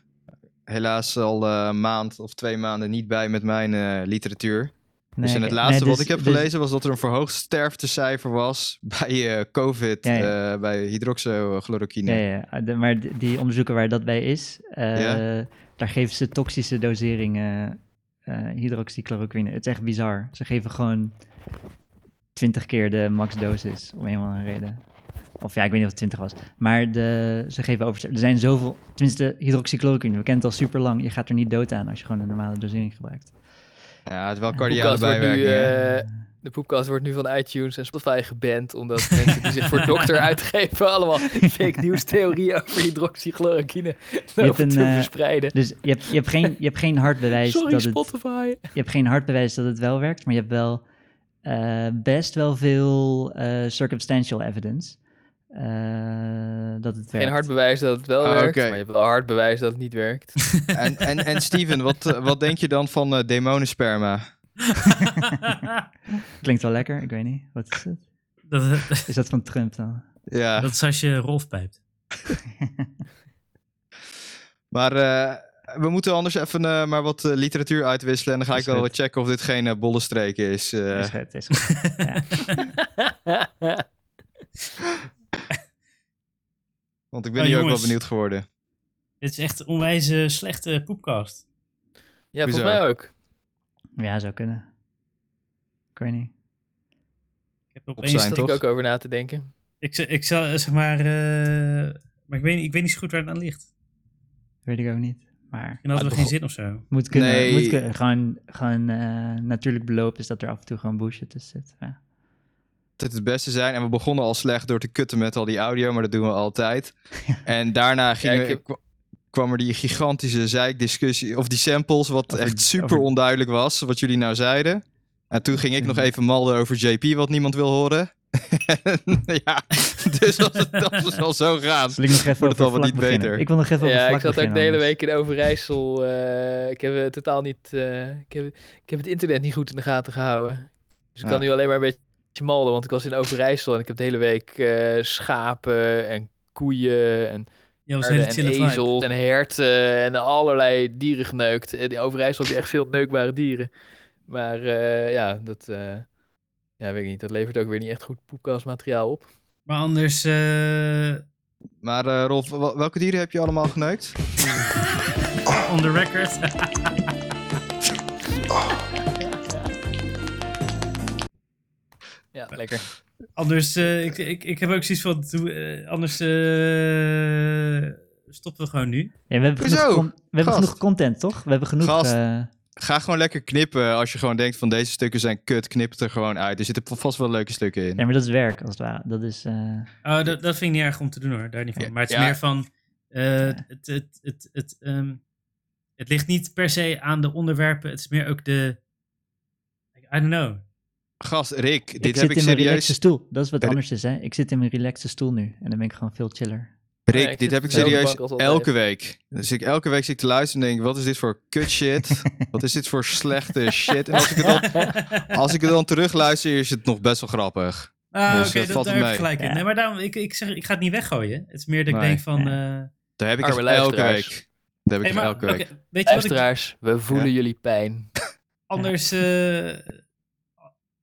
helaas al eh, een maand of twee maanden niet bij met mijn eh, literatuur.
Nee,
dus in
oké.
het laatste
Nee,
wat
dus-
ik heb
dus-
gelezen was dat er een verhoogd sterftecijfer was bij eh, COVID,
Ja,
eh
ja.
bij hydroxychloroquine.
Ja, ja, ja. eh, De- maar d- die onderzoeken waar dat bij is, eh,
Ja.
daar geven ze toxische doseringen eh hydroxychloroquine. Het is echt bizar. Ze geven gewoon 20 keer de maxdosis, om een of andere reden. Of ja, ik weet niet of het 20 was. Maar de, ze geven over. Er zijn zoveel. Tenminste, hydroxychloroquine, we kennen het al super lang. Je gaat er niet dood aan als je gewoon een normale dosering gebruikt.
Ja, het is wel
De
cardiale
podcast wordt nu,
bijwerking. hè?
eh, De podcast wordt nu van iTunes en Spotify geband. Omdat mensen die zich voor dokter uitgeven allemaal fake news theorieën over hydroxychloroquine lopen
een,
te
eh,
verspreiden.
Dus je hebt, je hebt, geen, je hebt geen hard bewijs
Sorry
dat het.
Spotify.
je hebt geen hard bewijs dat het wel werkt, maar je hebt wel eh, best wel veel eh, circumstantial evidence eh, dat het werkt.
Geen hard bewijs dat het wel
Ah,
werkt,
oké.
maar je hebt wel hard bewijs dat het niet werkt.
En, en, en Steven, wat, eh, wat denk je dan van eh demonensperma?
Klinkt wel lekker, ik weet niet. Wat is het?
dat,
Is dat van Trump dan?
Ja,
dat is als je Rolf pijpt.
maar eh, we moeten anders even eh, maar wat eh, literatuur uitwisselen. En dan ga
Is
ik wel
goed.
wat checken of dit geen eh, bolle streek is. eh.
Is goed, is goed. Ja.
Want ik ben
Ah,
Oh,
hier ook
jongens.
wel benieuwd geworden.
Dit is echt een onwijze slechte poepcast.
ja, volgens
Bizar.
mij ook.
ja, zou kunnen. Ik weet niet.
Ik heb
Op zijn,
Daar
opeens...
zat
toch?
ik ook over na te denken.
Ik, z- ik zal, zeg maar... eh, maar ik weet, niet- ik weet niet zo goed waar het aan ligt.
Weet ik ook niet. Maar
En hadden we geen zin of zo.
moet kunnen.
Nee.
Moet kunnen. Gewoon, gewoon eh, natuurlijk beloop is dat er af en toe gewoon bullshit tussen zit. Ja.
Het altijd het beste zijn. En we begonnen al slecht door te kutten met al die audio, maar dat doen we altijd. En daarna gingen
ik
we-
heb-
kwa- kwam er die gigantische zeikdiscussie, of die samples, wat
Over-
echt super
over-
onduidelijk was, wat jullie nou zeiden. En toen ging ik nog
Mhm.
even malden over JP, wat niemand wil horen. ja, dus dat, was- dat was al zo gaan.
Zal ik nog even
Wordt het
over
al wat
vlak
niet
beginnen?
beter.
Ik wil nog even over
Ja,
vlak
ik zat ook
beginnen
de hele
anders.
week in Overijssel. eh, ik heb eh, totaal niet. eh, ik, heb, ik heb het internet niet goed in de gaten gehouden. Dus ik
Ja.
kan nu alleen maar een beetje malden, want ik was in Overijssel en ik heb de hele week eh, schapen en koeien en,
Ja, was een
paarden
hele
en
chille vibe.
ezels en herten en allerlei dieren geneukt. En in Overijssel heb je echt veel neukbare dieren. Maar eh, ja, dat. eh, ja, weet ik niet. Dat levert ook weer niet echt goed poepkastmateriaal op.
Maar anders... eh,
Maar eh, Rolf, wel- welke dieren heb je allemaal geneukt?
on the record.
Ja, lekker.
anders, eh, ik, ik, ik heb ook zoiets van... doe, eh, anders eh, stoppen we gewoon nu.
Ja, we hebben,
Hoezo?
genoeg, con- we hebben
Gast.
genoeg content, toch? We hebben genoeg...
Gast.
eh,
Ga gewoon lekker knippen. Als je gewoon denkt van deze stukken zijn kut, knip het er gewoon uit. Er zitten vast wel leuke stukken in.
ja, maar dat is werk, als het ware. Dat is... eh,
Oh, dat, dat vind ik niet erg om te doen hoor, daar niet van. Maar het is
Ja.
meer van, eh, het, het, het, het, ehm, het ligt niet per se aan de onderwerpen, het is meer ook de, I don't know.
Gast, Rick, dit
ik
heb
zit
ik
in mijn relaxe
serieus.
stoel. Dat is wat
Er-
anders is, hè. Ik zit in mijn relaxe stoel nu. En dan ben ik gewoon veel chiller.
Rick,
Ja, ik
dit
zit
heb ik
op dezelfde
serieus
bank als altijd.
elke week. Dus ik elke week zit ik te luisteren en denk: wat is dit voor kut shit? wat is dit voor slechte shit? En als ik het dan, als ik het dan terugluister, is het nog best wel grappig.
Ah,
Dus
oké,
dat
dat
valt
daar heb
mee.
je gelijk in.
Ja.
Nee, maar daarom, ik, ik zeg, ik ga het niet weggooien. Het is meer dat ik
Nee.
denk van, eh,
Daar heb ik
Arme
echt elke
luisteraars.
week. Daar heb
hey,
ik
maar,
echt elke week.
oké, weet je wat ik
Luisteraars, we voelen jullie pijn.
anders... eh,
We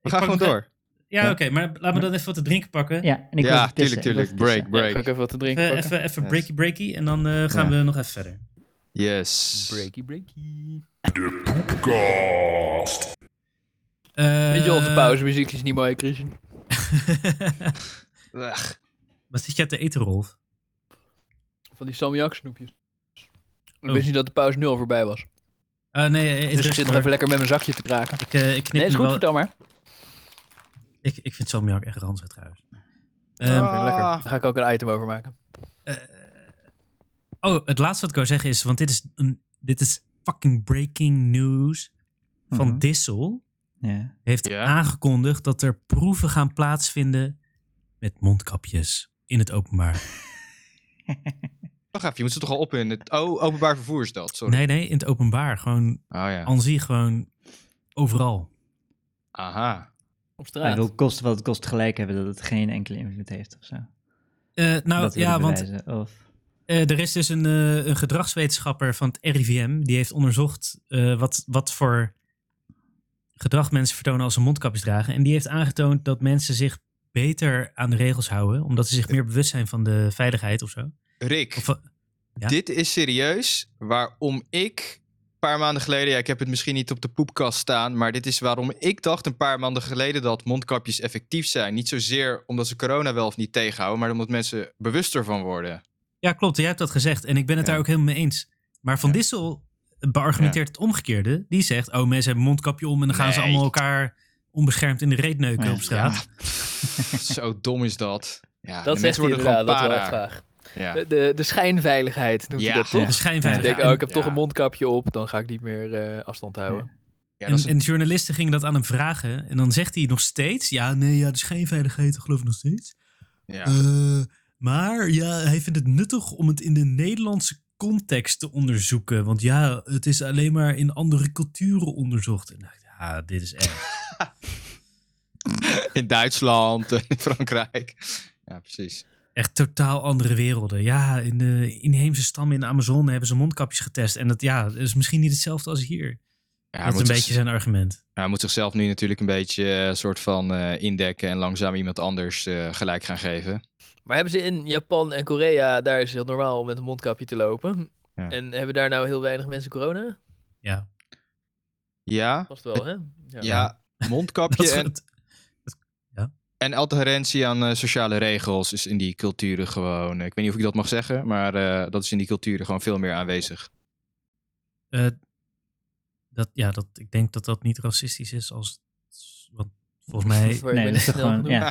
ik pak
gaan gewoon
nog-
door.
Ja,
Ja.
oké, maar laat me dan even wat te drinken pakken.
Ja, en ik was
Ja,
even pissen,
tuurlijk,
ik was
tuurlijk. Break,
even pissen.
Ja,
break.
ik kan ik even wat te drinken
Even,
pakken?
even, even
Yes.
breaky breaky en dan eh, gaan
Ja.
we nog even verder.
Yes.
Breaky, breaky.
De podcast.
Weet je, onze
Eh,
pauzemuziek is niet mooi, Christian.
Ugh.
Wat zit jij te eten, Rolf?
Van die salmiak snoepjes. Ik
Oh.
wist niet dat de pauze nul voorbij was.
Eh, nee, eh, eet
Dus ik
rustig,
zit nog
hoor.
even lekker met mijn zakje te kraken.
Ik, eh, ik knip
Nee, is
nu
goed,
wel-
vertel maar.
ik, ik vind salmiak echt ranzig trouwens. Ehm,
Ah.
Daar ga ik ook een item over maken.
Oh, het laatste wat ik wou zeggen is, want dit is, een, dit is fucking breaking news. Van
Mhm.
Dissel
Ja.
heeft
Ja.
aangekondigd dat er proeven gaan plaatsvinden met mondkapjes in het openbaar.
Wacht even, je moet ze toch al op in het oh, openbaar vervoer is dat. Sorry.
Nee, nee, in het openbaar. Gewoon,
Oh ja.
aan zich gewoon overal.
Aha.
Op
Hij
straat.
wil kosten wat het kost gelijk hebben dat het geen enkele invloed heeft of zo.
Eh, nou
dat wil
ja,
hij
want
bewijzen, Of...
Eh, er is dus een, eh, een gedragswetenschapper van het RIVM. Die heeft onderzocht eh, wat, wat voor gedrag mensen vertonen als ze mondkapjes dragen. En die heeft aangetoond dat mensen zich beter aan de regels houden. Omdat ze zich
Eh,
meer bewust zijn van de veiligheid of zo.
Rick.
Of, eh, Ja?
Dit is serieus waarom ik een paar maanden geleden, ja, ik heb het misschien niet op de poepkast staan, maar dit is waarom ik dacht een paar maanden geleden dat mondkapjes effectief zijn. Niet zozeer omdat ze corona wel of niet tegenhouden, maar omdat mensen bewuster van worden.
ja, klopt. Jij hebt dat gezegd. En ik ben het
Ja.
daar ook helemaal mee eens. Maar Van Dissel beargumenteert het omgekeerde. Die zegt, oh mensen hebben mondkapje om en dan gaan ze
Nee.
allemaal elkaar onbeschermd in de reet neuken
Ja.
op straat.
Zo dom is dat. Ja,
dat
de
zegt
mensen
hij
worden
inderdaad,
gewoon
dat wel
para.
echt graag.
Ja.
De, de, de schijnveiligheid noemt
Ja.
hij dat
Ja.
toch?
De
Ik
schijnveiligheid.
denk,
En-
oh, ik heb toch
Ja.
een mondkapje op, dan ga ik niet meer eh, afstand houden.
Ja,
en,
dat is een-
en journalisten gingen dat aan hem vragen. En dan zegt hij nog steeds: Ja, nee, ja, dat is geen veiligheid, dat geloof ik nog steeds.
ja.
Eh, maar ja, hij vindt het nuttig om het in de Nederlandse context te onderzoeken. Want ja, het is alleen maar in andere culturen onderzocht. En ik dacht, ja, dit is echt.
In Duitsland, in Frankrijk. Ja, precies.
Echt totaal andere werelden. Ja, in de inheemse stammen in de Amazone hebben ze mondkapjes getest. En dat ja, dat is misschien niet hetzelfde als hier.
Ja,
dat is
moet
een
zich-
beetje zijn argument.
hij moet zichzelf nu natuurlijk een beetje eh, soort van eh, indekken en langzaam iemand anders eh, gelijk gaan geven.
Maar hebben ze in Japan en Korea, daar is het heel normaal om met een mondkapje te lopen.
Ja.
En hebben daar nou heel weinig mensen corona?
Ja,
Ja,
Vast wel, hè?
Ja,
dat,
mondkapje en,
dat-
en adherentie aan eh, sociale regels is in die culturen gewoon. eh, Ik weet niet of ik dat mag zeggen, maar eh, dat is in die culturen gewoon veel meer aanwezig.
dat, ja dat, Oh, ik denk dat dat niet racistisch is. Als, want Volgens mij.
Sorry, ik ben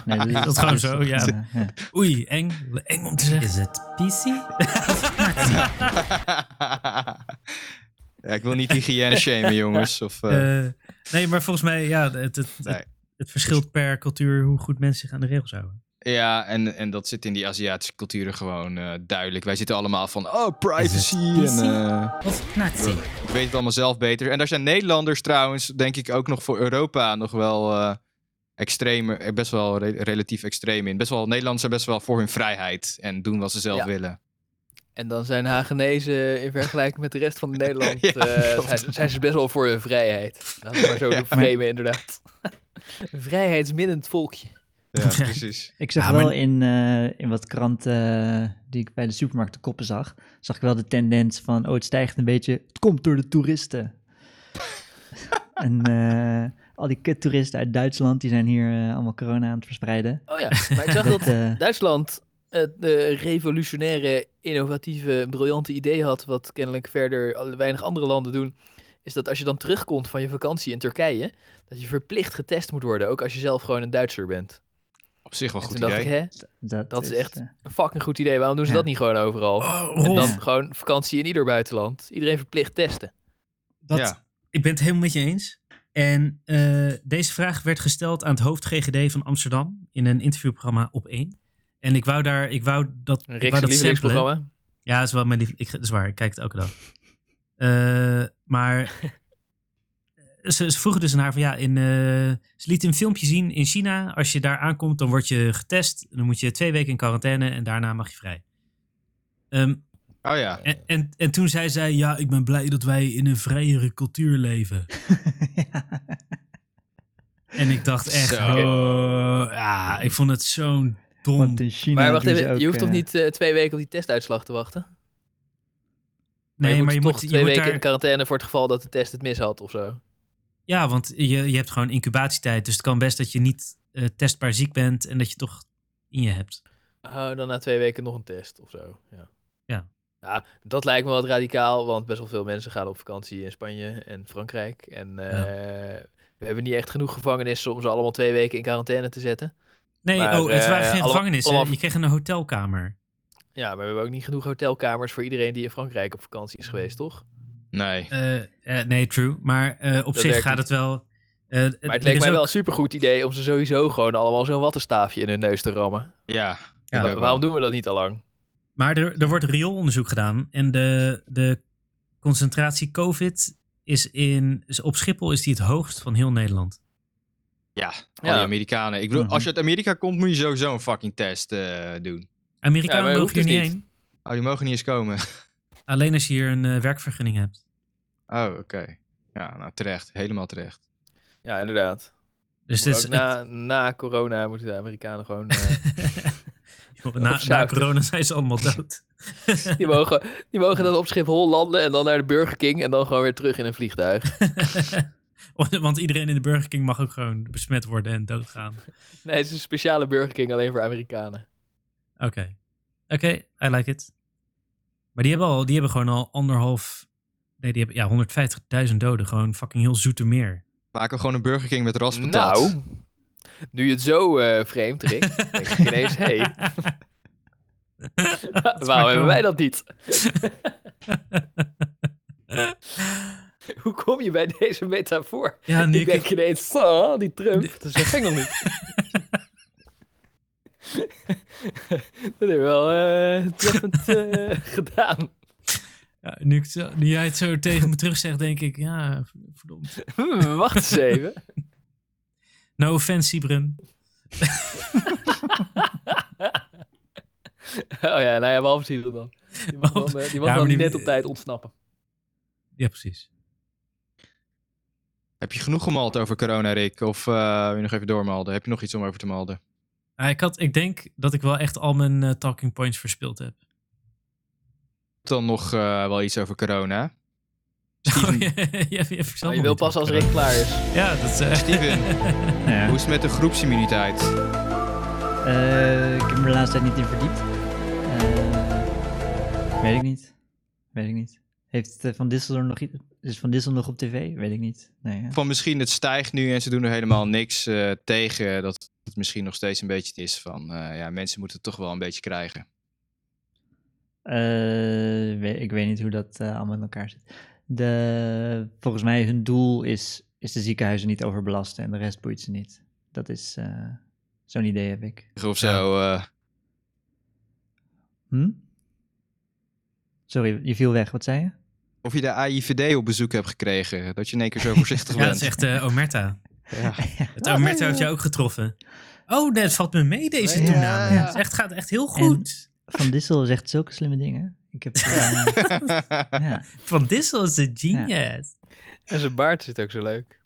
Nee,
niet
dat is toch
snel genoeg.
gewoon... Ja, nee,
Dat is gewoon zo, ja.
eh, ja.
Oei, eng. Eng om te zeggen. Is het PC?
ja, ik wil niet hygiëne shamen, jongens. Of, eh,
nee, maar volgens mij, ja, het, het,
Nee.
het, het verschilt per cultuur hoe goed mensen zich aan de regels houden.
Ja, en, en dat zit in die Aziatische culturen gewoon eh, duidelijk. Wij zitten allemaal van, oh, privacy.
Is
En,
het
eh,
Of Nazi?
ik weet het allemaal zelf beter. En daar zijn Nederlanders trouwens, denk ik, ook nog voor Europa nog wel eh extremer, eh, best wel re- relatief extreem in. Best wel, Nederlanders zijn best wel voor hun vrijheid en doen wat ze zelf
Ja.
willen.
En dan zijn Hagenezen in vergelijking met de rest van Nederland.
Ja,
eh,
klopt.
zijn, zijn ze best wel voor hun vrijheid. Laten we maar zo
Ja.
ja. framen, inderdaad. Een Vrijheidsminnend volkje.
Ja, precies.
Ik zag
Ja,
wel
maar-
in, eh, in wat kranten eh, die ik bij de supermarkt de koppen zag, zag ik wel de tendens van, oh het stijgt een beetje, het komt door de toeristen. en eh, al die kuttoeristen uit Duitsland, die zijn hier eh, allemaal corona aan het verspreiden.
Oh ja, maar ik zag dat
eh,
Duitsland het eh, revolutionaire, innovatieve, briljante idee had, wat kennelijk verder al- weinig andere landen doen, is dat als je dan terugkomt van je vakantie in Turkije, dat je verplicht getest moet worden, ook als je zelf gewoon een Duitser bent.
Op zich wel
En
een goed
toen dacht
idee.
ik, hè,
dat,
dat is echt-
eh,
een fucking goed idee, waarom doen ze
Ja.
dat niet gewoon overal?
Oh,
En
Rolf,
dan gewoon vakantie in ieder buitenland. Iedereen verplicht testen.
dat,
Ja.
ik ben het helemaal met je eens. En eh, deze vraag werd gesteld aan het hoofd GGD van Amsterdam in een interviewprogramma op 1. En ik wou daar, ik wou dat, ik wou dat
Een
samplen.
lievelingsprogramma.
Ja, dat is wel mijn lief. Ik, dat is waar, ik kijk het elke dag. Eh, maar ze, ze vroegen dus aan haar van ja, in, eh, ze liet een filmpje zien in China. Als je daar aankomt, dan word je getest. Dan moet je twee weken in quarantaine en daarna mag je vrij. Ehm,
Oh ja.
en, en, en toen zei zij, ja, ik ben blij dat wij in een vrijere cultuur leven.
ja.
En ik dacht echt,
Zo.
oh, ja, ik vond het zo'n dom.
Want in China
Maar wacht
doen ze
even,
ook,
je hoeft toch
eh,
niet eh, twee weken op die testuitslag te wachten?
Nee, maar je
toch
moet,
twee
je moet
weken
daar...
in quarantaine voor het geval dat de test het mis had of zo.
Ja, want je, je hebt gewoon incubatietijd. Dus het kan best dat je niet eh, testbaar ziek bent en dat je toch in je hebt.
Oh, dan na twee weken nog een test of zo. Ja.
Ja.
Ja, dat lijkt me wat radicaal, want best wel veel mensen gaan op vakantie in Spanje en Frankrijk. En eh, we hebben niet echt genoeg gevangenissen om ze allemaal twee weken in quarantaine te zetten.
Nee,
Maar,
oh, het waren
eh,
geen
alle-
gevangenissen.
allemaal-
Je kreeg een hotelkamer.
Ja, maar we hebben ook niet genoeg hotelkamers voor iedereen die in Frankrijk op vakantie
Mm.
is geweest, toch?
Nee.
Eh, eh, nee, true. Maar eh, op
Dat
zich
werkt
gaat
niet.
het wel... eh,
Maar het
er
leek
is
mij
ook-
wel een supergoed idee om ze sowieso gewoon allemaal zo'n wattenstaafje in hun neus te rammen.
Ja.
Ja.
Ik
Wa-
ook
waarom
wel.
doen we dat niet al lang?
Maar er, er wordt rioolonderzoek gedaan. En de, de concentratie COVID is, in, is op Schiphol is die het hoogst van heel Nederland.
Ja, al
Ja.
die Amerikanen. Ik bedoel,
Mhm.
als je uit Amerika komt, moet je sowieso een fucking test eh, doen.
Ja,
Amerikanen
maar
mogen
hoeft
hier
dus
niet
niet.
heen.
Oh, die mogen niet eens komen.
Alleen als je hier een eh, werkvergunning hebt.
Oh, oké. Ja, nou terecht. Helemaal terecht.
Ja, inderdaad.
Dus
Moet
dit is,
ook na, na corona moeten de Amerikanen gewoon... eh,
Joh, na, na
Opzuigen.
corona zijn ze allemaal dood.
Die mogen, die mogen dan op Schiphol landen en dan naar de Burger King en dan gewoon weer terug in een vliegtuig.
Want- Want iedereen in de Burger King mag ook gewoon besmet worden en doodgaan.
Nee, het is een speciale Burger King alleen voor Amerikanen.
Oké. Oké, I like it. Maar die hebben, al, die hebben gewoon al anderhalf... Nee, die hebben ja, 150.000 doden. Gewoon fucking heel zoete meer.
Maken we gewoon een Burger King met raspatat.
Nou, nu je het zo eh vreemd, Rick, denk ik ineens, hé, hey, waarom hebben wij dat niet? Hoe kom je bij deze metafoor?
Ja, nu
ik
ik,
denk ineens, oh, die Trump, dat is nog niet. dat heb je wel eh treffend eh, gedaan.
ja, nu, ik het zo- nu jij het zo tegen me terug zegt, denk ik... Ja, v- verdomd.
Hmm, wacht eens even.
No offense, Sibren.
Oh ja, nou ja, behalve Cyril dan. Die mag
Want-
dan, eh, die
ja,
mag
maar
dan
die-
net op tijd ontsnappen.
Ja, precies.
Heb je genoeg gemald over corona, Rick? Of eh, wil je nog even doormalden? Heb je nog iets om over te malden?
Ah, ik, had, ik denk dat ik wel echt al mijn eh, talking points verspild heb.
Dan nog eh, wel iets over corona.
Oh, ja, ja, ja, ik zal
Maar Ah, je
nog
wil
niet
pas als
opkomen.
Rick klaar is.
Ja, dat is... eh,
Steven,
nou Ja.
hoe is het met de groepsimmuniteit?
Eh, ik heb me de laatste tijd niet in verdiept. Eh, weet ik niet. Weet ik niet. Heeft eh, Van Dissel er nog iets? Is Van Dissel nog op tv? Weet ik niet. Nee, ja.
Van misschien het stijgt nu en ze doen er helemaal niks eh, tegen. Dat het misschien nog steeds een beetje het is van, eh, ja, mensen moeten het toch wel een beetje krijgen.
Eh, we- ik weet niet hoe dat eh, allemaal in elkaar zit. De, volgens mij hun doel is, is de ziekenhuizen niet overbelasten en de rest boeit ze niet. Dat is eh, zo'n idee heb ik.
Of zo, eh,
Hm? Sorry, je viel weg. Wat zei je?
of je de AIVD op bezoek hebt gekregen. Dat je in één keer zo voorzichtig
Ja, dat
bent.
is echt eh, Omerta.
Ja.
Het Omerta heeft jou ook getroffen. Oh, nee, het valt me mee deze toename.
Ja.
Het is echt, gaat echt heel goed.
Van Dissel zegt zulke slimme dingen. Ik heb. eh, ja,
Van Dissel is een genius.
En zijn baard zit ook zo leuk.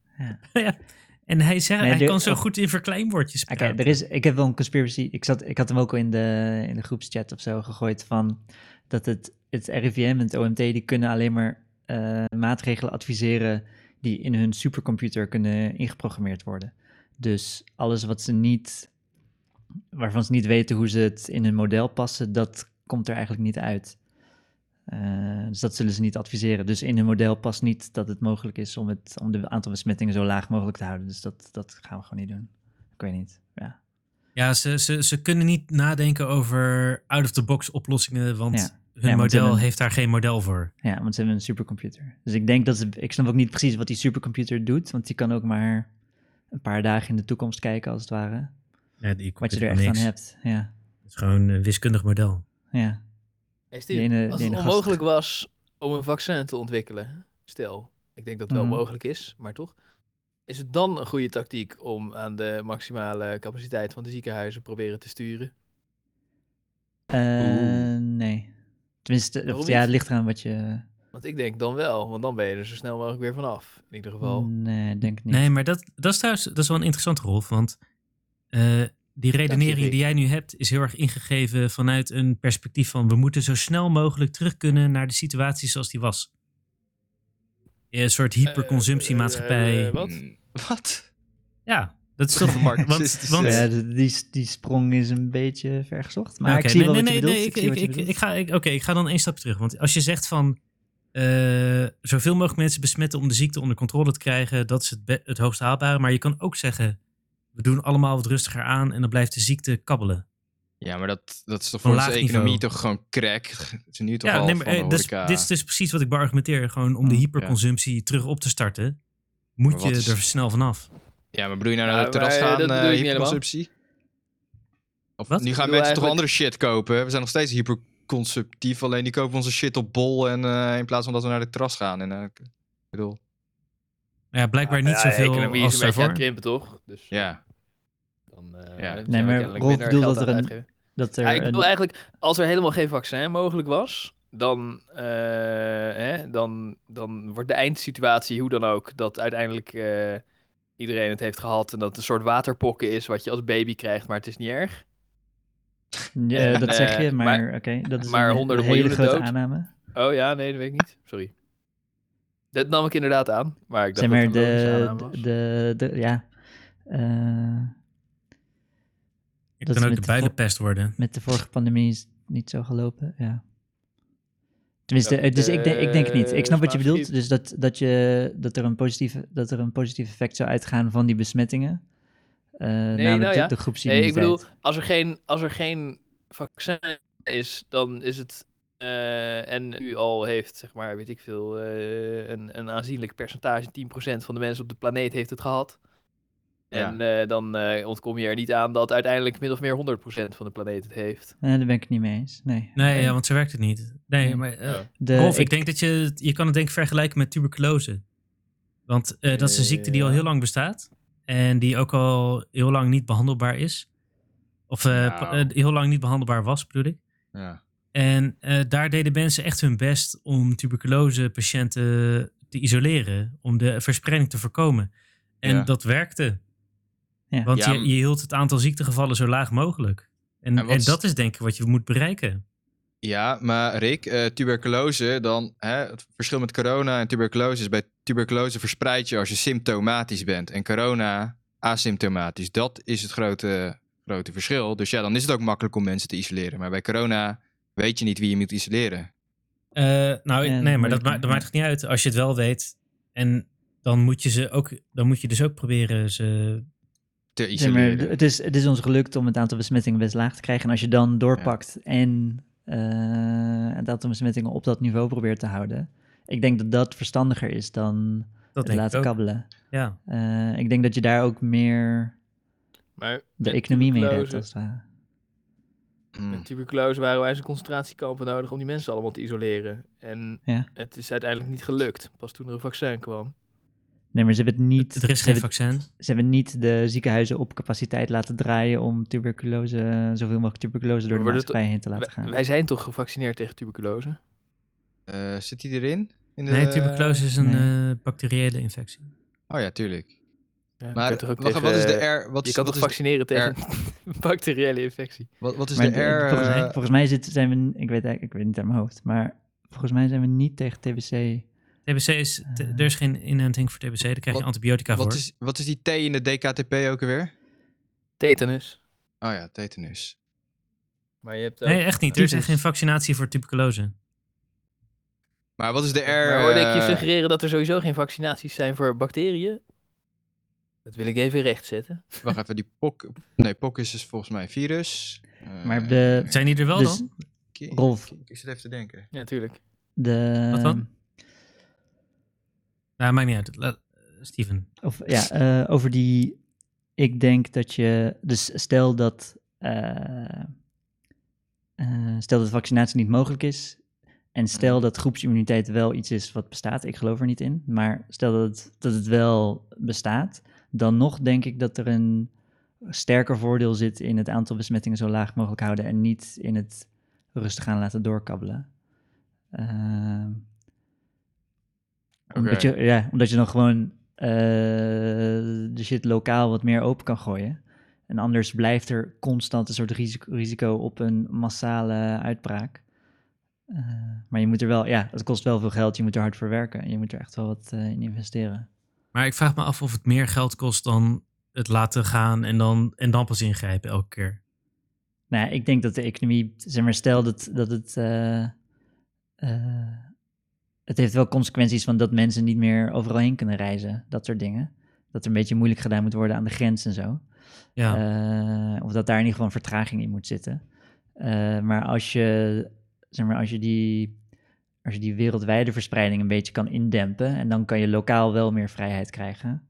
Ja. En hij, zegt,
Nee,
hij
de-
kan zo
of-
goed in verkleinwoordjes
Oké,
praten.
er is, ik heb wel een conspiracy. Ik, zat, ik had hem ook al in de, in de groepschat of zo gegooid van dat het, het RIVM en het OMT die kunnen alleen maar eh, maatregelen adviseren die in hun supercomputer kunnen ingeprogrammeerd worden. Dus alles wat ze niet, waarvan ze niet weten hoe ze het in hun model passen, dat komt er eigenlijk niet uit. Eh, dus dat zullen ze niet adviseren. Dus in hun model past niet dat het mogelijk is om, het, om de aantal besmettingen zo laag mogelijk te houden. Dus dat, dat gaan we gewoon niet doen. Ik weet niet. Ja.
Ja, ze, ze, ze kunnen niet nadenken over out-of-the-box oplossingen, want
Ja.
hun
Ja, want ze
model
hebben-
heeft daar geen model voor.
ja, want ze hebben een supercomputer. Dus ik denk dat ze. Ik snap ook niet precies wat die supercomputer doet. Want die kan ook maar een paar dagen in de toekomst kijken, als het ware.
Ja, die
Wat je
computer
er
kan
echt
niks.
aan hebt. Ja.
Het is gewoon een wiskundig model.
ja.
Is
Die ene-
als
die
het
ene
onmogelijk was om een vaccin te ontwikkelen, stel, ik denk dat het wel
Mhm.
mogelijk is, maar toch, is het dan een goede tactiek om aan de maximale capaciteit van de ziekenhuizen proberen te sturen?
Eh, nee. Tenminste,
Waarom
of,
niet?
ja, het ligt eraan wat je.
Want ik denk dan wel, want dan ben je er zo snel mogelijk weer vanaf. In ieder geval.
Nee, ik denk niet.
Nee, maar dat, dat is trouwens dat is wel een interessante rol, want eh, die redenering
Dick.
die jij nu hebt is heel erg ingegeven vanuit een perspectief van we moeten zo snel mogelijk terug kunnen naar de situatie zoals die was. Een soort hyperconsumptiemaatschappij.
Eh, eh, wat?
Mm, Wat?
ja, dat is toch... want,
Marxistische
want,
eh.
Ja, die, die- die sprong is een beetje vergezocht. Maar
Oké,
ik zie
nee,
wel
nee,
wat je
nee,
bedoelt.
nee,
ik, zie
ik-
wat je
ik- ik-
bedoelt.
ik ga- ik- Oké, ik ga dan één stap terug. Want als je zegt van eh, zoveel mogelijk mensen besmetten om de ziekte onder controle te krijgen, dat is het, be- het hoogst haalbare. Maar je kan ook zeggen, we doen allemaal wat rustiger aan en dan blijft de ziekte kabbelen.
Ja, maar dat, dat is toch
Van
voor onze
laag
economie
niveau.
toch gewoon crack? Het is nu toch
Ja,
al
nee,
van
maar
de
eh, dat is-
horeca. Oh,
dit is dus precies wat ik beargumenteer. Gewoon om de
Ja.
hyperconsumptie terug op te starten,
Maar
moet je
wat is-
er snel vanaf.
Ja, maar bedoel je nou
Ja,
naar het terras
maar, eh,
gaan,
dat
eh,
bedoel ik niet
hyperconsumptie? Of
Wat?
nu
Ik
gaan
bedoel
mensen toch
eigenlijk-
andere shit kopen? We zijn nog steeds hyperconsumptief, alleen die kopen onze shit op bol en eh, in plaats van dat we naar het terras gaan. En, eh, ik bedoel,
Maar ja, blijkbaar niet
Ja,
zoveel
De economie is
als
een beetje aan het
daarvoor.
krimpen, toch? Dus
ja.
dan, eh,
Ja.
dan zijn
Nee,
we
maar
kennelijk
Rolf
minder
bedoelt
geld
dat er
aan het
een-
uitgeven.
Dat er
Ja, ik
een-
bedoel eigenlijk, als er helemaal geen vaccin mogelijk was, dan, eh, hè, dan, dan wordt de eindsituatie hoe dan ook dat uiteindelijk eh, iedereen het heeft gehad en dat het een soort waterpokken is wat je als baby krijgt, maar het is niet erg.
Ja, dat zeg je,
Eh,
maar,
maar-
oké. dat is
maar
een
honderden
hele
miljoenen
grote
dood.
aanname.
Oh ja, nee, dat weet ik niet. Sorry. Dat nam ik inderdaad aan, maar ik
Zeg
dacht
maar,
dat het een logische
de,
aanname was.
de, de, ja. eh,
Het kan
dat is
ook
met
de
de
builenpest worden.
met de vorige pandemie is het niet zo gelopen, ja. Tenminste,
Ja,
eh, dus ik, denk, ik denk het niet. Ik snap wat je
eh,
bedoelt. Dus dat, dat, je, dat, er een positieve, dat er een positief effect zou uitgaan van die besmettingen. Eh namelijk
nou
de,
ja.
de groepsimmuniteit.
Nee, ik bedoel, als er geen, als er geen vaccin is, dan is het. eh, en u al heeft, zeg maar, weet ik veel, eh, een, een aanzienlijk percentage, 10% van de mensen op de planeet heeft het gehad.
Ja.
En eh, dan eh, ontkom je er niet aan dat uiteindelijk min of meer 100% van de planeet het heeft.
Nee, Eh, daar ben ik het niet mee eens. Nee.
Nee, ja, want zo werkt het niet. Nee,
Nee.
maar... eh,
De-
Rolf, ik,
ik-
denk dat je... Je kan het denk ik vergelijken met tuberculose. Want eh, dat is een ziekte die al
Ja.
heel lang bestaat. En die ook al heel lang niet behandelbaar is. Of eh, pa-
Nou.
eh, heel lang niet behandelbaar was, bedoel ik.
ja.
En eh, daar deden mensen echt hun best om tuberculose-patiënten te isoleren. Om de verspreiding te voorkomen. En
Ja.
dat werkte.
Ja.
Want
Ja,
je,
m-
je hield het aantal ziektegevallen zo laag mogelijk. En,
En
en,
wat is-
dat is denk ik wat je moet bereiken.
Ja, maar Rick, eh, tuberculose, dan, hè, het verschil met corona en tuberculose is bij tuberculose verspreid je als je symptomatisch bent. En corona asymptomatisch. Dat is het grote, grote verschil. Dus ja, dan is het ook makkelijk om mensen te isoleren. Maar bij corona weet je niet wie je moet isoleren.
Eh, nou,
Ja,
nee, maar dat,
moeilijk.
maakt dat maakt toch niet uit als je het wel weet. En dan moet je, ze ook, dan moet je dus ook proberen ze...
Te
Ja, maar
isoleren.
het, is, het is ons gelukt om het aantal besmettingen best laag te krijgen. En als je dan doorpakt en eh, het aantal besmettingen op dat niveau probeert te houden. Ik denk dat dat verstandiger is dan
Dat
het
denk ik
laten
ook.
kabbelen.
Ja.
Eh, ik denk dat je daar ook meer
Maar
de
met
economie mee redt.
tuberculose-
Als het ware.
Hmm.
Met tuberculose waren wij zijn concentratiekampen nodig om die mensen allemaal te isoleren. En
Ja.
het is uiteindelijk niet gelukt, pas toen er een vaccin kwam.
Nee, maar ze hebben het niet.
Er is
ze
geen
hebben-
vaccin.
Ze hebben niet de ziekenhuizen op capaciteit laten draaien om tuberculose, zoveel mogelijk tuberculose door de
Maar wordt het-
maatschappij heen te laten
Wij,
gaan.
wij zijn toch gevaccineerd tegen tuberculose?
Eh, zit die erin? In de-
Nee, tuberculose is een
nee.
eh, bacteriële infectie.
Oh ja, tuurlijk.
Ja, je
Maar
kunt toch ook
wacht,
tegen-
wat is de R? Wat
Je
is,
kan
wat
toch
is de,
vaccineren tegen een bacteriële infectie?
wat, wat is
Maar
de
de-
R?
volgens, mij,
eh,
volgens mij zit, zijn we, ik weet, eigenlijk- ik weet het niet uit mijn hoofd, maar volgens mij zijn we niet tegen TBC.
TBC is... t-
Eh.
er is geen inenting voor TBC. Daar krijg je
Wat-
antibiotica voor.
wat, is, wat is die T in de DKTP ook alweer?
Tetanus.
Oh ja, tetanus.
Maar je hebt ook...
Nee, echt niet. Er is echt
Tyfus.
geen vaccinatie voor tuberculose.
Maar wat is de R?
maar hoorde ik je
eh,
suggereren dat er sowieso geen vaccinaties zijn voor bacteriën? Dat wil ik even rechtzetten.
Wacht even, die pok. Nee, pok is dus volgens mij virus. Eh,
Maar de,
Zijn die er wel
dus
dan?
ki-
Rolf.
ki- Ik zit even te denken.
Ja, tuurlijk.
de
Wat dan? Nou, maakt niet uit. La- Steven.
Of, ja, eh, over die. Ik denk dat je. Dus stel dat. eh, eh, stel dat vaccinatie niet mogelijk is. En stel dat groepsimmuniteit wel iets is wat bestaat. Ik geloof er niet in. Maar stel dat het, dat het wel bestaat. Dan nog denk ik dat er een sterker voordeel zit in het aantal besmettingen zo laag mogelijk houden. En niet in het rustig aan laten doorkabbelen. Ehm
Oké.
omdat, je, ja, omdat je dan gewoon eh, de shit lokaal wat meer open kan gooien. En anders blijft er constant een soort risico, risico op een massale uitbraak. Eh, maar je moet er wel, ja, het kost wel veel geld. Je moet er hard voor werken. En je moet er echt wel wat eh, in investeren.
Maar ik vraag me af of het meer geld kost dan het laten gaan en dan, en dan pas ingrijpen elke keer.
Nou, ja, ik denk dat de economie, zeg maar, stel dat, dat het. eh, eh, het heeft wel consequenties van dat mensen niet meer overal heen kunnen reizen. Dat soort dingen. Dat er een beetje moeilijk gedaan moet worden aan de grens en zo.
Ja.
Eh, of dat daar in ieder geval een vertraging in moet zitten. Eh, maar als je, zeg maar, als je die. Als je die wereldwijde verspreiding een beetje kan indempen. En dan kan je lokaal wel meer vrijheid krijgen.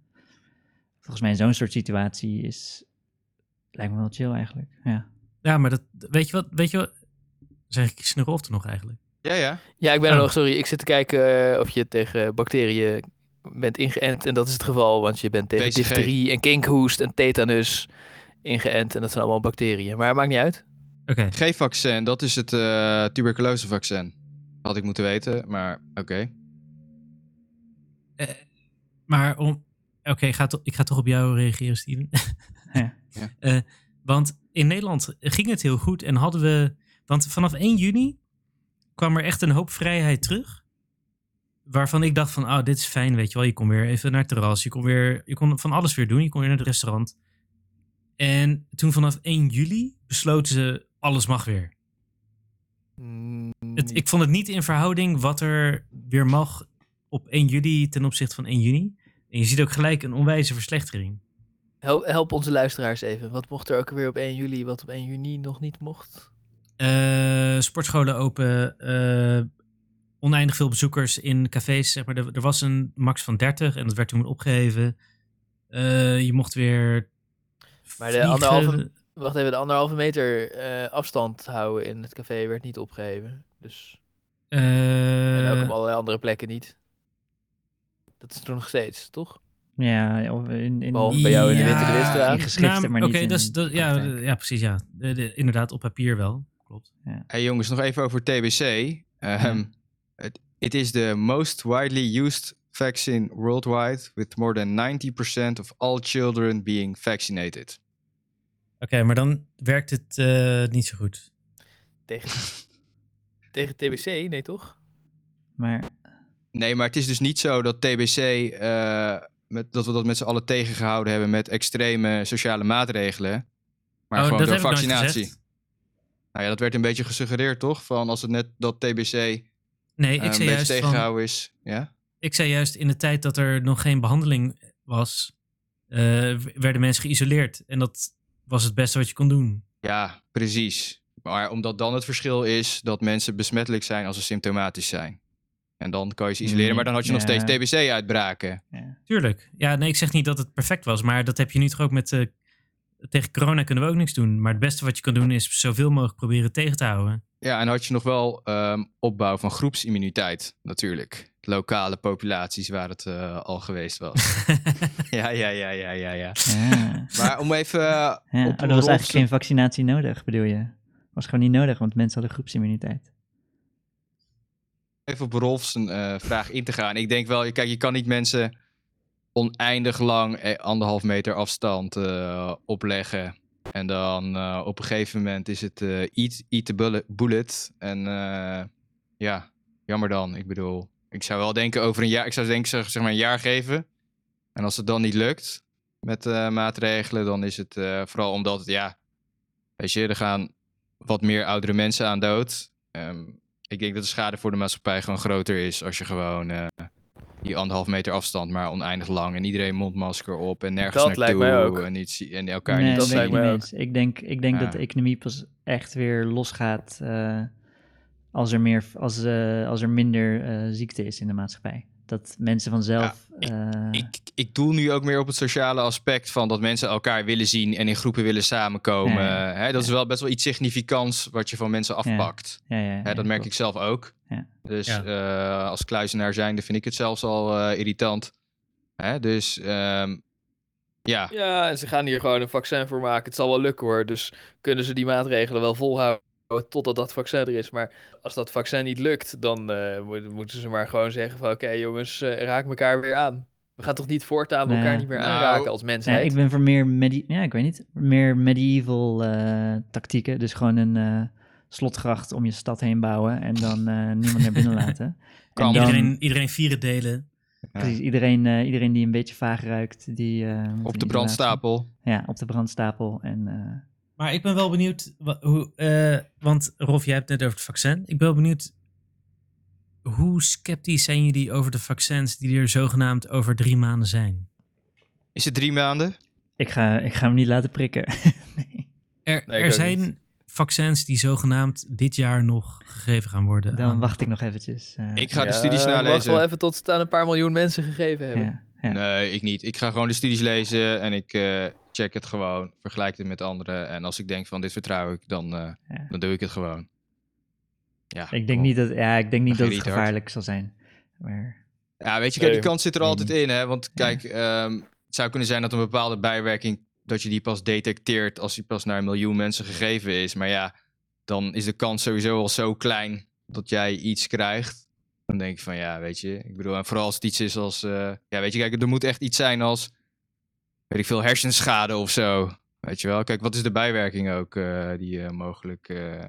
Volgens mij in zo'n soort situatie is. Lijkt me wel chill eigenlijk. Ja.
ja, maar dat, weet je wat? Weet je wat? Zeg ik Sneroft nog eigenlijk?
Ja, ja.
Ja, ik ben er
Oh.
nog, sorry. Ik zit te kijken eh, of je tegen bacteriën bent ingeënt. En dat is het geval, want je bent tegen
BCG.
difterie en kinkhoest en tetanus ingeënt. En dat zijn allemaal bacteriën. Maar maakt niet uit.
Oké.
G-vaccin, dat is het eh tuberculosevaccin. Had ik moeten weten, maar oké.
Maar om. Oké, ik ga to- ik ga toch op jou reageren, Steven.
Ja.
Ja.
Eh, want in Nederland ging het heel goed en hadden we. Want vanaf 1 juni kwam er echt een hoop vrijheid terug. Waarvan ik dacht van, ah, dit is fijn, weet je wel. Je kon weer even naar het terras. Je kon, weer, je kon van alles weer doen. Je kon weer naar het restaurant. En toen vanaf 1 juli besloten ze, alles mag weer. Het, ik vond het niet in verhouding wat er weer mag op 1 juli ten opzichte van 1 juni. En je ziet ook gelijk een onwijze verslechtering.
Help, help onze luisteraars even. Wat mocht er ook weer op 1 juli, wat op 1 juni nog niet mocht?
Eh, sportscholen open, eh, oneindig veel bezoekers in cafés. Zeg maar. er, er was een max van 30 en dat werd toen opgeheven. Eh, je mocht weer.
Maar de anderhalve- Wacht even, de anderhalve meter eh, afstand houden in het café werd niet opgeheven. Dus,
eh,
en ook op allerlei andere plekken niet. Dat is er nog steeds, toch?
Ja, of in, in,
Behalve bij jou in de Witte de Witstraat.
in geschriften,
Nou,
maar niet
Oké,
in
dat is- dat- ja,
praktijk.
ja, precies. Ja. De- de- inderdaad, op papier wel. Klopt.
Hey jongens, nog even over TBC. Ehm, het- it is the most widely used vaccine worldwide, with more than 90% of all children being vaccinated.
Oké, maar dan werkt het eh, niet zo goed.
Tegen, tegen TBC? Nee, toch?
Maar
Nee, maar het is dus niet zo dat TBC, eh, met, dat we dat met z'n allen tegengehouden hebben met extreme sociale maatregelen. Maar
Oh,
gewoon
dat heb
door
ik nooit
vaccinatie.
gezegd.
Nou ja, dat werd een beetje gesuggereerd, toch? Van als het net dat TBC
Nee,
eh,
ik
een
zei,
beetje
juist van,
tegenhouden is. Ja?
ik zei juist in de tijd dat er nog geen behandeling was, eh, w- werden mensen geïsoleerd. En dat was het beste wat je kon doen.
ja, precies. Maar omdat dan het verschil is dat mensen besmettelijk zijn als ze symptomatisch zijn. En dan kan je ze isoleren,
Mm,
maar dan had je nog
ja.
steeds TBC-uitbraken.
Tuurlijk. Ja, nee, ik zeg niet dat het perfect was, maar dat heb je nu toch ook met... eh, tegen corona kunnen we ook niks doen. Maar het beste wat je kan doen is zoveel mogelijk proberen tegen te houden.
Ja, en had je nog wel ehm, opbouw van groepsimmuniteit natuurlijk. Lokale populaties waar het eh, al geweest was. ja, ja, ja, ja, ja, ja.
Ja.
Maar om even... eh,
Ja,
op
oh, er was
Rolf's-
eigenlijk geen vaccinatie nodig, bedoel je? Was gewoon niet nodig, want mensen hadden groepsimmuniteit.
even op Rolf zijn eh, vraag in te gaan. Ik denk wel, kijk, je kan niet mensen oneindig lang eh, anderhalf meter afstand eh, opleggen. En dan eh, op een gegeven moment is het eh eat, eat the bullet. bullet. En eh, ja, jammer dan. Ik bedoel, ik zou wel denken over een jaar. Ik zou denken, zeg, zeg maar een jaar geven. En als het dan niet lukt met eh, maatregelen, dan is het eh, vooral omdat, het, ja, weet je, er gaan wat meer oudere mensen aan dood. Ehm, ik denk dat de schade voor de maatschappij gewoon groter is als je gewoon eh, die anderhalf meter afstand maar oneindig lang en iedereen mondmasker op en nergens
Dat lijkt
naartoe
mij ook.
en niet zie- en elkaar
nee,
niet
dat
dat
ben ik
lijkt
zien.
niet
mij
mee
ook.
eens. Ik denk, ik denk
Ja.
dat de economie pas echt weer losgaat eh, als, er meer, als, eh, als er minder eh, ziekte is in de maatschappij. Dat mensen vanzelf... eh,
Ik, ik doel nu ook meer op het sociale aspect van dat mensen elkaar willen zien en in groepen willen samenkomen.
Ja, ja,
Hè, dat
ja.
is wel best wel iets significants wat je van mensen afpakt.
ja, ja,
Hè,
ja,
dat merk
klopt.
ik zelf ook.
Ja.
Dus
Ja.
eh, als kluizenaar zijnde vind ik het zelfs al eh, irritant. Hè, dus ehm, ja,
Ja, en ze gaan hier gewoon een vaccin voor maken. Het zal wel lukken hoor. Dus kunnen ze die maatregelen wel volhouden totdat dat vaccin er is. Maar als dat vaccin niet lukt, dan eh, moet- moeten ze maar gewoon zeggen van... Oké jongens, eh, raak elkaar weer aan. We gaan toch niet voortaan
Nou ja.
elkaar niet meer
Nou,
aanraken als
Ja,
mensheid?
ik ben voor meer, medi- ja, ik weet niet, meer medieval eh, tactieken. Dus gewoon een eh, slotgracht om je stad heen bouwen en dan eh, niemand naar binnen laten.
Kan.
En dan,
Iedereen, iedereen vieren delen.
precies, iedereen, eh, iedereen die een beetje vaag ruikt, die... eh, moet in
op de
isolatie.
brandstapel.
Ja, op de brandstapel. En, eh,
Maar ik ben wel benieuwd, wa- hoe, eh, want Rolf, jij hebt het net over het vaccin. Ik ben wel benieuwd, hoe sceptisch zijn jullie over de vaccins die er zogenaamd over drie maanden zijn?
Is het drie maanden?
ik, ga, ik ga hem niet laten prikken. nee,
Er,
Nee, ik
er
ook
zijn
niet.
vaccins die zogenaamd dit jaar nog gegeven gaan worden.
dan
aan-
wacht ik nog eventjes. eh,
Ik ga de
Ja,
studies
Wacht wel
nalezen.
even tot ze het aan een paar miljoen mensen gegeven hebben.
ja, ja.
Nee, ik niet. Ik ga gewoon de studies lezen en ik eh, check het gewoon. Vergelijk het met anderen. En als ik denk van dit vertrouw ik, dan, eh,
Ja.
dan doe ik het gewoon. Ja,
Ik denk
kom.
niet dat, ja, ik denk
Mag
niet
je
dat het
niet hard.
gevaarlijk zal zijn. Maar
Ja, weet je, kijk, die
Nee.
kans zit er altijd in, hè. Want kijk, ehm, het zou kunnen zijn dat een bepaalde bijwerking... dat je die pas detecteert als die pas naar een miljoen mensen gegeven is. Maar ja, dan is de kans sowieso al zo klein dat jij iets krijgt. Dan denk ik van, ja, weet je... Ik bedoel, en vooral als het iets is als... eh, ja, weet je, kijk, er moet echt iets zijn als... weet ik veel, hersenschade of zo. Weet je wel? Kijk, wat is de bijwerking ook eh, die eh, mogelijk eh,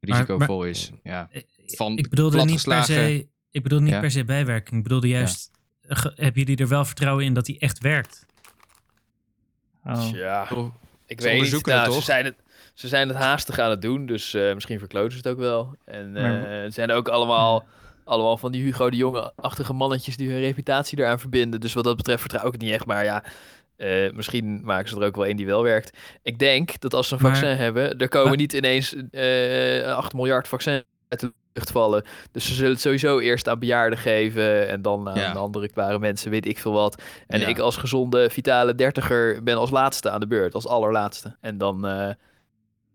risicovol is? Ja.
Eh,
Van
ik bedoelde niet per
platgeslagen-
se, Ik bedoelde niet
Ja.
per se bijwerking. Ik bedoelde juist, ge- hebben jullie er wel vertrouwen in dat die echt werkt?
oh,
Ja, ik
ze
weet niet.
onderzoeken het
Nou, ze,
toch?
zijn het, ze zijn het haastig aan het doen, dus eh, misschien verkloten ze het ook wel. En eh,
Maar-
het zijn ook allemaal, allemaal van die Hugo de Jonge-achtige mannetjes die hun reputatie eraan verbinden. Dus wat dat betreft vertrouw ik het niet echt, maar ja... eh, misschien maken ze er ook wel één die wel werkt. Ik denk dat als ze een
Maar-
vaccin hebben, er komen
Maar-
niet ineens eh 8 miljard vaccins uit de lucht vallen. Dus ze zullen het sowieso eerst aan bejaarden geven en dan aan
Ja.
andere kware mensen, weet ik veel wat. En
Ja.
ik als gezonde, vitale dertiger ben als laatste aan de beurt, als allerlaatste. En dan, eh,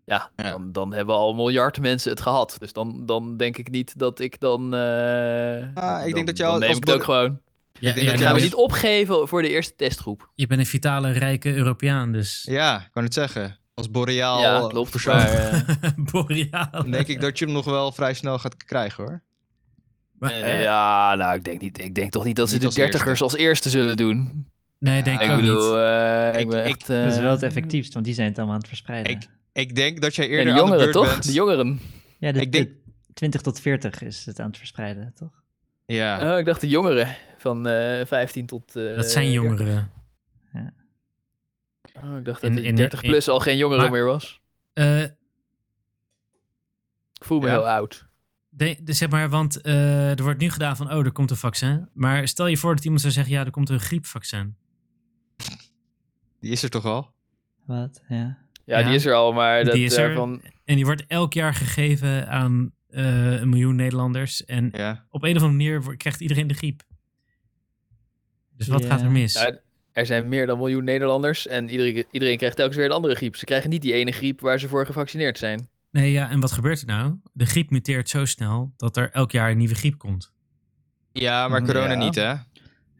ja,
Ja.
Dan, dan hebben al een miljard mensen het gehad. Dus dan, dan denk ik niet dat ik dan... eh,
Ah, ik denk
dan-
dat je
dan
al-
neem
als
ik het
dat-
ook gewoon.
Ja,
denk dat
Ik
jij
ga me
als-
niet opgeven voor de eerste testgroep.
Je bent een vitale, rijke Europeaan, dus
Ja, ik kan het zeggen. Als boreaal
ja, klopt.
persoon
Maar, eh,
boreaal.
dan denk ik dat je hem nog wel vrij snel gaat krijgen hoor.
Maar-
eh, ja, nou, ik denk, niet, ik denk toch niet dat ze
Niet
de
als eerste.
dertigers als eerste zullen doen.
nee, denk
Ja,
ik
ik
ook niet.
bedoel, eh, ik,
Ik-
ben
ik-
echt... eh,
dat is wel het effectiefst, want die zijn het allemaal aan het verspreiden.
Ik- Ik denk dat jij
ja,
eerder
de
aan de
jongeren,
beurt
toch?
bent.
De jongeren.
ja, de,
ik denk-
de 20 tot 40 is het aan het verspreiden, toch?
ja.
Oh, ik dacht de jongeren van eh 15 tot... eh,
Dat zijn
30.
jongeren.
Oh, ik dacht
In-
dat
in
in
de-
30 plus al geen jongere
Maar-
meer was.
Eh,
Ik voel me
Ja.
heel oud.
de, de- zeg maar, want eh, er wordt nu gedaan van, oh, er komt een vaccin. Maar stel je voor dat iemand zou zeggen, ja, er komt een griepvaccin.
Die is er toch al?
Wat? Ja.
Ja,
Ja.
die is er al, maar
Die
dat,
is
eh,
er.
van,
En die wordt elk jaar gegeven aan eh, een miljoen Nederlanders. En
Ja.
op een of andere manier wordt- krijgt iedereen de griep. Dus wat
Ja.
gaat er mis?
Nou, er zijn meer dan een miljoen Nederlanders en iedereen, iedereen krijgt telkens weer een andere griep. Ze krijgen niet die ene griep waar ze voor gevaccineerd zijn.
Nee, ja, en wat gebeurt er nou? De griep muteert zo snel dat er elk jaar een nieuwe griep komt.
Ja, maar corona
Ja.
niet, hè?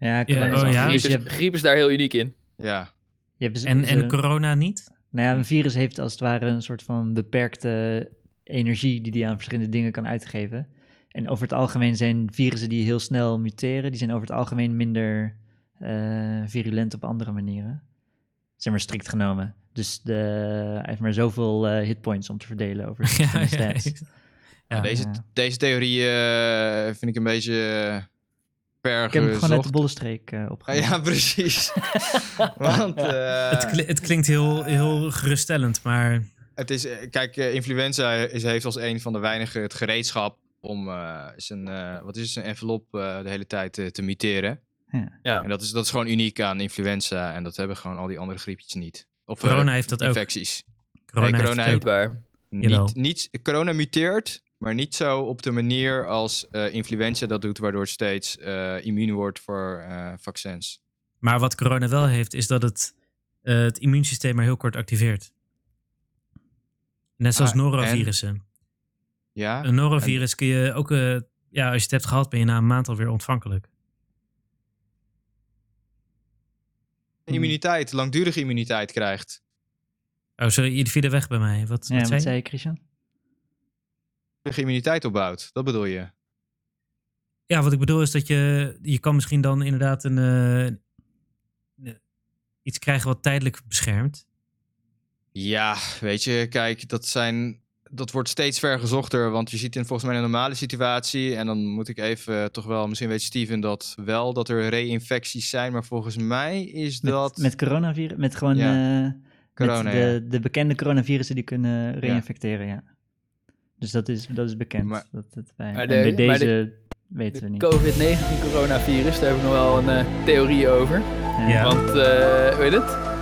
Ja, corona is
oh
al-
ja?
dus
griep,
je
is,
hebt-
griep is daar heel uniek in.
Ja.
je
Dus
hebt z-
En, en
zo-
corona niet?
Nou ja, een virus heeft als het ware een soort van beperkte energie die die aan verschillende dingen kan uitgeven. En over het algemeen zijn virussen die heel snel muteren, die zijn over het algemeen minder eh, virulent op andere manieren. Zeg maar strikt genomen. Dus de, hij heeft maar zoveel eh, hitpoints om te verdelen over de
Ja, ja,
stats.
ja. Ja.
Deze,
Ja.
deze theorie eh, vind ik een beetje eh, ver
Ik heb hem gewoon uit de
gezocht.
bollenstreek eh
Ah,
opgehaald.
ja, precies. Want eh,
Het, kli- het klinkt heel, heel geruststellend, maar
het is, eh, kijk, eh, influenza is, heeft als een van de weinigen het gereedschap om eh, zijn, eh, wat is het, zijn envelop eh, de hele tijd eh, te muteren.
Ja.
Ja.
En dat is, dat is gewoon uniek aan influenza en dat hebben gewoon al die andere griepjes niet. Of eh,
corona heeft dat ook.
infecties.
Corona,
Nee,
heeft
corona
het
heeft
ook.
Niet waar.
Jawel.
Niet, niet, corona muteert, maar niet zo op de manier als eh, influenza dat doet, waardoor het steeds eh, immuun wordt voor eh, vaccins.
Maar wat corona wel heeft, is dat het eh, het immuunsysteem maar heel kort activeert. Net zoals
Ah,
norovirussen.
Ja?
Een norovirus kun je ook, eh, ja, als je het hebt gehad, ben je na een maand alweer ontvankelijk.
immuniteit, langdurige immuniteit krijgt.
Oh, sorry, je viel er weg bij mij. Wat, wat
Ja, wat
zei je?
zei je, Christian?
Langdurige immuniteit opbouwt, dat bedoel je.
Ja, wat ik bedoel is dat je, je kan misschien dan inderdaad een, eh, een- iets krijgen wat tijdelijk beschermt.
Ja, weet je, kijk, dat zijn. Dat wordt steeds vergezochter, want je ziet in volgens mij een normale situatie. En dan moet ik even eh, toch wel, misschien weet Steven dat wel, dat er re-infecties zijn. Maar volgens mij is
Met,
dat.
met coronavirus? Met gewoon
Ja.
eh,
Corona,
met de, de bekende coronavirussen die kunnen reinfecteren, ja. Dus dat is, dat is bekend.
Maar-
dat het bij,
Maar
en
de-
bij
maar
deze
de-
weten we
De
niet.
COVID-19 coronavirus, daar heb ik nog wel een eh, theorie over.
Ja.
Want, eh weet het?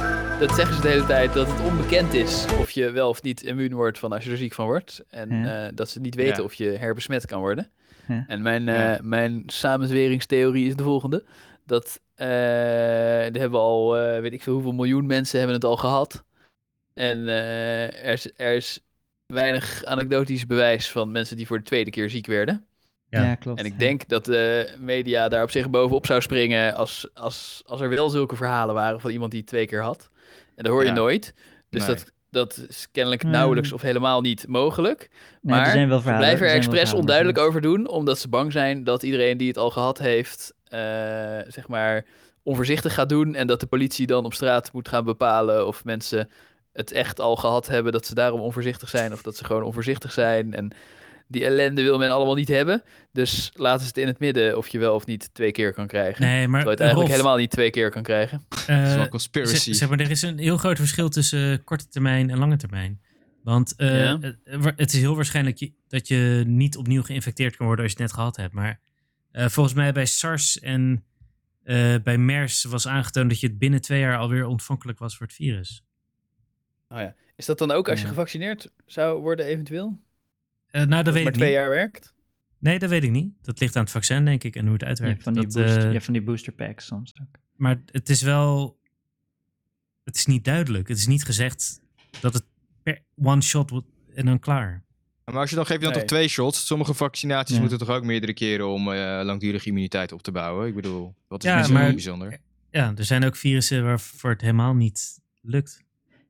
Dat zeggen ze de hele tijd dat het onbekend is of je wel of niet immuun wordt van als je er ziek van wordt. En
Ja.
eh, dat ze niet weten
Ja.
of je herbesmet kan worden.
Ja.
En mijn,
Ja.
eh, mijn samenzweringstheorie is de volgende. Dat eh er hebben al, eh, weet ik veel hoeveel miljoen mensen hebben het al gehad. En eh, er, is, er is weinig anekdotisch bewijs van mensen die voor de tweede keer ziek werden.
ja.
Ja.
klopt.
En ik denk dat de media daar op zich bovenop zou springen als, als, als er wel zulke verhalen waren van iemand die het twee keer had. En dat hoor je
Ja.
nooit. Dus
Nee.
dat, dat is kennelijk
Hmm.
nauwelijks of helemaal niet mogelijk.
Nee,
maar
er zijn wel
Ze
verhalen.
blijven er
zijn wel
expres
verhalen, maar
onduidelijk over doen, omdat ze bang zijn dat iedereen die het al gehad heeft, eh, zeg maar, onvoorzichtig gaat doen. En dat de politie dan op straat moet gaan bepalen of mensen het echt al gehad hebben, dat ze daarom onvoorzichtig zijn of dat ze gewoon onvoorzichtig zijn. En die ellende wil men allemaal niet hebben. Dus laten ze het in het midden of je wel of niet twee keer kan krijgen.
Nee, maar
Terwijl je het eigenlijk
Rolf,
helemaal niet twee keer kan krijgen.
eh,
Dat is wel
Zeg,
conspiracy.
zeg maar, er is een heel groot verschil tussen eh, korte termijn en lange termijn. Want eh,
Ja.
eh, wa- het is heel waarschijnlijk je- dat je niet opnieuw geïnfecteerd kan worden als je het net gehad hebt. Maar eh, volgens mij bij SARS en eh, bij MERS was aangetoond dat je het binnen twee jaar alweer ontvankelijk was voor het virus.
Is dat dan ook als je
Ja.
gevaccineerd zou worden eventueel?
Eh, nou, dat weet
maar
ik
twee
niet.
jaar werkt?
Nee, dat weet ik niet. Dat ligt aan het vaccin, denk ik, en hoe het
Je hebt
uitwerkt.
van die,
Dat,
boost-
eh,
je hebt van die booster packs soms ook.
Maar het is wel... Het is niet duidelijk. Het is niet gezegd dat het per one shot wordt en dan klaar.
Maar als je dan geef je dan
Nee.
toch twee shots. Sommige vaccinaties
Ja.
moeten toch ook meerdere keren om eh, langdurige immuniteit op te bouwen. Ik bedoel, wat is
Ja,
niet zo
maar-
bijzonder?
Ja, er zijn ook virussen waarvoor het helemaal niet lukt.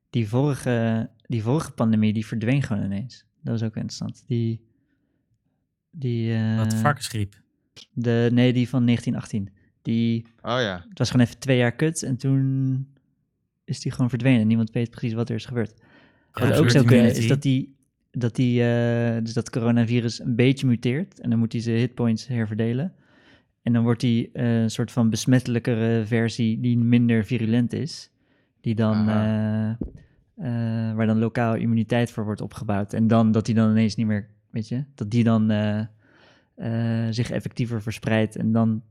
Die vorige, die vorige pandemie, die verdween gewoon ineens. Dat was ook interessant. Die, die, eh,
Dat varkensgriep.
de, nee, die van 1918. Die,
Oh ja.
het was gewoon even twee jaar kut en toen is die gewoon verdwenen. Niemand weet precies wat er is gebeurd.
Ja,
Wat ook
herd
zou kunnen is
immunity.
dat die, dat die eh, dus dat coronavirus een beetje muteert en dan moet hij zijn hitpoints herverdelen. En dan wordt die eh, een soort van besmettelijkere versie die minder virulent is, die dan, eh, eh, waar dan lokaal immuniteit voor wordt opgebouwd. En dan dat die dan ineens niet meer weet je, dat die dan eh, eh, zich effectiever verspreidt en dan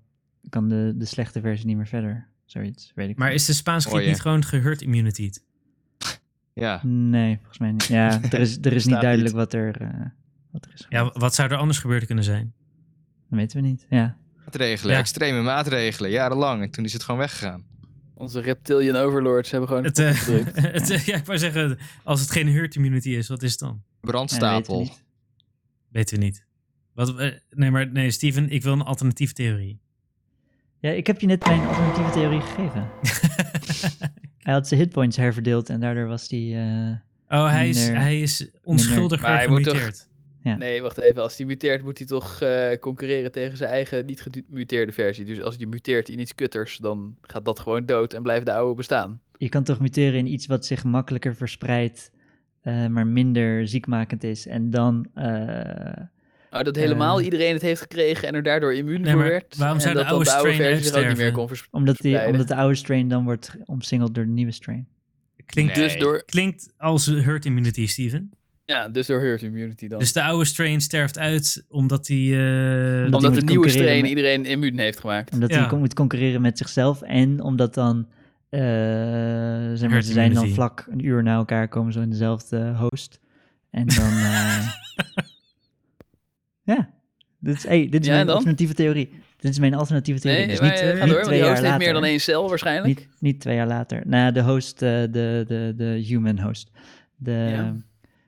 kan de, de slechte versie niet meer verder. Zoiets, weet ik
Maar is de Spaanse griep
Hoor je.
niet gewoon geherd immunity?
Ja.
Nee, volgens mij niet. Ja, er is, er is niet
Staat
duidelijk wat er, eh, wat er is.
Ja,
gebeurd.
w- wat zou er anders gebeurd kunnen zijn?
Dat weten we niet. Ja.
Maatregelen,
Ja.
extreme maatregelen, jarenlang. En toen is het gewoon weggegaan.
Onze reptilian overlords hebben gewoon...
Het, eh, het, eh, ja, ik wou zeggen, als het geen herd immunity is, wat is het dan?
Ja, dat weten we
Brandstapel.
niet.
Weten we niet. Wat, eh, nee, maar nee, Steven, ik wil een alternatieve theorie.
Ja, ik heb je net mijn alternatieve theorie gegeven. Hij had zijn hitpoints herverdeeld en daardoor was hij... eh,
oh, hij is,
Minder-
hij is onschuldig
Maar hij moet toch-
gemuteerd.
Nee, wacht even. Als die muteert, moet hij toch eh, concurreren tegen zijn eigen niet gemuteerde versie. Dus als je muteert in iets kutters, dan gaat dat gewoon dood en blijft de oude bestaan.
je kan toch muteren in iets wat zich makkelijker verspreidt, eh, maar minder ziekmakend is. En dan... eh,
Maar Oh, dat helemaal
Eh.
iedereen het heeft gekregen en er daardoor immuun
Nee,
voor
maar
werd.
waarom
en
zou de
dat dan
oude
de oude
strain
versie zich ook niet meer
uitsterven?
kon vers-
omdat, die,
verspreiden.
omdat de oude strain dan wordt omsingeld door de nieuwe strain.
Klinkt,
Nee.
Dus door,
klinkt als herd immunity, Steven.
ja, dus door herd immunity dan.
Dus de oude strain sterft uit omdat die... eh,
Omdat- die
omdat de
moet
nieuwe
concurreren
strain
met-
iedereen immuun heeft gemaakt.
Omdat
Ja.
hij con- moet concurreren met zichzelf en omdat dan, eh, zeg maar,
Herd
ze zijn dan
immunity.
vlak een uur na elkaar, komen zo in dezelfde host. En dan, eh, ja, dit is, hey, dit is
Ja, en
mijn
dan?
alternatieve theorie. Dit is mijn alternatieve theorie.
Nee,
dus
maar
niet,
eh,
niet
ga door, want
twee
die host
jaar
heeft
later.
meer dan één cel waarschijnlijk.
Niet, niet twee jaar later. Nou, de host, eh, de, de, de human host. De,
Ja.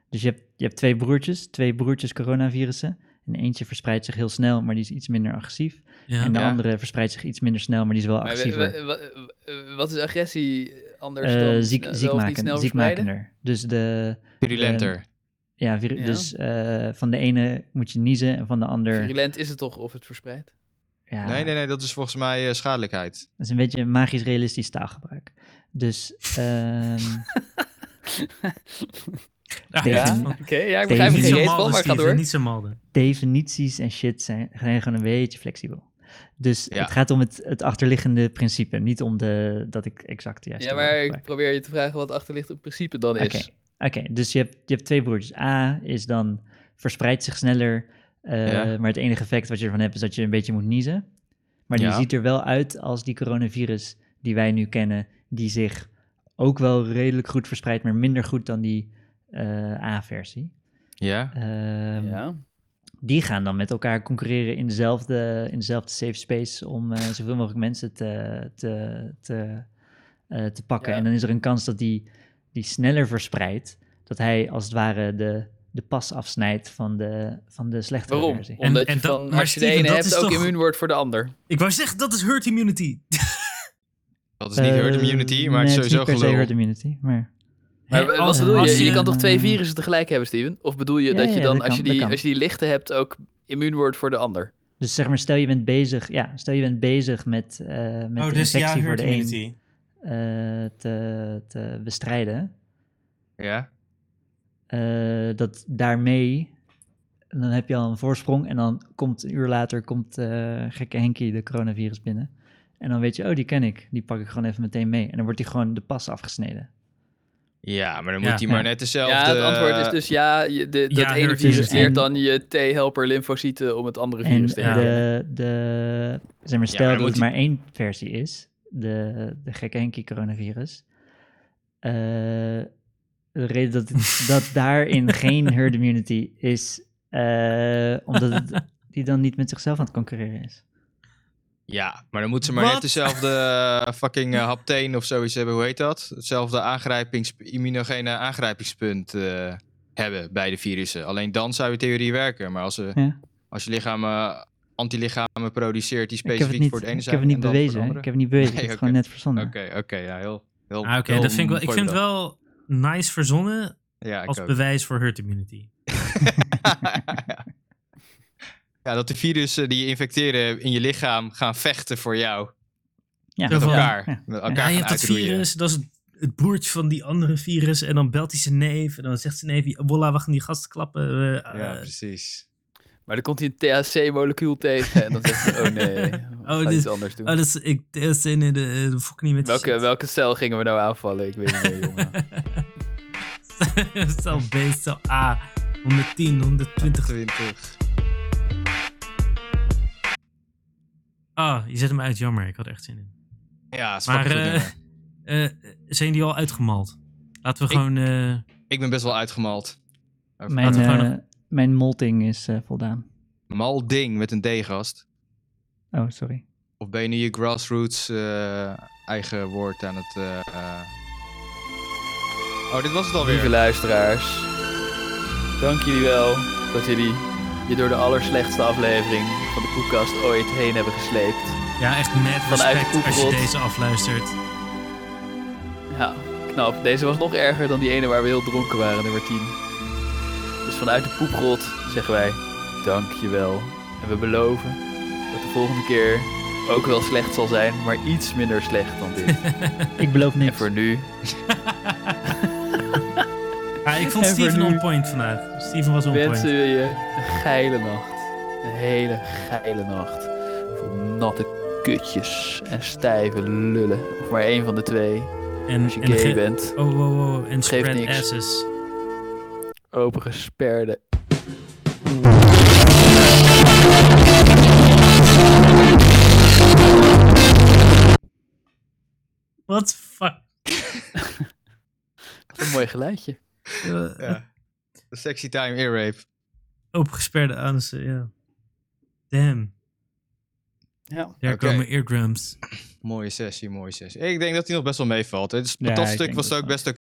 Dus je hebt, je hebt twee broertjes, twee broertjes coronavirussen. En eentje verspreidt zich heel snel, maar die is iets minder agressief.
ja.
En de
Ja.
andere verspreidt zich iets minder snel, maar die is wel
Maar we-
agressiever.
we- wa- wa- wat is agressie anders
Eh,
dan
ziek,
eh, zelf niet snel
ziekmakend,
verspreiden?
ziekmakender. Dus, de,
Virulenter.
Eh, ja, viru-
Ja.
dus eh, van de ene moet je niezen en van de ander...
Virulent is het toch of het verspreidt?
Ja,
Nee, nee, nee, dat is volgens mij eh, schadelijkheid.
Dat is een beetje magisch realistisch taalgebruik. Dus ehm,
Ah,
Ja.
ja.
Oké, ja, ik
Steven.
begrijp er
Niet
geen
zo
reet van,
malden,
maar ga door.
Steven, dus niet zo malden.
definities en shit zijn, zijn gewoon een beetje flexibel. Dus
Ja.
het gaat om het, het achterliggende principe, niet om de, dat ik exact juist.
Ja, maar ik probeer je te vragen wat achterlicht in principe dan
Oké,
is.
Oké, dus je hebt, je hebt twee broertjes. A is dan verspreidt zich sneller, eh,
Ja.
maar het enige effect wat je ervan hebt is dat je een beetje moet niezen. Maar die
Ja.
ziet er wel uit als die coronavirus die wij nu kennen, die zich ook wel redelijk goed verspreidt, maar minder goed dan die eh, A-versie.
Ja.
Ehm,
Ja.
Die gaan dan met elkaar concurreren in dezelfde, in dezelfde safe space om eh, zoveel mogelijk mensen te, te, te, eh, te pakken.
Ja.
En dan is er een kans dat die, die sneller verspreidt, dat hij als het ware de, de pas afsnijdt van de, van de slechtere
Waarom?
versie.
Omdat
en
je
dat-
van,
maar
als je de
Steven,
ene
dat
hebt,
is
ook
toch-
immuun wordt voor de ander.
Ik wou zeggen, dat is herd immunity.
Dat is niet herd
Eh,
immunity, maar
nee,
het is
niet per
sowieso
se herd
gelul.
immunity, maar...
Maar
Hè,
wat
als-
bedoel
als
je? Je
je-
kan toch twee virussen tegelijk hebben, Steven? Of bedoel je
Ja,
dat je
ja,
dan,
dat
als, je
kan, dat
die,
kan.
als je die lichte hebt, ook immuun wordt voor de ander?
Dus zeg maar, stel je bent bezig, ja, stel je bent bezig met, eh, met
oh,
de
dus ja,
infectie voor
herd
de een
immunity.
eh, te, te bestrijden,
Ja.
eh, dat daarmee, dan heb je al een voorsprong en dan komt een uur later komt eh, gekke Henkie de coronavirus binnen. En dan weet je, oh die ken ik, die pak ik gewoon even meteen mee. En dan wordt hij gewoon de pas afgesneden.
Ja, maar dan
Ja.
moet hij maar net dezelfde...
Ja, het antwoord is dus ja. je- de, dat
Ja,
ene
herd
virus
immunity.
leert dan je T-helper lymfocyten om het andere
En
virus te
ja.
herkennen.
de, de, zeg maar, stel
maar dan moet
dat het
hij-
maar één versie is, de, de gekke Henkie coronavirus. Eh, de reden dat, dat daarin geen herd immunity is, eh, omdat het, die dan niet met zichzelf aan het concurreren is.
Ja, maar dan moet ze maar
Wat?
net dezelfde eh, fucking eh, hapteen of zoiets hebben. Hoe heet dat? Hetzelfde aangrijpings, immunogene aangrijpingspunt eh, hebben bij de virussen. Alleen dan zou je theorie werken. Maar als, ze,
Ja.
als je lichaam eh, antilichamen produceert die
Ik heb het
specifiek
niet,
voor het ene
ik
zijn
heb het niet
en dan voor
bewezen. hè. Ik
de
heb het niet bewezen.
Nee,
ik heb het
oké.
gewoon net verzonnen.
andere. Oké, oké, ja, heel... heel
Ah, Oké,
heel
dat vind ik wel. Ik
mooi
vind het
bedacht.
wel nice verzonnen
Ja, ik
als
ook.
bewijs voor herd immunity.
ja, dat de virussen die je infecteren in je lichaam gaan vechten voor jou.
Ja,
Met
ja.
elkaar.
Ja.
Met
Ja,
elkaar
je
gaan
hebt dat
uitroeien.
virus, dat is het, het broertje van die andere virus. En dan belt hij zijn neef. En dan zegt zijn neef, Wolla, we gaan die gasten klappen. eh, eh,
Ja, precies.
Maar dan komt hij een THC-molecuul tegen en dan zegt hij, oh nee, we gaan
dit-
iets anders doen.
oh, dat is, ik, dat is in de, de fok niet met die
welke,
shit.
welke cel gingen we nou aanvallen? Ik weet niet meer, jongen.
cel B, cel A. 110, 120.
20.
Ah, je zet hem uit. Jammer, ik had er echt zin in.
Ja, is
Maar
fucking goed,
eh,
jongen.
eh, zijn die al uitgemald? Laten we
Ik-
gewoon... eh,
Ik ben best wel uitgemald. Over-
Mijn,
we gewoon
eh, mijn molting is eh, voldaan.
Mal ding met een D-gast.
Oh, sorry.
Of ben je nu je grassroots eh, eigen woord aan het... eh, eh. Oh, dit was het
Lieve
alweer.
luisteraars, dank jullie wel dat jullie je door de allerslechtste aflevering van de koelkast ooit heen hebben gesleept.
ja, echt net
Vanuit
respect als je
Koeprot.
deze afluistert.
Ja, knap. Deze was nog erger dan die ene waar we heel dronken waren, nummer 10. Dus vanuit de poeprot zeggen wij, dankjewel. En we beloven dat de volgende keer ook wel slecht zal zijn, maar iets minder slecht dan dit.
Ik beloof
en
niks.
voor nu,
Ah, ik vond
En voor
Steven
nu-
on point vandaag. Steven was on point.
wensen we je een geile nacht. Een hele geile nacht. Vol natte kutjes en stijve lullen. Of maar één van de twee.
En,
Als je
en
gay
ge-
bent,
Oh, wow, wow. En
Geeft
spread
niks.
asses.
open gesperde
What the fuck?
Wat een mooi geluidje.
Eh,
Ja. Sexy time ear rape.
Opengesperde anussen, ja. Damn.
Ja.
Daar
Oké.
komen eardrums.
Mooie sessie, mooie sessie. Ik denk dat die nog best wel meevalt. hè. Dus
Ja,
dat
ik
stuk
denk
was
dat
ook
wel.
best oké.